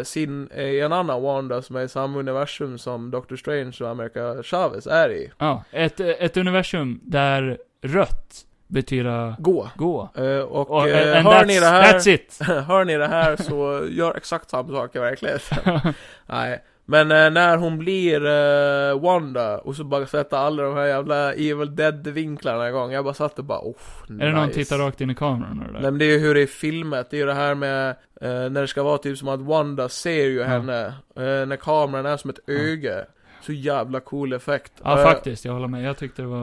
eh, sin, eh, i en annan Wanda som är i samma universum som Doctor Strange och America Chavez är i.
ja. Ett, ett universum där rött betyder
Gå.
gå.
Eh, och
Och,
eh,
and
hör
that's,
ni det här...
that's it.
Hör ni det här så gör exakt samma sak i verkligheten. Nej. Men eh, när hon blir eh, Wanda och så bara sätta alla de här jävla Evil Dead-vinklarna igång. Jag bara satt och bara oh, nice.
Är det någon tittar rakt in i kameran eller?
Nej men det är ju hur det är filmat, det är ju det här med eh, när det ska vara typ som att Wanda ser ju
Ja.
henne, eh, när kameran är som ett
Ja.
öga. Så jävla cool effekt.
Ja,
Eh,
faktiskt. Jag håller med. Jag tyckte det var...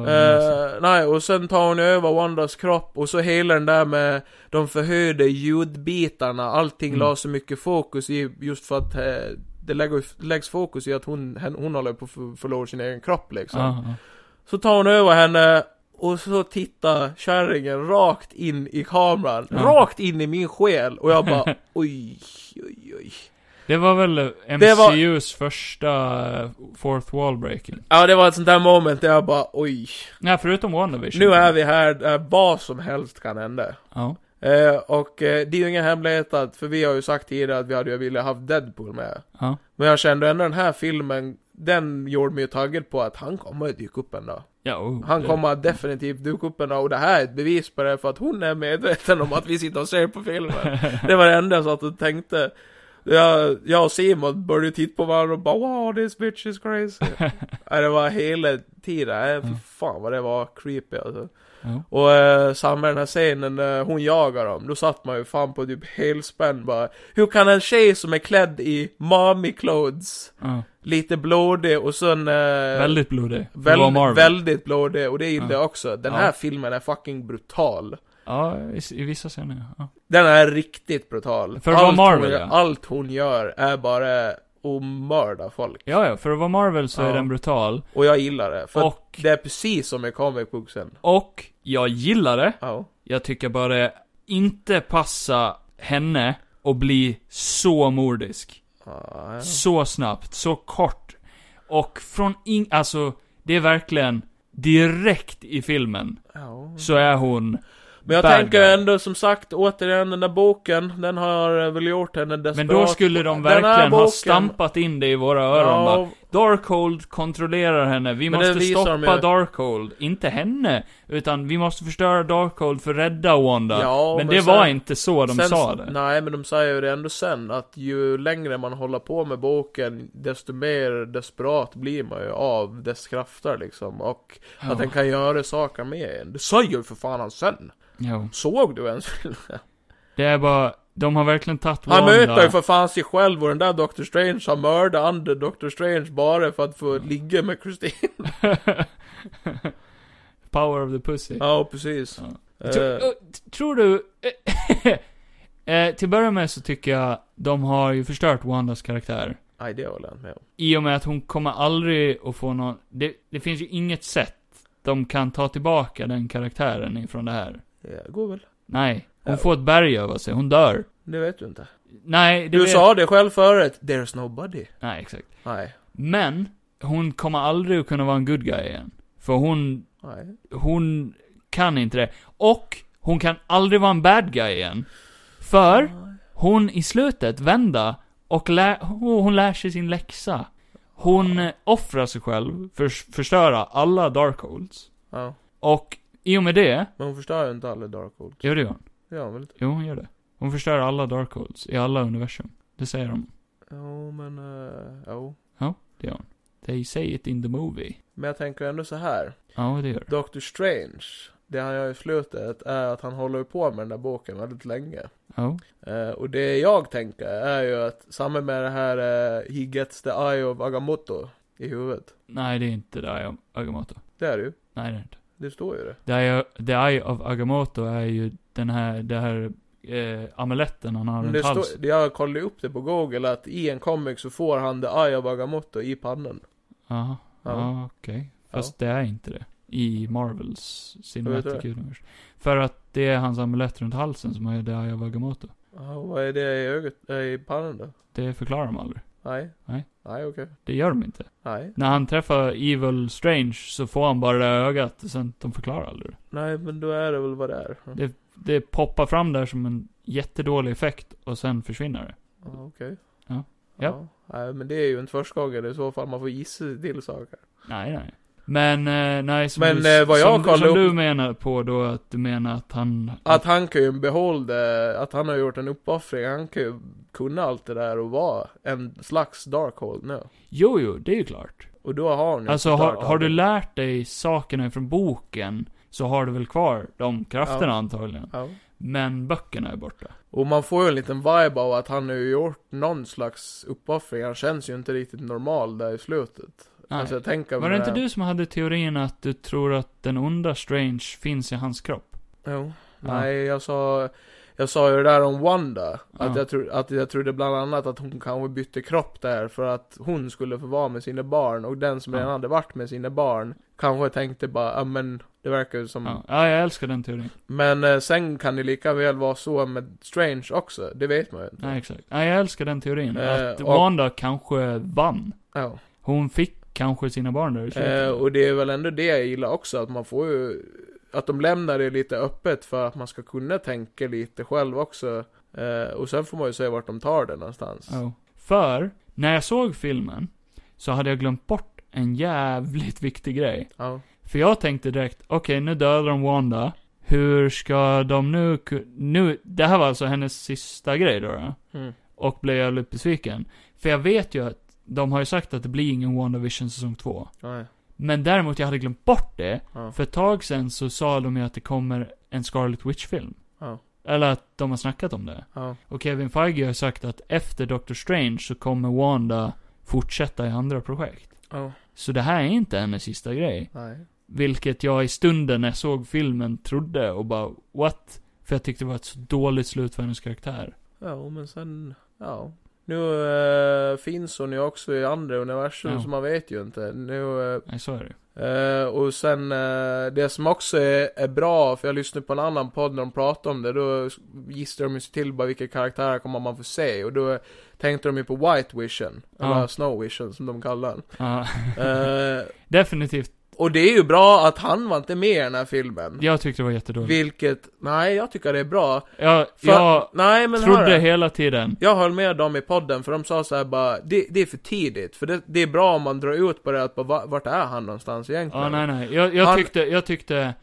Eh, nej, och sen tar hon över Wandas kropp och så hela den där med de förhöjda ljudbitarna, allting
Mm.
la så mycket fokus i just för att eh, det lägger, läggs fokus i att hon, hen- hon håller på att för- förlora sin egen kropp liksom.
Ja, ja.
Så tar hon över henne och så tittar kärringen rakt in i kameran,
Ja.
rakt in i min själ och jag bara oj, oj, oj.
Det var väl
Det var-
MCUs första eh, fourth wall breaking.
Ja, det var ett sånt där moment där jag bara oj.
Nej, förutom WandaVision.
Nu är vi här där vad som helst kan hända.
Ja.
Eh, och eh, det är ju ingen hemlighet att, för vi har ju sagt tidigare att vi hade ju velat haft Deadpool med.
Ja.
Men jag kände ändå den här filmen, den gjorde mig ju taggad på att han kommer att dyka upp en dag.
ja oh,
Han
det-
kommer att definitivt dyka upp en dag och det här är ett bevis på det för att hon är medveten om att vi sitter och ser på filmen. Det var det enda jag satt och tänkte. Jag, jag och Simon började titta på varandra och bara wow this bitch is crazy. Nej, det var hela tiden, Nej, fy
Ja.
fan vad det var creepy alltså.
Ja.
Och eh, samma den här scenen när hon jagar dem, då satt man ju fan på typ helspänn bara. Hur kan en tjej som är klädd i mommy clothes,
ja.
lite blodig och sen... Eh,
Väldigt blodig. För
väl-
att vara Marvel.
väldigt blodig, och det gillar
Ja.
jag också. Den
Ja.
här filmen är fucking brutal.
Ja, i, i vissa scener. Ja.
Den är riktigt brutal.
För att vara Marvel,
hon,
ja.
allt hon gör är bara att mörda folk.
ja, ja. För att vara Marvel så är
Ja.
den brutal.
Och jag gillar det, för att
Och,
det är precis som i comic booksen.
och jag gillar det.
Ja.
Jag tycker bara det inte passa henne och bli så mordisk.
Ja, ja.
Så snabbt, så kort. Och från ing... Alltså, det är verkligen direkt i filmen
Ja.
så är hon...
Men jag
Bad
tänker
guy.
ändå som sagt, återigen den där boken, den har väl gjort henne desperat.
Men då skulle de
Den här
verkligen ha
boken-
stampat in det i våra öron bara, Darkhold kontrollerar henne, vi
Men det
måste
visar de
stoppa
ju.
Darkhold. Inte henne, utan vi måste förstöra Darkhold för att rädda Wanda.
Ja,
men,
men
det
sen-
var inte så de
sen-
sa det.
Nej, men de säger ju det ändå sen, att ju längre man håller på med boken, desto mer desperat blir man ju av dess krafter liksom. Och
Ja.
att den kan göra saker med en. Det säger ju för fan han sen!
Jo.
Såg du ens filmen?
Det är bara, de har verkligen tagit
Han
Wanda.
möter ju för fan sig själv och den där Doctor Strange har mördat andra Doctor Strange bara för att få ligga med Christine.
Power of the pussy.
ja, precis. Eh,
Tro, eh, t- tror du... eh, till att börja med så tycker jag de har ju förstört Wandas karaktär.
Nej, det håller jag inte med om.
I och med att hon kommer aldrig att få någon... Det, det finns ju inget sätt de kan ta tillbaka den karaktären ifrån det här.
Det går väl.
Nej. Hon
Ja.
får ett berg över sig, hon dör.
Det vet du inte.
Nej, det
Du
vet...
sa det själv förut. There's nobody.
Nej, exakt.
Nej.
Men, hon kommer aldrig att kunna vara en good guy igen. För hon,
Nej.
hon kan inte det. Och, hon kan aldrig vara en bad guy igen. För, hon i slutet vända och lä- oh, hon lär sig sin läxa. Hon eh, offrar sig själv för att förstöra alla Darkholds.
Ja.
Och i och med det,
Men hon förstör ju inte alla Darkhold.
gör det hon.
Det gör hon väl inte?
Jo, hon gör det. Hon förstör alla Darkholds i alla universum. Det säger de.
Jo, men... eh, jo.
Det gör hon. They say it in the movie.
Men jag tänker ändå så här.
Ja, det gör det.
Doctor Strange. Det han gör i slutet är att han håller ju på med den där boken väldigt länge.
Ja.
Eh, och det jag tänker är ju att samma med det här eh, He gets the eye of Agamotto i huvudet.
Nej, det är inte The Eye of Agamotto.
Det är det ju.
Nej, det är inte.
Det står ju det.
The Eye, The Eye of Agamotto är ju den här, det här eh, amuletten han har
Men
runt
Mm, det
halsen.
står- det jag kollade upp det på Google att i en comic så får han the eye of Agamotto i pannan.
Jaha.
Ja.
Ja, okej. Fast det är inte det. I Marvels
vet
Cinematic Universe. För att det är hans amulett runt halsen som är The Eye of Agamotto.
Ja, vad är det i ögat, eh, i pannan då?
Det förklarar de aldrig.
Nej.
Nej.
Nej, okej.
Det gör de inte.
Nej.
När han träffar Evil Strange så får han bara det där ögat och sen de förklarar aldrig det.
Nej, men då är det väl vad det är.
Det- Det poppar fram där som en jättedålig effekt och sen försvinner det.
Ja, okej.
Ja. Ja.
Nej, men det är ju inte första gången i så fall. Man får gissa sig till saker.
Nej, nej. Men, eh, nej, som,
Men,
du,
eh, vad jag
som,
kollade
som du
upp-
menar på då, att du menar att han...
Att han kan ju behålla, att han har gjort en uppoffring. Han kan ju kunna allt det där och vara en slags darkhold nu.
Jo, jo, det är ju klart.
Och då har han ju
Alltså, har,
förklarat
har du
allting.
lärt dig sakerna från boken, så har du väl kvar de krafterna antagligen.
Ja.
Men böckerna är borta.
Och man får ju en liten vibe av att han har ju gjort någon slags uppoffring. Han känns ju inte riktigt normal där i slutet.
Nej.
Alltså jag tänker
Var det
med-
inte du som hade teorin att du tror att den onda Strange finns i hans kropp?
Jo. Nej, jag sa... Jag sa ju det där om Wanda. Att,
Ja.
jag tro, att jag trodde bland annat att hon kanske bytte kropp där för att hon skulle få vara med sina barn. Och den som
Ja.
redan hade varit med sina barn kanske tänkte bara, ja men det verkar ju som...
Ja, ja jag älskar den teorin.
Men eh, sen kan det lika väl vara så med Strange också. Det vet man ju inte.
Nej, exakt. Ja, jag älskar den teorin.
Eh,
att
och-
Wanda kanske vann.
Ja.
Hon fick kanske sina barn där i slutet.
Eh, och det är väl ändå det jag gillar också, att man får ju... Att de lämnar det lite öppet för att man ska kunna tänka lite själv också. Eh, och sen får man ju se vart de tar det någonstans.
Ja. För, när jag såg filmen, så hade jag glömt bort en jävligt viktig grej.
Ja.
För jag tänkte direkt, okej nu dödar de Wanda. Hur ska de nu ku- Nu, det här var alltså hennes sista grej då. då.
Mm.
Och blev jävligt besviken. För jag vet ju att de har ju sagt att det blir ingen WandaVision säsong 2.
Nej.
Men däremot, jag hade glömt bort det.
Ja.
För ett tag sen så sa de ju att det kommer en Scarlet Witch-film.
Ja.
Eller att de har snackat om det.
Ja.
Och Kevin Feige har sagt att efter Doctor Strange så kommer Wanda fortsätta i andra projekt.
Ja.
Så det här är inte hennes sista grej.
Nej.
Vilket jag i stunden när jag såg filmen trodde och bara what? För jag tyckte det var ett så dåligt slut för hennes karaktär.
Ja, men sen... Ja. Nu eh, finns hon ju också i andra universum,
Ja.
så man vet ju inte. Nu... eh,
Nej, så är det
Eh, och sen eh, det som också är, är bra, för jag lyssnade på en annan podd när de pratade om det, då gissade de ju sig till bara vilka karaktärer kommer man få se, och då tänkte de ju på White Vision,
Ja.
eller Snow Vision som de kallar den.
Ja,
Eh,
definitivt.
och det är ju bra att han var inte med i den här filmen.
Jag tyckte det var jättedåligt.
Vilket, nej jag tycker det är bra.
Jag,
För-
jag
Nej men hörru.
trodde hela tiden.
Jag höll med dem i podden, för de sa så här bara, det, det är för tidigt, för det, det är bra om man drar ut på det, att bara, va- vart är han någonstans egentligen?
Ja, nej, nej. Jag, jag
Han-
tyckte, jag tyckte...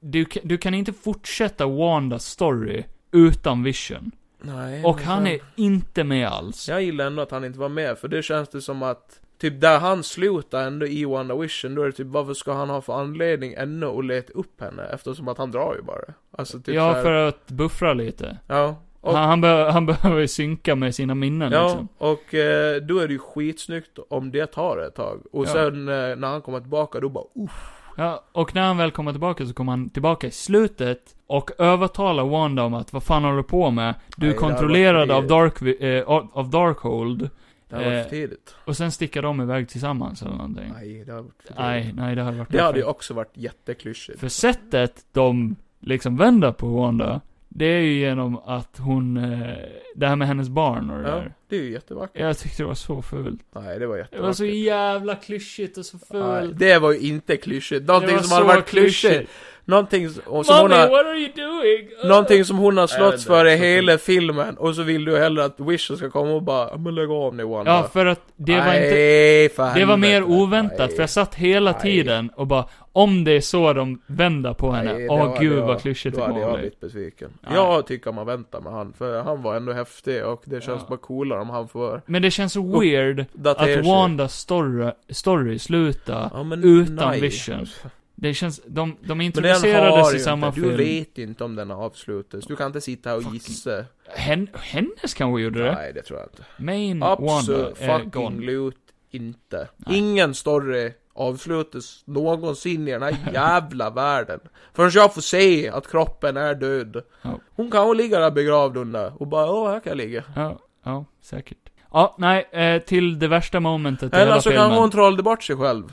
Du, kan- du kan inte fortsätta Wandas story utan Vision.
nej
Och
men
han
sen-
är inte med alls.
Jag gillar ändå att han inte var med, för det känns det som att Typ där han slutar ändå i WandaVision, då är det typ varför ska han ha för anledning ännu att leta upp henne? Eftersom att han drar ju bara. Alltså typ så
ja,
här,
för att buffra lite.
Ja, och,
Han, han, be, han behöver ju synka med sina minnen
ja,
liksom.
och eh, då är det ju skitsnyggt om det tar ett tag. Och
Ja.
sen eh, när han kommer tillbaka då bara uff.
Ja, och när han väl kommer tillbaka så kommer han tillbaka i slutet och övertalar Wanda om att vad fan håller du på med? Du är
Nej, det här var
kontrollerad
för
av,
tidigt.
dark, eh, av av Darkhold.
Det här var
Eh,
för tidigt.
Och sen sticker de iväg tillsammans eller någonting.
Nej, det har varit för tidigt.
Nej, nej det hade varit
Det hade ju
perfekt.
också varit jätteklyschigt.
För sättet de liksom vänder på Wanda, det är ju genom att hon, eh, det här med hennes barn och det
Ja,
där.
det är ju jättevackert.
Jag tyckte det var så fult.
Nej, det var
Det var
jättevackert.
så jävla klyschigt och så
Nej,
fult.
det var ju inte klyschigt. Någonting
var
som hade
så
varit klyschigt. Någonting som som hon
Mommy,
har...
what are you doing? Uh.
Någonting som hon har slåtts
Nej,
för
det
i
är så
hela filmen, och så vill du hellre att Wisher ska komma och bara "Ja, 'Men lägg av nu Wanda'
Ja, för att det var inte,
Nej, för
det var
helvete.
mer oväntat, för jag satt hela
Nej.
tiden och bara, om det är så de vänder på
Nej,
henne,
det
åh
var- det
gud
var-
vad klyschigt
Då
det
hade jag
kommer bli.
blivit besviken.
Nej.
Jag tycker man väntar med han, för han var ändå häftig och det känns
Ja.
bara coolare om han får
Men det känns så weird
datera
att Wandas story, story slutar
ja, men
utan
nej.
vision. Det känns, de, de
Men den har
introducerades
ju
i samma
inte, du
film.
vet inte om den avslutas, du kan inte sitta här och gissa.
Hen, hennes kanske gjorde det?
Nej, det tror jag inte.
Main Wanda
Absolut
Mm. är
fucking
gone.
loot inte.
Nej.
Ingen story avslutas någonsin i den här jävla världen. Förrän jag får se att kroppen är död.
Ja.
Hon kan ju ligga där begravd under och bara åh, här kan jag ligga.
Ja, ja, säkert. Ja, nej, eh, till det värsta momentet i
Eller
hela
så
filmen.
kan hon trolla bort sig själv.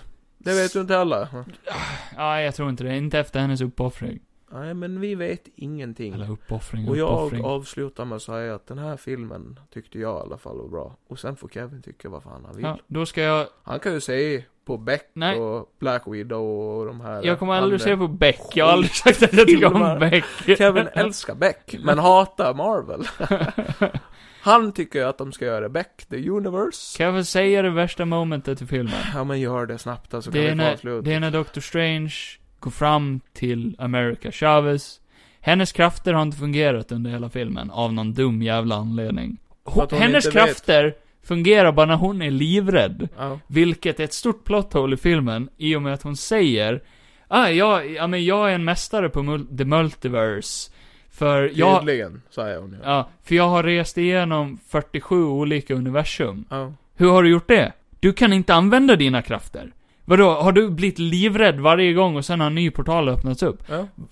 Det vet du inte heller.
Ja, jag tror inte det. Inte efter hennes uppoffring.
Nej, men vi vet ingenting.
Eller uppoffring,
Och jag
Mm. uppoffring.
avslutar med att säga att den här filmen tyckte jag i alla fall var bra. Och sen får Kevin tycka vad fan han vill.
Ja, då ska jag...
Han kan ju se på Beck
Nej.
och Black Widow och de här.
Jag kommer aldrig
andra.
se på Beck. Jag har aldrig sagt att jag tycker om
Filmar.
Beck.
Kevin älskar Beck, men hatar Marvel. han tycker ju att de ska göra Beck, the universe.
Kan jag väl säga det värsta momentet i filmen?
Ja men gör det snabbt alltså, kan
Det är,
vi få
när,
avslut.
det är när Dr. Strange går fram till America Chavez. Hennes krafter har inte fungerat under hela filmen, av någon dum jävla anledning.
För att hon
hennes
inte vet.
krafter fungerar bara när hon är livrädd.
Ja.
Vilket är ett stort plot hole i filmen, i och med att hon säger ah, jag, ja, men jag är en mästare på mul- the multiverse. För jag,
Tydligen, säger hon ju. Ja.
ja, för jag har rest igenom 47 olika universum.
Ja.
Hur har du gjort det? Du kan inte använda dina krafter. Vadå, har du blivit livrädd varje gång och sen har en ny portal öppnats upp?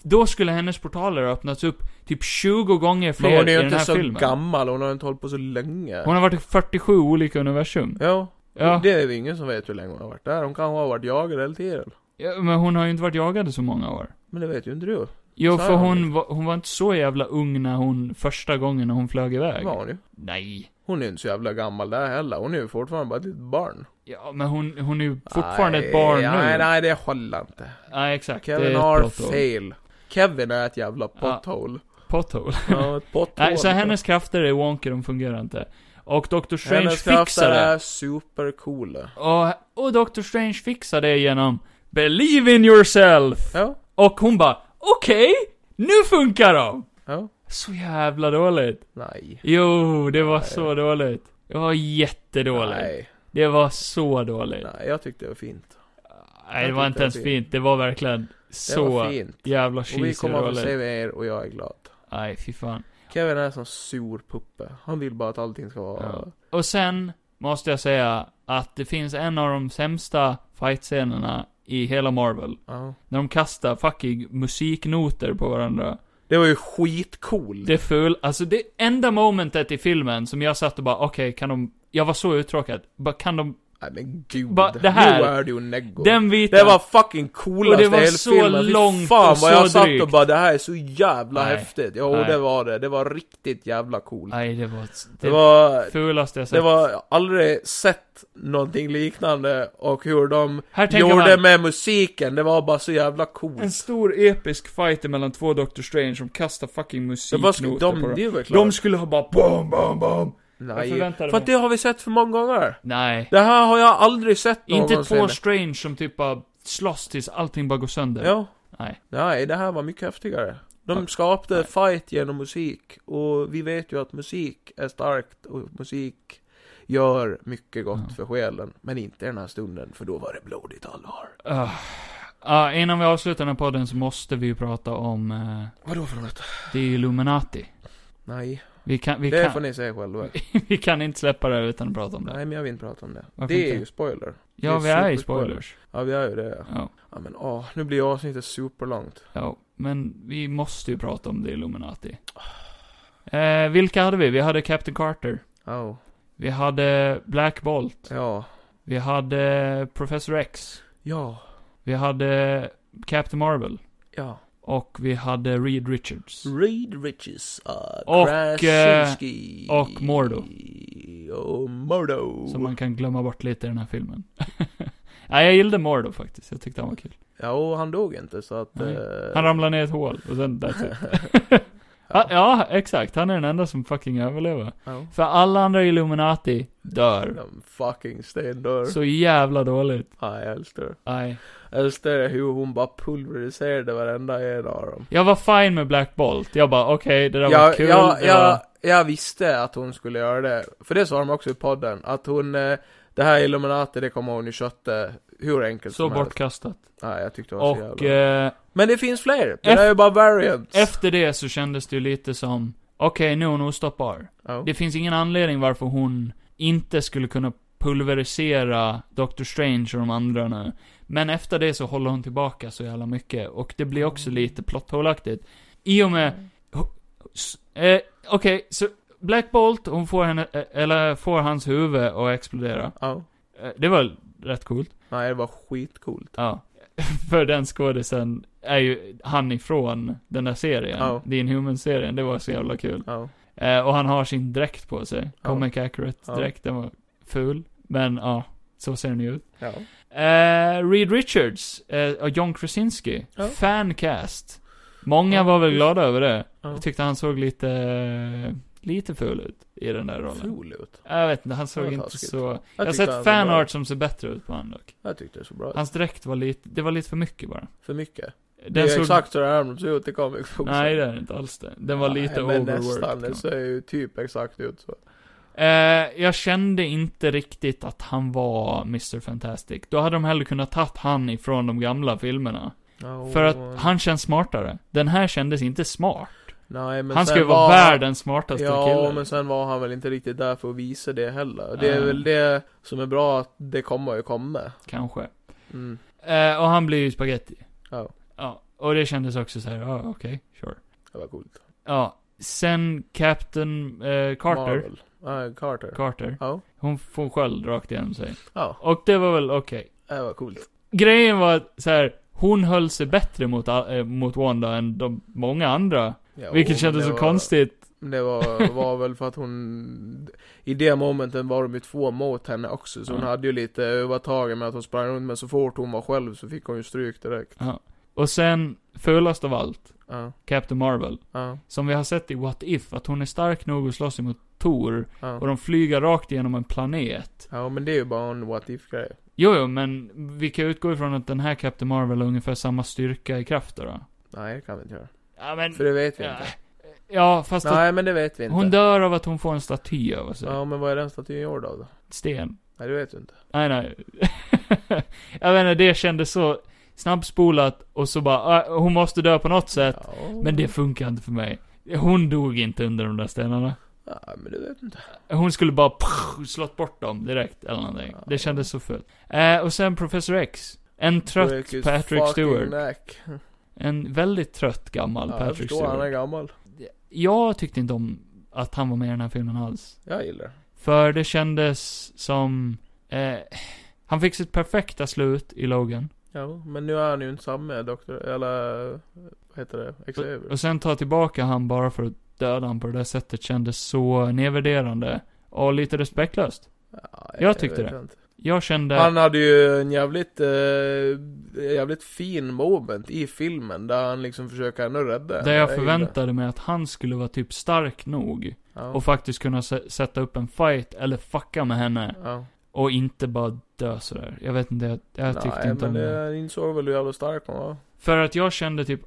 Då skulle hennes portaler ha öppnats upp typ 20 gånger
Men
fler
hon är
i
ju
den
inte
här
så
filmen.
gammal, hon har inte hållit på så länge.
Hon har varit i 47 olika universum.
Ja.
Ja.
Det är ju ingen som vet hur länge hon har varit där. Hon kan ha varit jagad hela tiden.
Ja, men hon har ju inte varit jagad i så många år.
Men det vet ju inte du.
Jo,
Så
för
är hon
hon var, hon var inte så jävla ung när hon, första gången när hon flög
Det
iväg.
var hon ju.
Nej.
Hon är ju inte så jävla gammal där heller. Hon är ju fortfarande bara ett litet barn.
Ja, men hon, hon är ju fortfarande ett barn
nej,
nu.
Nej, nej, det håller inte.
Nej, exakt. det är
Kevin
ett
har
plot hole.
fel. Kevin är ett jävla pothole.
Pothole.
Ja, ett pothole.
Nej, så hennes krafter är wonky, de fungerar inte. Och Dr. Strange
Hennes
fixar
krafter
det.
är supercoola.
Och, och Dr. Strange fixar det genom 'Believe in yourself'
Ja,
Och hon bara 'Okej, nu funkar de!'
ja.
Så jävla dåligt.
Nej.
Jo, det var
Nej.
så dåligt. Det var jättedåligt.
Nej,
Det var så dåligt. Nej,
nej, jag tyckte det var fint.
det
jag
var inte
tyckte det
ens
var
fint.
fint.
Det var verkligen
Det
så
var fint.
jävla
Och vi
cheesy
kommer att få
dåligt.
se mer och jag är glad.
Nej, fy fan.
Kevin är en sån sur puppe. Han vill bara att allting ska vara...
Ja. Och sen måste jag säga att det finns en av de sämsta fight-scenerna i hela Marvel.
Ja.
När de kastar fucking musiknoter på varandra.
Det var ju skitcool.
Det är ful. Alltså det enda momentet i filmen som jag satt och bara, okej, kan de... Jag var så uttråkad. Bara, kan de...
Nej men gud.
Ba- det här-
Nu är du neggo.
Den vita...
Det var fucking coolast
Och det var
i hela
så
filmen. Fy
långt
fan
och
vad
så
jag satt
drygt.
och bara det här är så jävla
Nej.
häftigt. Jo
Nej.
det var det. Det var riktigt jävla coolt.
Nej, det var...
Det var...
fulaste jag sett.
Det var aldrig sett någonting liknande och hur de
Här tänker
gjorde
man,
med musiken. Det var bara så jävla
en
coolt.
stor episk fight mellan två Doctor Strange som kastar fucking
Det var sku-
musiknoter
de,
på dem.
det var klart.
De skulle ha bara BOOM BOOM BOOM. Jag
Nej.
förväntade
För
mig.
att det har vi sett för många gånger.
Nej.
Det här har jag aldrig sett
Inte
någonsin.
två Strange som typ bara slåss tills allting bara går sönder.
Ja.
Nej.
Nej, det här var mycket häftigare.
Ja.
De skapade fight genom musik och vi vet ju att musik är starkt och musik gör mycket gott
Ja.
för själen. Men inte i den här stunden, för då var det blodigt allvar.
Uh. Ja, innan vi avslutar den här podden så måste vi ju prata om uh,
Vadå för något?
The Illuminati.
Nej,
Vi kan, vi,
det får
kan,
ni säga själva.
vi kan inte släppa det här utan att prata om det.
Nej, men jag vill inte prata om det.
Varför
det
inte?
är ju spoiler.
ja,
det är
vi är i
superspoilers.
spoilers.
Ja, vi är ju det.
Ja.
Ja, men åh, nu blir avsnittet superlångt.
ja. Men vi måste ju prata om The Illuminati. Eh, vilka hade vi? Vi hade Captain Carter.
Ja,
Vi hade Black Bolt.
ja,
Vi hade Professor X.
ja,
Vi hade Captain Marvel.
ja.
Och vi hade Reed Richards.
Reed Riches, uh,
Och, eh,
Krasinski.
och Mordo.
Och Mordo.
Som man kan glömma bort lite i den här filmen. Nej, jag gillade Mordo faktiskt. Jag tyckte han var kul.
Ja, och han dog inte så att...
Nej.
eh,
Han ramlade ner i ett hål och sen that's it. ja. ja, exakt. Han är den enda som fucking överlever.
ja.
För alla andra Illuminati dör.
De fucking stendör.
Så jävla dåligt.
Ja, jag älskar det.
Nej.
Jag älskar det hur hon bara pulveriserade varenda en av dem.
Jag var fine med Black Bolt. Jag bara, okej, det där var
Jag,
kul.
jag,
det
jag,
var...
jag visste att hon skulle göra det. För det sa de också i podden. Att hon... eh, Det här Illuminati, det kommer hon i köttet. Hur enkelt
Så
som helst.
bortkastat.
Nej, jag tyckte det var så
Och
jävla...
eh,
Men det finns fler! Det
F-
där är ju bara variants.
efter det så kändes det ju lite som, okej, nu är hon ostoppbar.
ja.
Det finns ingen anledning varför hon inte skulle kunna pulverisera Doctor Strange och de andra nu. Men efter det så håller hon tillbaka så jävla mycket och det blir också lite plotthålaktigt. I och med... S- Eh, Okej, så Black Bolt, hon får henne, eh, eller får hans huvud att explodera.
ja.
Eh, Det var rätt coolt.
Nej, det var skitcoolt.
Ja. För den skådisen, är ju han ifrån den där serien.
Ja.
The Inhuman-serien, det var så jävla kul.
Ja.
Eh, och han har sin dräkt på sig.
Ja.
Comic Accurate-dräkt, den var ful. Men ja, så ser den ju ut.
Ja.
Eh, Reed Richards eh, och John Krasinski.
Ja.
Fancast. Många
Ja,
var väl
just-
glada över det.
Ja.
Jag tyckte han såg lite, eh, lite ful ut i den där rollen.
Ful ut.
Jag vet inte, han
Det
såg
var
inte
taskigt.
så... Jag,
Jag
har
tyckte
sett
han var bra.
fanart som ser bättre ut på honom dock.
Jag tyckte det såg bra ut.
Hans dräkt var lite, det var lite för mycket bara.
För mycket.
Den
det är
såg,
exakt så det här de ser ut i comic books.
Nej, det är inte alls det. Den var
Nej,
lite
men
overworked. liksom.
nästan.
kan man
Det ser ju typ exakt ut så.
Eh, jag kände inte riktigt att han var Mr. Fantastic. Då hade de hellre kunnat tagit han ifrån de gamla filmerna. För
Oh.
att han känns smartare. Den här kändes inte smart.
Nej, men
han
sen
ska ju vara
var han-
världens smartaste
Ja,
kille.
men sen var han väl inte riktigt där för att visa det heller. Det är
Nej.
väl det som är bra att det kommer ju komma.
Kanske.
Mm.
Eh, och han blir ju spaghetti.
Ja.
Ja, och det kändes också så här, ja okej, sure.
Det var coolt.
Ja, sen Captain eh, Carter.
Marvel. Ja, Carter.
Carter.
Ja.
Hon får en sköld rakt igenom sig.
Ja,
Och det var väl okej.
det var coolt.
Grejen var att så här, hon höll sig bättre mot, all- eh, mot Wanda än de många andra.
Ja,
vilket
och
kändes
det
så
var-
konstigt.
Det var, var väl för att hon... I det momenten var de ju två mot henne också, så hon
Ja.
hade ju lite övertaget med att hon sprang runt, men så fort hon var själv så fick hon ju stryk direkt.
Och sen, fulast av allt,
Ja,
Captain Marvel.
ja,
Som vi har sett i What If, att hon är stark nog att slåss emot Thor. Och
ja.
de flyger rakt igenom en planet.
Ja, men det är ju bara en what if-grej.
Jo, jo, men vi kan utgå ifrån att den här Captain Marvel har ungefär samma styrka i krafter då.
Nej, det kan vi inte göra.
Ja, men...
För det vet vi
Ja,
inte.
ja fast att
Nej, men det vet vi inte.
hon dör av att hon får en staty över sig.
Ja, men vad är den statyn gjord av då?
Sten.
Nej, det vet du inte.
Nej, nej. jag vet inte, det kändes så snabbspolat och så bara, "Ah, hon måste dö på något sätt.
Ja.
Men det funkar inte för mig. Hon dog inte under de där stenarna.
Ja, men det vet du inte.
Hon skulle bara pff, slått bort dem direkt eller någonting.
Ja.
Det kändes så fult. Eh, och sen Professor X. En trött
Break his
Patrick
fucking
Stewart.
Neck.
En väldigt trött gammal
Ja, jag
Patrick
förstår, han är
Stewart.
gammal.
Jag tyckte inte om att han var med i den här filmen alls.
Jag gillar det.
För det kändes som... Eh, han fick sitt perfekta slut i Logan.
Ja, men nu är han ju inte samma doktor, eller vad heter det, Xavier.
Och sen ta tillbaka han bara för att döda han på det där sättet kändes så nedvärderande. Och lite respektlöst.
Ja,
jag tyckte
vet
det.
inte.
Jag kände...
Han hade ju en jävligt, eh, jävligt fin moment i filmen där han liksom försöker ändå rädda
där
henne.
jag
gillar det.
förväntade mig att han skulle vara typ stark nog.
Ja.
Och faktiskt kunna sä- sätta upp en fight eller fucka med henne.
ja.
Och inte bara dö sådär. Jag vet inte, jag, jag tyckte
Nej,
inte
men
om det.
det insåg väl hur jävla stark hon var.
För att jag kände typ...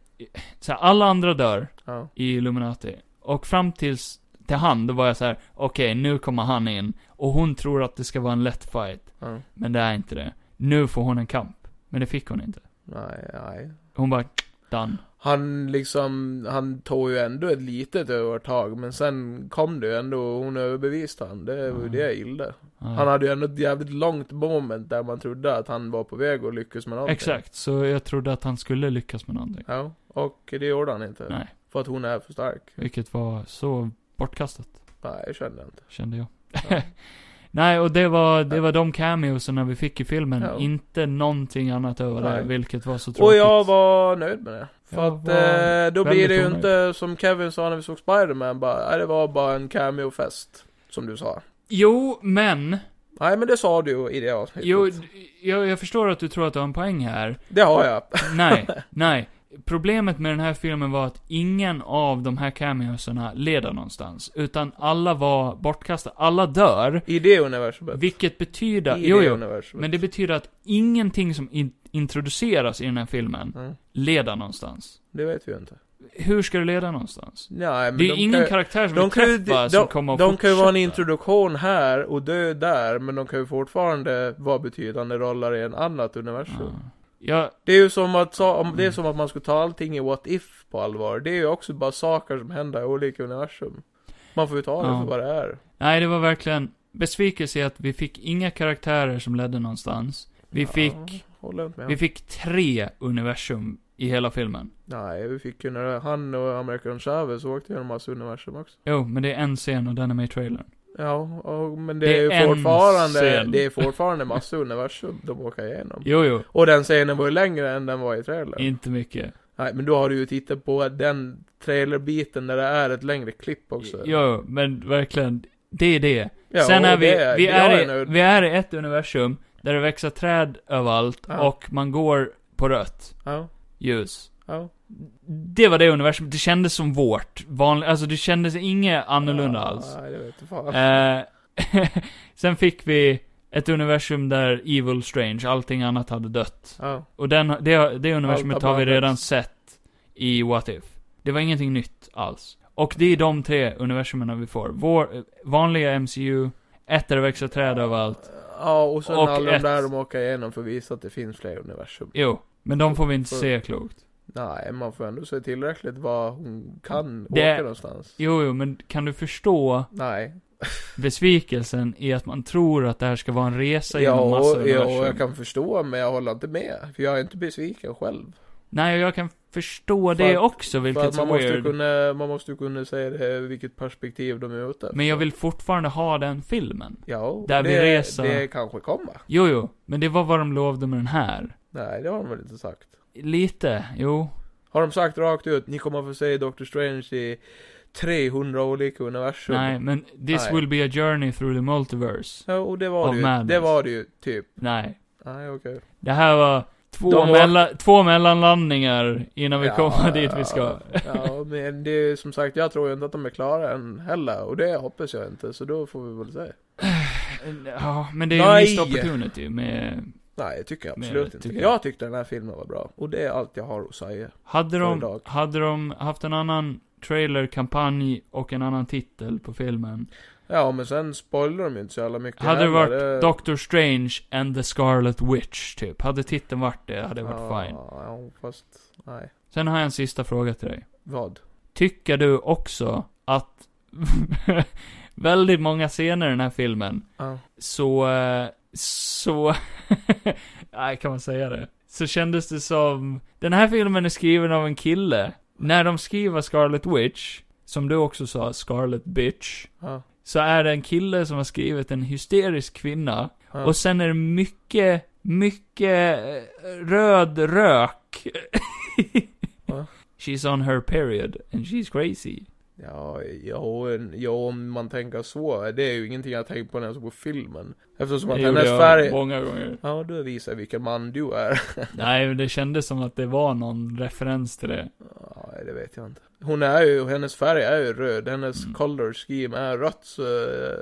Så här, alla andra dör.
Ja.
i Illuminati. Och fram tills, till han, då var jag så här: okej nu kommer han in. Och hon tror att det ska vara en lätt fight.
ja.
Men det är inte det. Nu får hon en kamp. Men det fick hon inte.
Nej, nej.
Hon bara, done.
Han liksom, han tog ju ändå ett litet övertag, men sen kom det ju ändå, och hon överbevisade han. Det var ju
Ja.
det jag gillade.
Ja.
Han hade ju ändå ett jävligt långt moment där man trodde att han var på väg att lyckas med någonting.
Exakt, så jag trodde att han skulle lyckas med någonting.
Ja, och det gjorde han inte.
Nej.
För att hon är för stark.
Vilket var så bortkastat,
Nej, jag kände inte.
kände jag.
Ja.
Nej, och det var, det
Ja.
var de cameosen vi fick i filmen.
Ja.
Inte någonting annat över det,
Nej.
vilket var så tråkigt.
och jag var nöjd med det. För
Jag
att
var
eh,
väldigt
då blir det ju
onöjd.
inte som Kevin sa när vi såg Spider-Man bara, nej, det var bara en cameo-fest. Som du sa.
Jo, men.
Nej men det sa du ju i det avsnittet.
Jo, d- jag, jag förstår att du tror att du har en poäng här.
Det har jag.
Nej, nej. Problemet med den här filmen var att ingen av de här cameosarna leder någonstans. Utan alla var bortkastade. Alla dör.
I det universumet.
Vilket betyder...
I
Jo,
det
jo.
universumet.
Men det betyder att ingenting som in introduceras i den här filmen
Mm.
leder någonstans.
Det vet vi ju inte.
Hur ska det leda någonstans?
Nej men
Det är
de
ju ingen
kan,
karaktär som
de
vi
kan ju,
träffar som
de,
kommer att
de kan ju vara en
fortsätta.
introduktion här och dö där, men de kan ju fortfarande vara betydande roller i en annat universum.
Ja. Jag,
Det är ju som att, sa, om,
Mm.
det är som att man skulle ta allting i What If på allvar. Det är ju också bara saker som händer i olika universum. Man får ju ta det
Ja.
för vad det är.
Nej, det var verkligen besvikelse i att vi fick inga karaktärer som ledde någonstans. Vi fick,
Ja, håller inte med.
vi fick tre universum i hela filmen.
Nej, vi fick ju när han och American Chavez åkte genom massa universum också.
Jo, men det är en scen och den är med i trailern.
Ja, och, men det,
Det
är
är
ju
en
fortfarande,
scen.
det är fortfarande massa universum de åker igenom.
Jo, jo.
Och den scenen var ju längre än den var i trailern.
Inte mycket.
Nej, men då har du ju tittat på den trailerbiten där det är ett längre klipp också.
Ja, men verkligen. Det är det.
Ja,
Sen
och
är vi,
det-
vi,
jag
är i,
nöjd.
vi är i ett universum där det växer träd överallt
Ja.
och man går på rött
Ja,
ljus.
ja.
Det var det universum, det kändes som vårt. Vanlig, alltså det kändes inget annorlunda
ja,
alls.
Nej, det vet jag fan.
Eh, sen fick vi ett universum där Evil Strange, allting annat hade dött.
Ja,
Och den, det, det universumet
Allt
har vi
abandons.
redan sett i What If. Det var ingenting nytt alls. Och det är de tre universumerna vi får. Vår eh, vanliga MCU, ett där det växer träd överallt.
ja och sen
Och
alla
ett-
de där de åker igenom för att visa att det finns fler universum.
Jo, men de får vi inte
För-
se klokt.
Nej, man får ändå se tillräckligt vad hon kan
Det-
åka någonstans.
Jo, jo, men kan du förstå
Nej.
besvikelsen i att man tror att det här ska vara en resa
Ja,
genom massa
och, ja,
universum?
och jag kan förstå, men jag håller inte med. För jag är inte besviken själv.
Nej, och jag kan förstå
För
det
att-
också,
För att
vilket är
man måste, ju
weird.
kunna, man måste ju kunna säga det, vilket perspektiv de är ute
Men jag vill fortfarande ha den filmen.
Ja, och
där
det,
vi reser.
det kanske kommer.
Jo, jo, men det var vad de lovade med den här.
Nej, det har de väl inte sagt.
Lite, jo.
Har de sagt rakt ut, ni kommer få se Doctor Strange i 300 olika universum?
Nej, men this
Nej.
will be a journey through the multiverse.
Ja, och det var
Of
det ju.
madness.
Det var det ju, typ.
Nej.
Nej, okej.
Det här var två,
De var-
mella- två mellanlandningar innan vi
Ja,
kommer dit vi ska.
ja, men det är som sagt, jag tror ju inte att de är klara än heller. Och det hoppas jag inte, så då får vi väl se.
Ja, men det är ju en
Nej.
missed opportunity med...
Nej, det tycker jag
Nej,
absolut
det
inte.
tycker jag.
Jag tyckte den här filmen var bra. Och det är allt jag har att säga.
Hade de,
Föredrag.
hade de haft en annan trailer, kampanj och en annan titel på filmen.
Ja, men sen spoilar de ju inte så jävla mycket
Hade det
heller.
varit Doctor Strange and the Scarlet Witch, typ. Hade titeln varit det, hade det varit fine.
Ja, fast, nej.
Sen har jag en sista fråga till dig.
Vad?
Tycker du också att väldigt många scener i den här filmen,
Ja.
så, eh, så, nej kan man säga det? Så kändes det som, den här filmen är skriven av en kille. När de skriver Scarlet Witch, som du också sa, Scarlet Bitch,
Ja.
så är det en kille som har skrivit en hysterisk kvinna.
Ja.
Och sen är det mycket, mycket eh, röd rök.
Va?
she's on her period and she's crazy.
Ja, jo, en- ja, om man tänker så. Det är ju ingenting jag tänkt på när jag såg på filmen. Eftersom att
Det gjorde
hennes
jag
färg...
många gånger.
Ja, du visar vilken man du är.
Nej, men det kändes som att det var någon referens till det.
Ja, det vet jag inte. Hon är ju, hennes färg är ju röd. Hennes
Mm.
color scheme är rött, så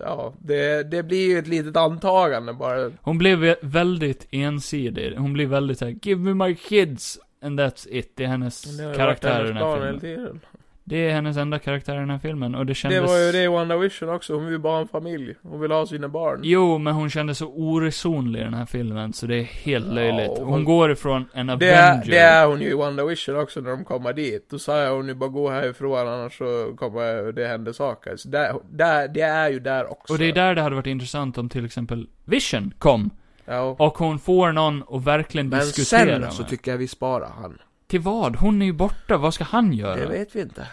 ja. Det, det blir ju ett litet antagande bara.
Hon blev vä- väldigt ensidig. Hon blev väldigt såhär, 'Give me my kids' and that's it. Det är hennes
Det har ju
karaktär
varit
i den
hennes
här
plan hela
filmen.
tiden.
Det är hennes enda karaktär i den här filmen och det
Det
kändes...
var ju det i WandaVision också. Hon vill ju bara ha en familj. Hon vill ha sina barn.
Jo, men hon kändes så oresonlig i den här filmen, så det är helt
Ja,
löjligt.
och
Hon,
hon-
går ifrån en
Det är,
Avenger.
det är hon ju i WandaVision också när de kommer dit. Då sa jag hon nu bara gå härifrån annars så kommer det hända saker. Så där, där, det är ju där också.
Och det är där det hade varit intressant om till exempel Vision kom.
Ja.
Och hon får någon att verkligen
Men
diskutera
sen
med.
så tycker jag vi sparar han.
Till vad? Hon är ju borta, vad ska han göra?
Det vet vi inte.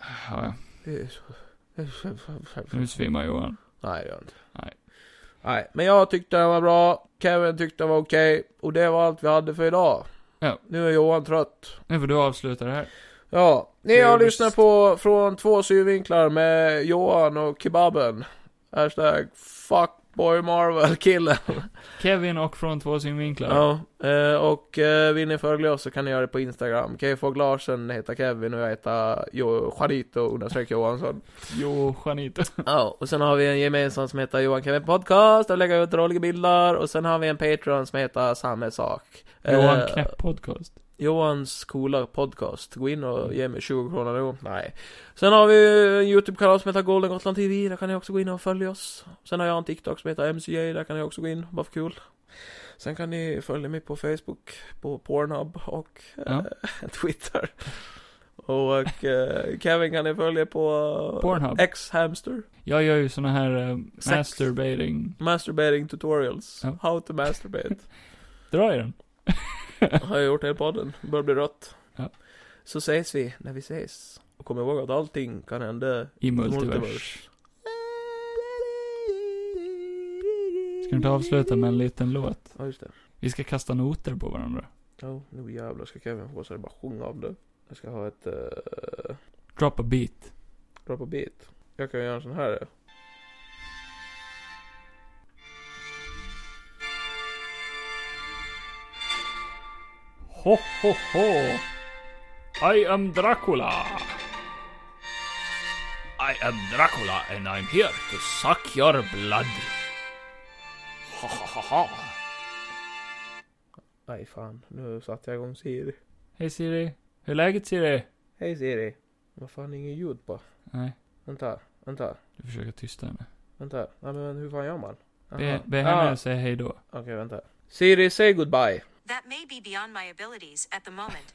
Ja, ja.
Det är så- det är så-
nu svimmar Johan.
Nej, det gör jag inte.
Nej.
Nej, men jag tyckte den var bra. Kevin tyckte den var okej. Och det var allt vi hade för idag.
Ja.
Nu är Johan trött.
Nu får du avsluta det här.
Ja, ni har
Trevligt.
lyssnat på Från två synvinklar med Johan och Kebaben. Hashtag fuckboy Marvel killen.
Kevin och Från två synvinklar.
Ja, eh, och eh, vill ni följa oss så kan ni göra det på Instagram. Kfog Larsen heter Kevin och jag heter jo, Juanito understreck Johansson.
Jo, Juanito.
Ja, och sen har vi en gemensam som heter Johan Kevin Podcast, där vi lägger ut roliga bilder. Och sen har vi en Patreon som heter Samma Sak.
Johan
Eh,
Knäpp podcast.
Johans coola podcast. Gå in och ge mig 20 kronor då. Nej. Sen har vi ju en YouTube-kanal som heter Golden Gotland TV. Där kan ni också gå in och följa oss. Sen har jag en TikTok som heter MCA. Där kan ni också gå in. Bara för kul. Sen kan ni följa mig på Facebook, på Pornhub och
Ja.
eh, Twitter. Och eh, Kevin kan ni följa på eh,
Pornhub.
X-Hamster.
Jag gör ju såna här eh,
Sex.
masturbating.
Masturbating tutorials.
Ja.
How to masturbate.
Dra i den.
har jag gjort hela podden. Börjar bli rött.
Ja.
Så ses vi när vi ses. Och kom ihåg att allting kan hända
I multivers.
multivers.
Ska vi inte avsluta med en liten låt?
Ja, just det.
Vi ska kasta noter på varandra.
Ja, nu jävlar ska Kevin få så det bara sjunga om det. Jag ska ha ett... Uh,
Drop a beat.
dra på beat. Jag kan göra en sån här.
Ho, ho, ho! I am Dracula! I am Dracula and I'm here to suck your blood. Ha, ha, ha, ha.
Nej fan, nu satte jag igång Siri.
Hej Siri. Hur är läget Siri?
Hej Siri. Vad fan, ingen ljud på.
Nej,
Vänta, vänta,
du försöker tysta henne.
vänta. Nej men hur fan gör man? Aha.
Be, be henne
ah,
säga hej då.
Okej, vänta. Siri, say goodbye.
That may be beyond my abilities at the moment.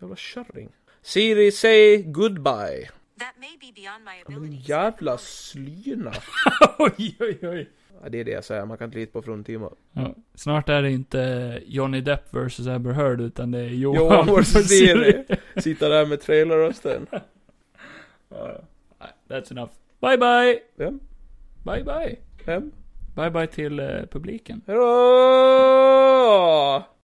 Jävla kärring. Siri, say goodbye.
That may be beyond my
Men
liksom.
abilities.
jävla slyna.
oj, oj, oj.
Ja, det är det jag säger, man kan inte lita på fruntimmer.
Ja, snart är det inte Johnny Depp vs Amber Heard utan det är Johan,
Johan vs.
vs.
Siri. Sitta där med trailerrösten.
Ja, ja. Ah. That's enough. Bye bye!
Vem?
Bye bye!
Vem?
Bye bye till eh, publiken.
Hejdå!